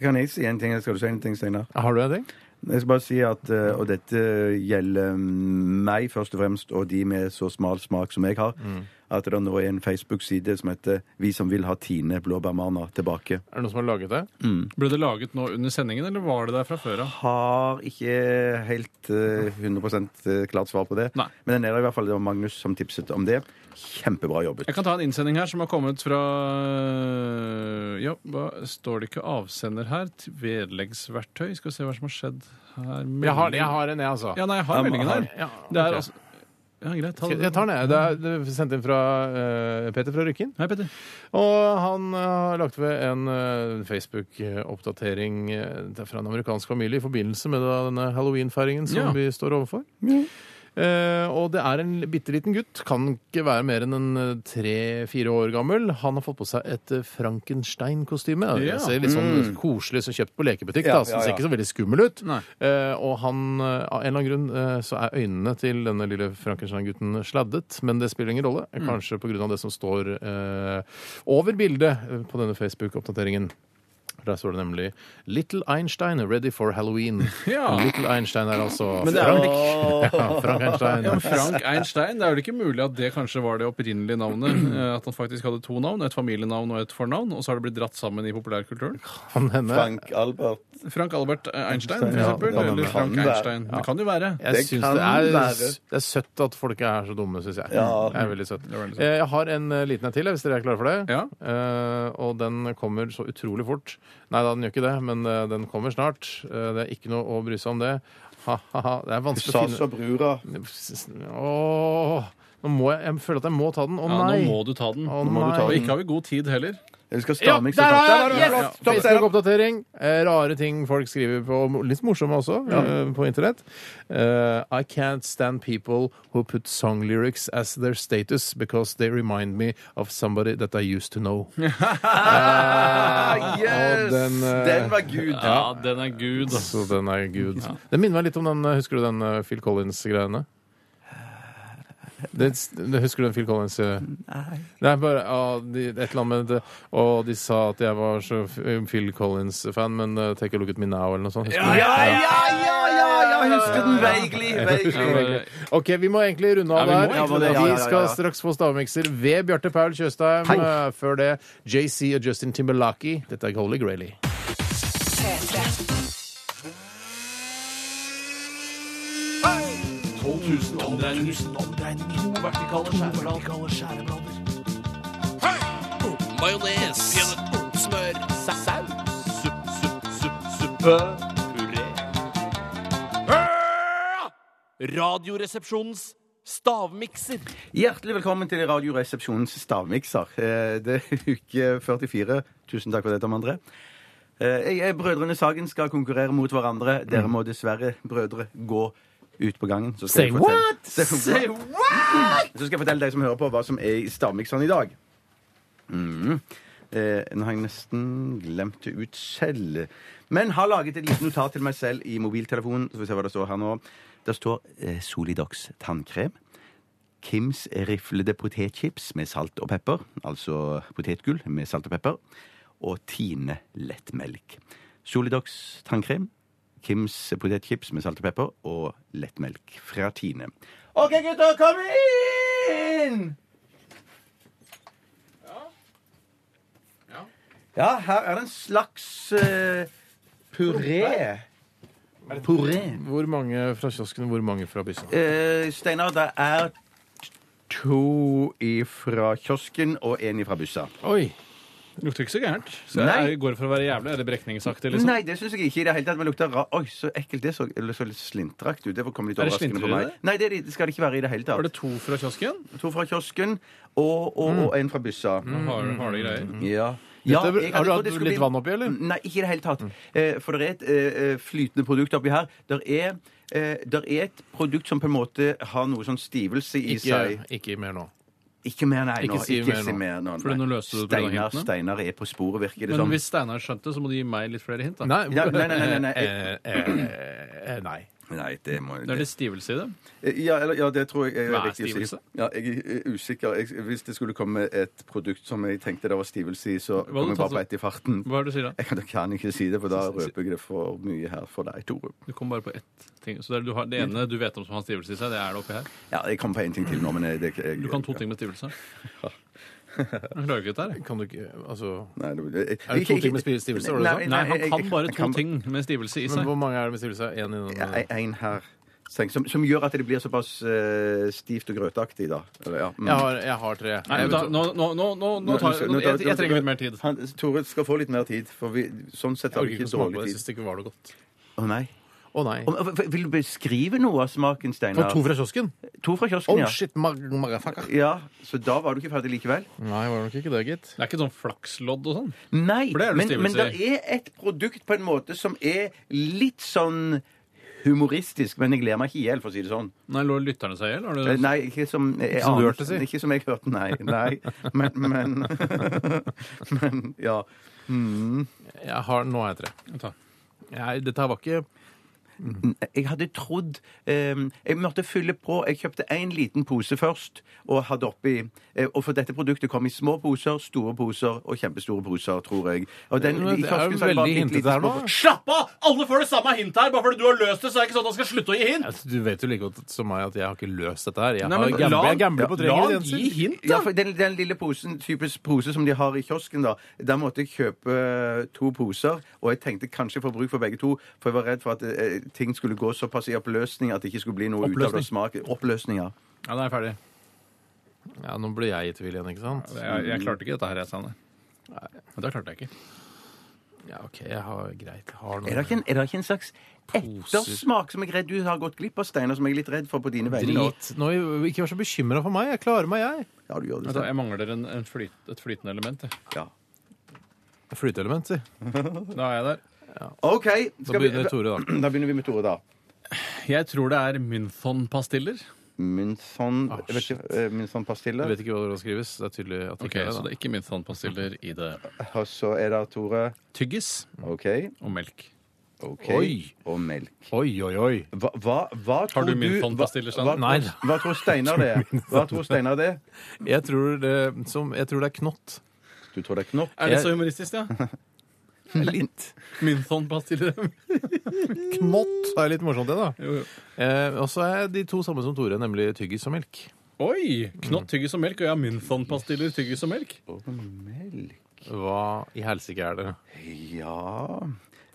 [SPEAKER 5] Kan jeg si en ting? Skal du si en ting, Steinar?
[SPEAKER 4] Har du en ting?
[SPEAKER 5] Jeg skal bare si at, eh, og dette gjelder meg først og fremst, og de med så smal smak som jeg har, at det nå er en Facebook-side som heter Vi som vil ha Tine Blåbærmana tilbake.
[SPEAKER 4] Er det noen som har laget det?
[SPEAKER 5] Mm.
[SPEAKER 6] Ble det laget nå under sendingen, eller var det der fra før av?
[SPEAKER 5] Har ikke helt eh, 100 klart svar på det,
[SPEAKER 6] Nei.
[SPEAKER 5] men den er der i hvert fall. Det var Magnus som tipset om det. Kjempebra jobbet.
[SPEAKER 6] Jeg kan ta en innsending her som har kommet fra Ja, hva står det ikke avsender her? Til Vedleggsverktøy. Skal vi se hva som har skjedd her.
[SPEAKER 4] Jeg har, jeg har en, jeg, altså.
[SPEAKER 6] Ja, nei, jeg har meldingen her.
[SPEAKER 4] Ja,
[SPEAKER 6] Det er
[SPEAKER 4] ok.
[SPEAKER 6] altså Ja, greit. Ta
[SPEAKER 4] Skal-
[SPEAKER 6] det.
[SPEAKER 4] Jeg tar den, jeg. Det er, det er sendt inn fra eh, Peter fra Rykken.
[SPEAKER 6] Hei, Petter.
[SPEAKER 4] Og han eh, har lagt ved en eh, Facebook-oppdatering eh, det er fra en amerikansk familie i forbindelse med da denne halloween-feiringen som
[SPEAKER 6] Ja.
[SPEAKER 4] vi står overfor. Eh, og det er en bitte liten gutt, kan ikke være mer enn en eh, tre-fire år gammel. Han har fått på seg et eh, Frankenstein-kostyme. Det
[SPEAKER 6] Ja. Mm.
[SPEAKER 4] ser litt sånn koselig så kjøpt på lekebutikk, da, så det ser ikke så veldig skummel ut.
[SPEAKER 6] Nei.
[SPEAKER 4] Eh, og han, eh, av en eller annen grunn eh, så er øynene til denne lille Frankenstein-gutten sladdet, men det spiller ingen rolle.
[SPEAKER 6] Mm.
[SPEAKER 4] Kanskje på grunn av det som står eh, over bildet eh, på denne Facebook-oppdateringen. Der står det nemlig 'Little Einstein ready for Halloween'.
[SPEAKER 6] Ja.
[SPEAKER 4] Little Einstein er altså
[SPEAKER 6] Men det er vel
[SPEAKER 4] Frank. Ja, Frank Einstein.
[SPEAKER 6] Ja, men Frank Einstein, det er vel ikke mulig at det kanskje var det opprinnelige navnet? eh, At han faktisk hadde to navn, et familienavn og et fornavn, og så har det blitt dratt sammen i populærkulturen?
[SPEAKER 4] Han henne-
[SPEAKER 5] Frank Albert.
[SPEAKER 6] Frank Albert eh, Einstein, for
[SPEAKER 5] Ja,
[SPEAKER 6] eksempel.
[SPEAKER 5] det kan
[SPEAKER 6] eller
[SPEAKER 5] være.
[SPEAKER 6] Frank
[SPEAKER 5] Kan være.
[SPEAKER 6] Einstein. Det kan jo være.
[SPEAKER 4] Jeg
[SPEAKER 5] Det
[SPEAKER 4] synes
[SPEAKER 5] kan
[SPEAKER 4] det, er,
[SPEAKER 5] være.
[SPEAKER 4] det er søtt at folk er så dumme, syns jeg.
[SPEAKER 5] Ja.
[SPEAKER 4] Det er veldig søtt.
[SPEAKER 6] er veldig søtt.
[SPEAKER 4] Eh, Jeg har en eh, liten en til, hvis dere er klare for det.
[SPEAKER 6] Ja.
[SPEAKER 4] Eh, og den kommer så utrolig fort. Nei da, den gjør ikke det, men eh, den kommer snart. Eh, det er ikke noe å bry seg om det. Ha-ha-ha. Det er vanskelig å
[SPEAKER 5] Sa
[SPEAKER 4] finne
[SPEAKER 5] så brura.
[SPEAKER 4] Åh, nå må jeg, jeg føler at jeg må ta den. Å
[SPEAKER 6] Ja,
[SPEAKER 4] nei!
[SPEAKER 6] nå må du ta den.
[SPEAKER 4] Å,
[SPEAKER 5] må du ta
[SPEAKER 4] nei.
[SPEAKER 6] Og ikke har vi god tid heller.
[SPEAKER 5] Jeg skal
[SPEAKER 4] Ja,
[SPEAKER 5] stamme, ikke
[SPEAKER 4] der
[SPEAKER 5] så
[SPEAKER 4] har jeg!
[SPEAKER 5] tatt. Der var det,
[SPEAKER 4] Yes!
[SPEAKER 5] flott. Stopp, Steinar.
[SPEAKER 4] Facebook-oppdatering. Eh, Rare ting folk skriver på. Litt morsomme også, eh, på internett. Eh, I can't stand people who put song lyrics as their status because they remind me of somebody that I used to know.
[SPEAKER 5] Ah,
[SPEAKER 4] Og
[SPEAKER 5] yes!
[SPEAKER 4] den, eh,
[SPEAKER 5] Den var gud.
[SPEAKER 6] Ja, den er gud.
[SPEAKER 4] Så den er good. Den minner meg litt om den eh, Husker du den eh, Phil Collins-greiene? Det, det, husker du den Phil Collins eh? Det er bare ja, de, et eller annet med det. Og de sa at jeg var så f- eh, Phil Collins-fan, men eh, take a look at me now, eller noe sånt. Husker du det?
[SPEAKER 5] Ja, ja, ja, ja, ja, jeg husker den veigelig. veigelig.
[SPEAKER 6] Eh,
[SPEAKER 4] OK, vi må egentlig runde av
[SPEAKER 6] Ja, vi må
[SPEAKER 4] der.
[SPEAKER 6] egentlig
[SPEAKER 5] det. Ja, ja, ja, ja.
[SPEAKER 4] Vi skal straks få stavmikser ved Bjarte Paul Tjøstheim. Eh, Før det JC og Justin Timberlaki. Dette er Holy Grailey.
[SPEAKER 1] P3.
[SPEAKER 8] Radioresepsjonens stavmikser.
[SPEAKER 5] Hjertelig velkommen til Radioresepsjonens stavmikser. Eh, Det er uke 44. Tusen takk for det, Tom André. Eh, Jeg, jeg, brødrene Sagen skal konkurrere mot hverandre. Dere må dessverre, brødre, gå ut på gangen. Så skal
[SPEAKER 4] Say
[SPEAKER 5] jeg fortelle- Mm. Say what? Så skal jeg fortelle deg som hører på, hva som er i stavmikseren i dag. Mm. Eh, nå har jeg nesten glemt det ut selv. Men har laget et lite notat til meg selv i mobiltelefonen. Så får vi se hva det står her nå. Det står eh, Solidox tannkrem. Kims riflede potetchips med salt og pepper, altså potetgull med salt og pepper, og Tine lettmelk. Solidox tannkrem, Kims potetchips med salt og pepper og lettmelk fra Tine. OK, gutter, kom inn! Ja, her er det en slags eh, puré. Puré.
[SPEAKER 4] Hvor mange fra kiosken, hvor mange fra byssen?
[SPEAKER 5] Eh, Steinar, det er to ifra kiosken og én ifra bussa.
[SPEAKER 4] Oi.
[SPEAKER 6] Lukter ikke så gærent. Så
[SPEAKER 5] Nei.
[SPEAKER 6] jeg går for å være jævlig. Er det brekningsaktig, liksom?
[SPEAKER 5] Nei, det syns jeg ikke i det hele tatt. Men lukter ra Oi, så ekkelt det så, eller så litt slintrakt ut. Det kom litt
[SPEAKER 6] Er det
[SPEAKER 5] overraskende på
[SPEAKER 6] slintrer i
[SPEAKER 5] meg.
[SPEAKER 6] det?
[SPEAKER 5] Nei, det er det- det skal det ikke være i det hele tatt.
[SPEAKER 6] Var det to fra kiosken?
[SPEAKER 5] To fra kiosken og, og, og en fra byssa.
[SPEAKER 6] Har, Mm. harde greier.
[SPEAKER 5] Ja.
[SPEAKER 4] Mm. Dette-
[SPEAKER 5] Ja, jeg hadde
[SPEAKER 4] har du
[SPEAKER 5] trodd det
[SPEAKER 4] hatt
[SPEAKER 5] skulle
[SPEAKER 4] litt
[SPEAKER 5] bli-
[SPEAKER 4] vann oppi, eller? Mm.
[SPEAKER 5] Nei, ikke i det hele tatt. Eh, for det er et eh, eh, flytende produkt oppi her. Der er, eh, der er et produkt som på en måte har noe sånn stivelse i seg.
[SPEAKER 4] Ikke, ikke mer nå.
[SPEAKER 5] Ikke mer, nei.
[SPEAKER 4] Ikke
[SPEAKER 5] nå.
[SPEAKER 4] si mer
[SPEAKER 5] si
[SPEAKER 4] nå.
[SPEAKER 5] mer nå.
[SPEAKER 6] Fordi
[SPEAKER 5] nei.
[SPEAKER 6] nå løste du det på grunn
[SPEAKER 5] Steinar,
[SPEAKER 6] av hintene.
[SPEAKER 5] Steinar er på sporet, virker det
[SPEAKER 6] Men
[SPEAKER 5] som.
[SPEAKER 6] hvis Steinar skjønte, så må du gi meg litt flere hint. da.
[SPEAKER 4] Nei.
[SPEAKER 5] Ja, nei, nei, nei, nei, nei.
[SPEAKER 4] Eh, eh, eh, nei.
[SPEAKER 5] Nei, det må
[SPEAKER 6] Det er litt stivelse i det.
[SPEAKER 5] Ja, eller, ja, det tror jeg er
[SPEAKER 6] Hva er
[SPEAKER 5] riktig å si.
[SPEAKER 6] stivelse?
[SPEAKER 5] Ja, jeg er eh, usikker. Jeg, hvis det skulle komme et produkt som jeg tenkte det var stivelse i, så
[SPEAKER 6] hadde
[SPEAKER 5] kom jeg
[SPEAKER 6] du
[SPEAKER 5] bare på
[SPEAKER 6] tatt så-
[SPEAKER 5] ett i farten.
[SPEAKER 6] Hva er det du sier da?
[SPEAKER 5] Jeg kan, jeg kan ikke si det, for da røper jeg det for mye her for deg, Tore.
[SPEAKER 6] Du kom bare på ett ting. Så det, er, du har, det ene du vet om som har stivelse i seg, det er det oppi her.
[SPEAKER 5] Ja, jeg kom på én ting til nå, men jeg, det jeg,
[SPEAKER 6] Du kan to ting med stivelse. Jeg klarer ikke dette her.
[SPEAKER 4] Kan du ikke Altså
[SPEAKER 5] Nei, det, jeg, jeg,
[SPEAKER 4] Er det to ting med stivelse, var det du sa?
[SPEAKER 6] Nei, han kan bare to ting med stivelse i
[SPEAKER 4] Men
[SPEAKER 6] seg.
[SPEAKER 4] hvor mange er det med stivelse? Én i den
[SPEAKER 5] Én her. Som, som gjør at det blir såpass eh, stivt og grøtaktig, da. Eller, ja. mm.
[SPEAKER 4] Jeg har, jeg har tre.
[SPEAKER 6] Nei, men da, nå, nå, nå, nå, nå tar,
[SPEAKER 5] Nå- nå-
[SPEAKER 6] jeg, jeg trenger litt mer tid.
[SPEAKER 5] Han, Tore skal få litt mer tid, for vi, sånn sett
[SPEAKER 4] Jeg
[SPEAKER 5] har
[SPEAKER 4] orker
[SPEAKER 5] vi
[SPEAKER 4] ikke å
[SPEAKER 5] ikke
[SPEAKER 4] smake på
[SPEAKER 5] dårlig
[SPEAKER 4] det. Jeg
[SPEAKER 5] tid.
[SPEAKER 4] syns det ikke var noe godt.
[SPEAKER 5] Å nei.
[SPEAKER 4] Å nei.
[SPEAKER 5] Om- v- Vil du beskrive noe av smaken,
[SPEAKER 4] Det
[SPEAKER 5] Steinar?
[SPEAKER 4] var to fra kiosken.
[SPEAKER 5] To fra kiosken,
[SPEAKER 4] Oh
[SPEAKER 5] ja.
[SPEAKER 4] shit, mag motherfucker.
[SPEAKER 5] ja. Så da var du ikke ferdig likevel?
[SPEAKER 4] Nei, var det nok ikke det, gitt.
[SPEAKER 6] Det er ikke sånn flakslodd og sånn.
[SPEAKER 5] Nei,
[SPEAKER 6] For det er det
[SPEAKER 5] men, men
[SPEAKER 6] stivelse
[SPEAKER 5] det er et produkt på en måte som er litt sånn humoristisk, men jeg gleder meg ikke i hjel, for å si det sånn.
[SPEAKER 6] Nei, lå lytterne seg i hjel? Har
[SPEAKER 5] Eh,
[SPEAKER 6] du-
[SPEAKER 5] Nei, ikke som jeg,
[SPEAKER 4] som du
[SPEAKER 5] aner-
[SPEAKER 4] hørte, si.
[SPEAKER 5] Ikke som jeg hørte, nei. nei. Men, men, men ja.
[SPEAKER 4] Jeg har, nå har jeg tre.
[SPEAKER 6] Ta.
[SPEAKER 4] Nei, dette her var ikke
[SPEAKER 5] Jeg hadde trodd eh, Jeg måtte fylle på. Jeg kjøpte én liten pose først og hadde oppi eh, Og for dette produktet kom i små poser, store poser og kjempestore poser, tror jeg. Og den,
[SPEAKER 4] Men
[SPEAKER 5] i
[SPEAKER 4] Det er
[SPEAKER 5] kiosken
[SPEAKER 4] jo
[SPEAKER 5] så er det bare
[SPEAKER 4] veldig
[SPEAKER 5] bitte
[SPEAKER 4] hintete
[SPEAKER 5] lite
[SPEAKER 4] her nå.
[SPEAKER 5] små-
[SPEAKER 6] Slapp av! Alle får det samme hintet her! Bare fordi du har løst det, så er det ikke sånn at man skal slutte å gi hint!
[SPEAKER 4] Altså, Du vet jo like godt som meg at jeg har ikke løst dette her. Jeg
[SPEAKER 6] Nei,
[SPEAKER 4] har
[SPEAKER 6] men la-
[SPEAKER 4] gamblet- jeg gambler på tre
[SPEAKER 6] la han gi
[SPEAKER 4] ingredienser.
[SPEAKER 6] hint,
[SPEAKER 5] Ja,
[SPEAKER 6] da!
[SPEAKER 5] for den, den lille posen, typisk pose som de har i kiosken, da, der måtte jeg kjøpe eh, to poser. Og jeg tenkte kanskje jeg får bruk for begge to, for jeg var redd for at eh, ting skulle gå såpass i oppløsning at det ikke skulle bli noe ut av det
[SPEAKER 6] Oppløsning?
[SPEAKER 5] smak. Oppløsning, ja.
[SPEAKER 6] Ja, da er jeg ferdig.
[SPEAKER 4] Ja, Nå ble jeg i tvil igjen, ikke sant?
[SPEAKER 6] Jeg, jeg klarte ikke dette her, jeg, Sanne. Nei, det klarte jeg ikke.
[SPEAKER 4] Ja, OK, jeg har greit. Jeg har
[SPEAKER 5] Er det ikke
[SPEAKER 4] noe
[SPEAKER 5] en, er det ikke en slags ettersmak som jeg er redd du har gått glipp av, Steinar, som jeg er litt redd for på dine vegne? nå?
[SPEAKER 4] Drit. Nå, ikke vær så bekymra for meg. Jeg klarer meg, jeg.
[SPEAKER 5] Ja, du gjør det.
[SPEAKER 6] Vent da, Jeg mangler en, en flyt, et flytende element. jeg.
[SPEAKER 5] Steinar. Ja.
[SPEAKER 4] Flyteelement, si.
[SPEAKER 6] Da er jeg der.
[SPEAKER 5] OK.
[SPEAKER 4] Da
[SPEAKER 5] Skal vi,
[SPEAKER 4] begynner Tore, da.
[SPEAKER 5] da begynner vi med Tore, da.
[SPEAKER 6] Jeg tror det er Mynthon-pastiller.
[SPEAKER 5] Minson
[SPEAKER 4] Ah,
[SPEAKER 5] Jeg vet ikke. eh, Minson-pastille.
[SPEAKER 4] Jeg vet ikke hva det skrives. Det er tydelig at det
[SPEAKER 6] Ok,
[SPEAKER 4] ikke er det.
[SPEAKER 6] Så det er ikke Mynthon-pastiller i det.
[SPEAKER 5] Og så er det Tore.
[SPEAKER 6] Tyggis
[SPEAKER 5] OK.
[SPEAKER 6] og melk.
[SPEAKER 5] ok,
[SPEAKER 4] Oi.
[SPEAKER 5] Og melk.
[SPEAKER 4] da. Oi, oi, oi.
[SPEAKER 5] Hva, hva, hva tror
[SPEAKER 6] du
[SPEAKER 5] du
[SPEAKER 6] Mynthon-pastiller,
[SPEAKER 5] hva-
[SPEAKER 6] Steinar?
[SPEAKER 5] hva-
[SPEAKER 4] Nei.
[SPEAKER 5] Hva tror Steinar det er? Hva tror Steinar det er?
[SPEAKER 4] Jeg tror det, som, jeg tror det er knott.
[SPEAKER 5] Du tror det er knopp?
[SPEAKER 6] Er det så humoristisk, ja?
[SPEAKER 4] Litt.
[SPEAKER 6] Mynthon-pastiller.
[SPEAKER 4] Knott er litt morsomt, det, da.
[SPEAKER 6] Jo, jo.
[SPEAKER 4] Eh, og så er de to samme som Tore, nemlig tyggis og melk.
[SPEAKER 6] Oi! Knott, tyggis og melk. Og jeg har Mynthon-pastiller, tyggis og melk.
[SPEAKER 5] Melk
[SPEAKER 4] Hva i helsike er det?
[SPEAKER 5] Ja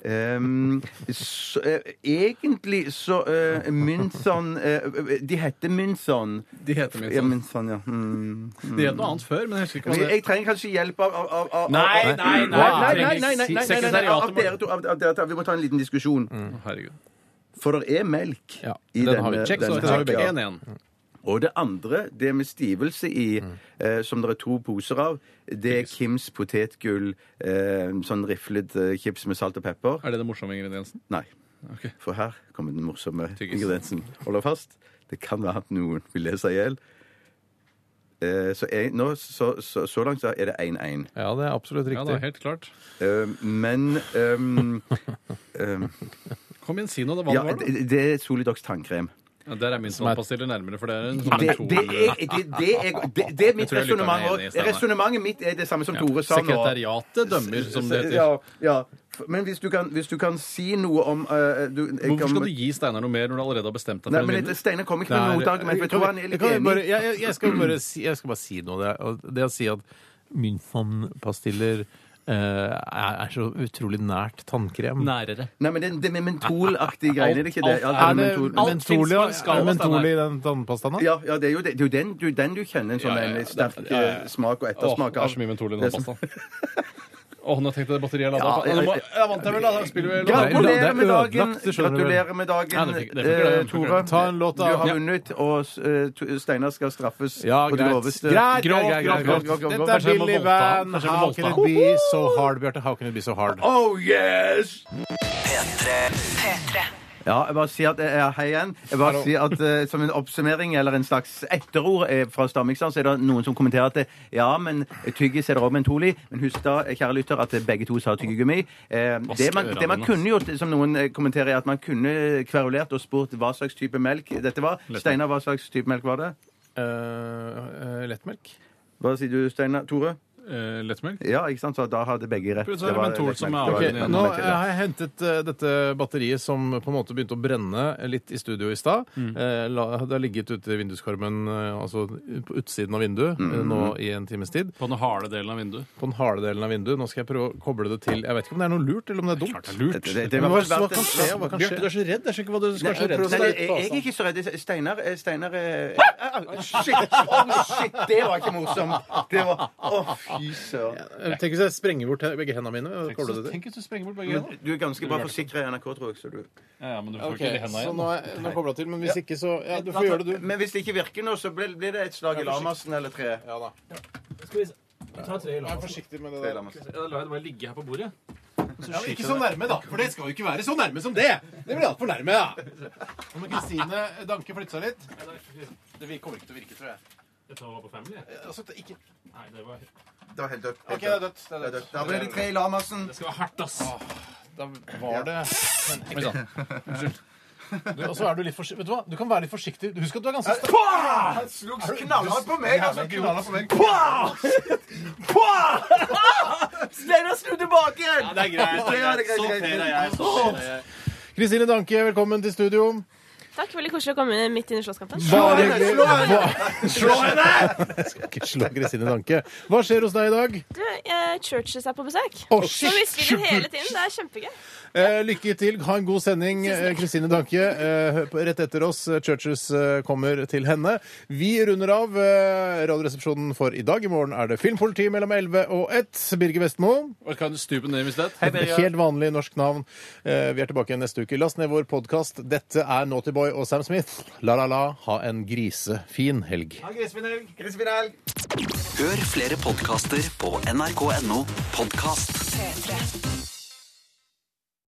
[SPEAKER 5] Ehm, så, eh, egentlig så eh, Mynthon eh, De heter Mynthon.
[SPEAKER 6] De heter Mynthon.
[SPEAKER 5] Ja, Mynthon, ja. Mm.
[SPEAKER 6] De het noe annet før, men jeg husker ikke
[SPEAKER 5] Men
[SPEAKER 6] hva det
[SPEAKER 5] Jeg trenger kanskje hjelp av, av, av, av
[SPEAKER 6] Nei,
[SPEAKER 5] av-
[SPEAKER 6] nei, nei,
[SPEAKER 5] nei, nei, nei, nei, nei, nei, nei, nei, av
[SPEAKER 6] Sekretariatet må-
[SPEAKER 5] dere to. Av, av dere to. Vi må ta en liten diskusjon.
[SPEAKER 6] Å, Herregud.
[SPEAKER 5] For det er melk
[SPEAKER 4] Ja,
[SPEAKER 5] i
[SPEAKER 4] den har vi.
[SPEAKER 5] denne.
[SPEAKER 6] Check, så
[SPEAKER 5] denne
[SPEAKER 6] har vi
[SPEAKER 5] her,
[SPEAKER 6] begge
[SPEAKER 5] ja.
[SPEAKER 6] 1-1.
[SPEAKER 5] Og det andre, det med stivelse i, eh, som det er to poser av, det er Kims potetgull, eh, sånn riflet eh, chips med salt og pepper.
[SPEAKER 6] Er det den morsomme ingrediensen?
[SPEAKER 5] Nei.
[SPEAKER 6] Ok.
[SPEAKER 5] For her kommer den morsomme
[SPEAKER 6] Tyggis.
[SPEAKER 5] ingrediensen. Hold deg fast. Det kan være at noen vil lese i hjel. Eh, så, jeg, nå, så, så, så langt så er det 1-1.
[SPEAKER 4] Ja, det er absolutt
[SPEAKER 6] Ja,
[SPEAKER 4] riktig.
[SPEAKER 6] det er helt klart.
[SPEAKER 5] Eh, men ehm, ehm,
[SPEAKER 6] Kom igjen, si noe. da, Hva
[SPEAKER 5] ja,
[SPEAKER 6] det var det?
[SPEAKER 5] det, det er Solidox tannkrem.
[SPEAKER 6] Ja, der er Mynthon-pastiller nærmere, for det er en
[SPEAKER 5] Det,
[SPEAKER 6] sånn
[SPEAKER 5] det, er, det, det, er, det, det er mitt
[SPEAKER 6] Jeg tror jeg lytter
[SPEAKER 5] resonnement
[SPEAKER 6] meg enig i
[SPEAKER 5] òg.
[SPEAKER 6] Steinar.
[SPEAKER 5] Resonnementet mitt er det samme som Tore sa nå.
[SPEAKER 6] Sekretariatet dømmer, som det heter.
[SPEAKER 5] Ja, ja. Men hvis du kan, hvis du kan si noe om eh, du, jeg
[SPEAKER 6] Hvorfor
[SPEAKER 5] kan-
[SPEAKER 6] skal du gi Steinar noe mer når du allerede har bestemt deg
[SPEAKER 5] Nei,
[SPEAKER 6] for en
[SPEAKER 5] men
[SPEAKER 6] vinner?
[SPEAKER 5] Steinar kommer ikke
[SPEAKER 4] Det
[SPEAKER 5] med
[SPEAKER 4] er-
[SPEAKER 5] noe motargument, for jeg tror han er
[SPEAKER 4] Jeg
[SPEAKER 5] litt
[SPEAKER 4] kan jo
[SPEAKER 5] enig.
[SPEAKER 4] bare, jeg, jeg- jeg, skal bare si, jeg skal bare si noe. Det, er- og det å si at Mynthon-pastiller eh, er, er så utrolig nært tannkrem.
[SPEAKER 6] Nærere.
[SPEAKER 5] Nei, men det, det er med mentolaktig greie, er det ikke det? Ja,
[SPEAKER 4] Er
[SPEAKER 5] det
[SPEAKER 4] det
[SPEAKER 5] er mentol-
[SPEAKER 6] alt
[SPEAKER 4] mentol,
[SPEAKER 6] finnes på
[SPEAKER 4] ja?
[SPEAKER 6] en skala,
[SPEAKER 4] Er det mentol i
[SPEAKER 6] Steinar.
[SPEAKER 4] den tannpastaen? da?
[SPEAKER 5] ja, ja, det er jo, det, det er jo den, du, den du kjenner, en sånn
[SPEAKER 6] Ja, ja, ja.
[SPEAKER 5] en sterk
[SPEAKER 6] Ja, ja, ja.
[SPEAKER 5] eh, smak og
[SPEAKER 6] Åh,
[SPEAKER 5] ettersmak
[SPEAKER 6] det
[SPEAKER 5] av.
[SPEAKER 6] er så mye mentol i
[SPEAKER 5] Det
[SPEAKER 6] den
[SPEAKER 5] er så-
[SPEAKER 6] pastaen. Å, nå tenkte jeg det batteriet er lada
[SPEAKER 5] Ja,
[SPEAKER 6] opp. Ja, nå må-
[SPEAKER 5] jeg-
[SPEAKER 6] ja, vant jeg vel, da. Da spiller vi
[SPEAKER 4] Ja,
[SPEAKER 6] låt.
[SPEAKER 4] det
[SPEAKER 5] Gratulerer
[SPEAKER 4] er
[SPEAKER 5] med dagen,
[SPEAKER 4] ødelagt, det skjønner du vel.
[SPEAKER 5] Gratulerer med
[SPEAKER 6] Nei, det
[SPEAKER 5] dagen,
[SPEAKER 6] fikk- det fikk jeg,
[SPEAKER 5] eh,
[SPEAKER 6] det fikk jeg.
[SPEAKER 5] Tore.
[SPEAKER 4] Ta en låt, da.
[SPEAKER 5] Du har
[SPEAKER 4] Ja.
[SPEAKER 5] vunnet, og eh, T- Steinar skal straffes
[SPEAKER 4] Ja,
[SPEAKER 5] på det
[SPEAKER 4] greit.
[SPEAKER 5] groveste.
[SPEAKER 4] Greit,
[SPEAKER 6] Grov,
[SPEAKER 4] greit, greit, greit.
[SPEAKER 5] grov, grov, grov, grov.
[SPEAKER 4] Dette er
[SPEAKER 6] Kanskje jeg må
[SPEAKER 4] Billy
[SPEAKER 6] voldta han.
[SPEAKER 4] Van.
[SPEAKER 6] Kanskje jeg må
[SPEAKER 4] How
[SPEAKER 6] voldta
[SPEAKER 4] can it
[SPEAKER 6] han.
[SPEAKER 4] be so hard, Bjarte? How can it be so hard?
[SPEAKER 5] Oh yes!
[SPEAKER 2] P3.
[SPEAKER 1] P3.
[SPEAKER 5] Ja, jeg bare sier at eh, Hei igjen. Jeg bare sier at eh, Som en oppsummering eller en slags etterord eh, fra Stamikstad, så er det noen som kommenterer at det, ja, men tyggis er det òg mentol i. Men husk da, eh, kjære lytter, at eh, begge to sa tyggegummi. Eh, det, man, det man kunne gjort, som noen eh, kommenterer, er at man kunne eh, kverulert og spurt hva slags type melk dette var. Steinar, hva slags type melk var det?
[SPEAKER 4] Eh, eh, lettmelk?
[SPEAKER 5] Hva sier du, Steinar? Tore?
[SPEAKER 6] Eh, Lettmelk?
[SPEAKER 5] Ja, ikke sant? Så da hadde begge rett.
[SPEAKER 6] Plutselig er det
[SPEAKER 5] var
[SPEAKER 6] mentol
[SPEAKER 5] lettmelk.
[SPEAKER 6] som er
[SPEAKER 5] Det var
[SPEAKER 4] Ok,
[SPEAKER 5] lettmelk.
[SPEAKER 6] avgjørende igjen.
[SPEAKER 4] nå eh, har jeg hentet eh, dette batteriet som på en måte begynte å brenne litt i studio i stad. Eh, la- Det har ligget ute i vinduskarmen, eh, altså på utsiden av vinduet, eh, nå i en times tid.
[SPEAKER 6] På den harde delen av vinduet.
[SPEAKER 4] På den harde delen av vinduet. Nå skal jeg prøve å koble det til Jeg vet ikke om det er noe lurt, eller om det er dumt.
[SPEAKER 6] Klart det er lurt.
[SPEAKER 5] Det- det- det
[SPEAKER 4] Men
[SPEAKER 5] var-
[SPEAKER 4] hva, hva kan skje? Hva kan
[SPEAKER 6] Bjarte, du
[SPEAKER 4] skje?
[SPEAKER 6] er så redd. Jeg skjønner ikke hva du skal være så redd
[SPEAKER 5] Nei,
[SPEAKER 6] for.
[SPEAKER 5] jeg, jeg er ikke så redd. Steinar eh, Steinar eh, au, au, Shit! Oh, shit! Det var ikke morsomt! Det var Å, fy søren.
[SPEAKER 4] Tenk hvis jeg sprenger bort he- begge hendene mine. og kobler
[SPEAKER 6] Så
[SPEAKER 4] det til.
[SPEAKER 6] Tenk hvis du sprenger bort begge hendene.
[SPEAKER 5] Du er ganske bra forsikra i NRK, tror jeg. Så du.
[SPEAKER 6] Ja, ja, men du får
[SPEAKER 4] Ok,
[SPEAKER 6] ikke de
[SPEAKER 4] så
[SPEAKER 6] hendene igjen.
[SPEAKER 4] nå er nå er jeg koblet til, men hvis ikke, så ja, Du får gjøre det, du.
[SPEAKER 5] Men hvis det ikke virker nå, så blir blir det et slag i Lamassen eller tre.
[SPEAKER 4] Ja da. Vær forsiktig med det
[SPEAKER 5] Tre
[SPEAKER 4] der.
[SPEAKER 5] Lamassen.
[SPEAKER 6] Ja, la det bare ligge her på bordet.
[SPEAKER 4] Ja, men ikke så nærme, da. For det skal jo ikke være så nærme som det. Det blir altfor nærme, da. Nå må Kristine Danke flytte seg litt. Det kommer ikke til å virke, tror jeg.
[SPEAKER 6] Dette var på Family, jeg.
[SPEAKER 4] Altså, det, ikke... OK,
[SPEAKER 6] Nei, det, var...
[SPEAKER 5] Det var helt dødt. helt
[SPEAKER 4] det er
[SPEAKER 5] dødt.
[SPEAKER 4] dødt. Det er
[SPEAKER 5] Det er
[SPEAKER 4] dødt.
[SPEAKER 5] dødt. Da ble det tre i Lamassen.
[SPEAKER 6] det skal være hardt, ass.
[SPEAKER 4] Da var det Men- Oi sann. Unnskyld. Du, og så er du litt forsiktig. Vet du hva? Du kan være litt forsiktig. Husk at du er ganske sterk.
[SPEAKER 5] Han slo knallhardt på meg! altså. Steinar, snu tilbake igjen!
[SPEAKER 6] Det er greit.
[SPEAKER 5] det er greit, greit, greit.
[SPEAKER 4] Kristine Danke, velkommen til studio.
[SPEAKER 9] Takk, veldig koselig å komme midt inn i slåsskampen.
[SPEAKER 4] Bare hyggelig. Slå henne! Skal ikke slå Kristine Danke. Hva skjer hos deg i dag?
[SPEAKER 9] Du, eh, Churches er på besøk.
[SPEAKER 4] Å,
[SPEAKER 9] Så hvisker de hele tiden. Det er kjempegøy.
[SPEAKER 4] Eh, lykke til. Ha en god sending, eh, Kristine Danke. Eh, hør på- rett etter oss, eh, Churches eh, kommer til henne. Vi runder av eh, Radioresepsjonen for i dag. I morgen er det Filmpoliti mellom 11 og 1. Birger Vestmo.
[SPEAKER 6] Og kan stupen ned i stedet?
[SPEAKER 4] Helt vanlig norsk navn. Eh, vi er tilbake igjen neste uke. Last ned vår podkast. Dette er Naughty Boy og Sam Smith. La-la-la. Ha en grisefin helg.
[SPEAKER 2] Hør flere podkaster på nrk.no podkast.
[SPEAKER 1] P3.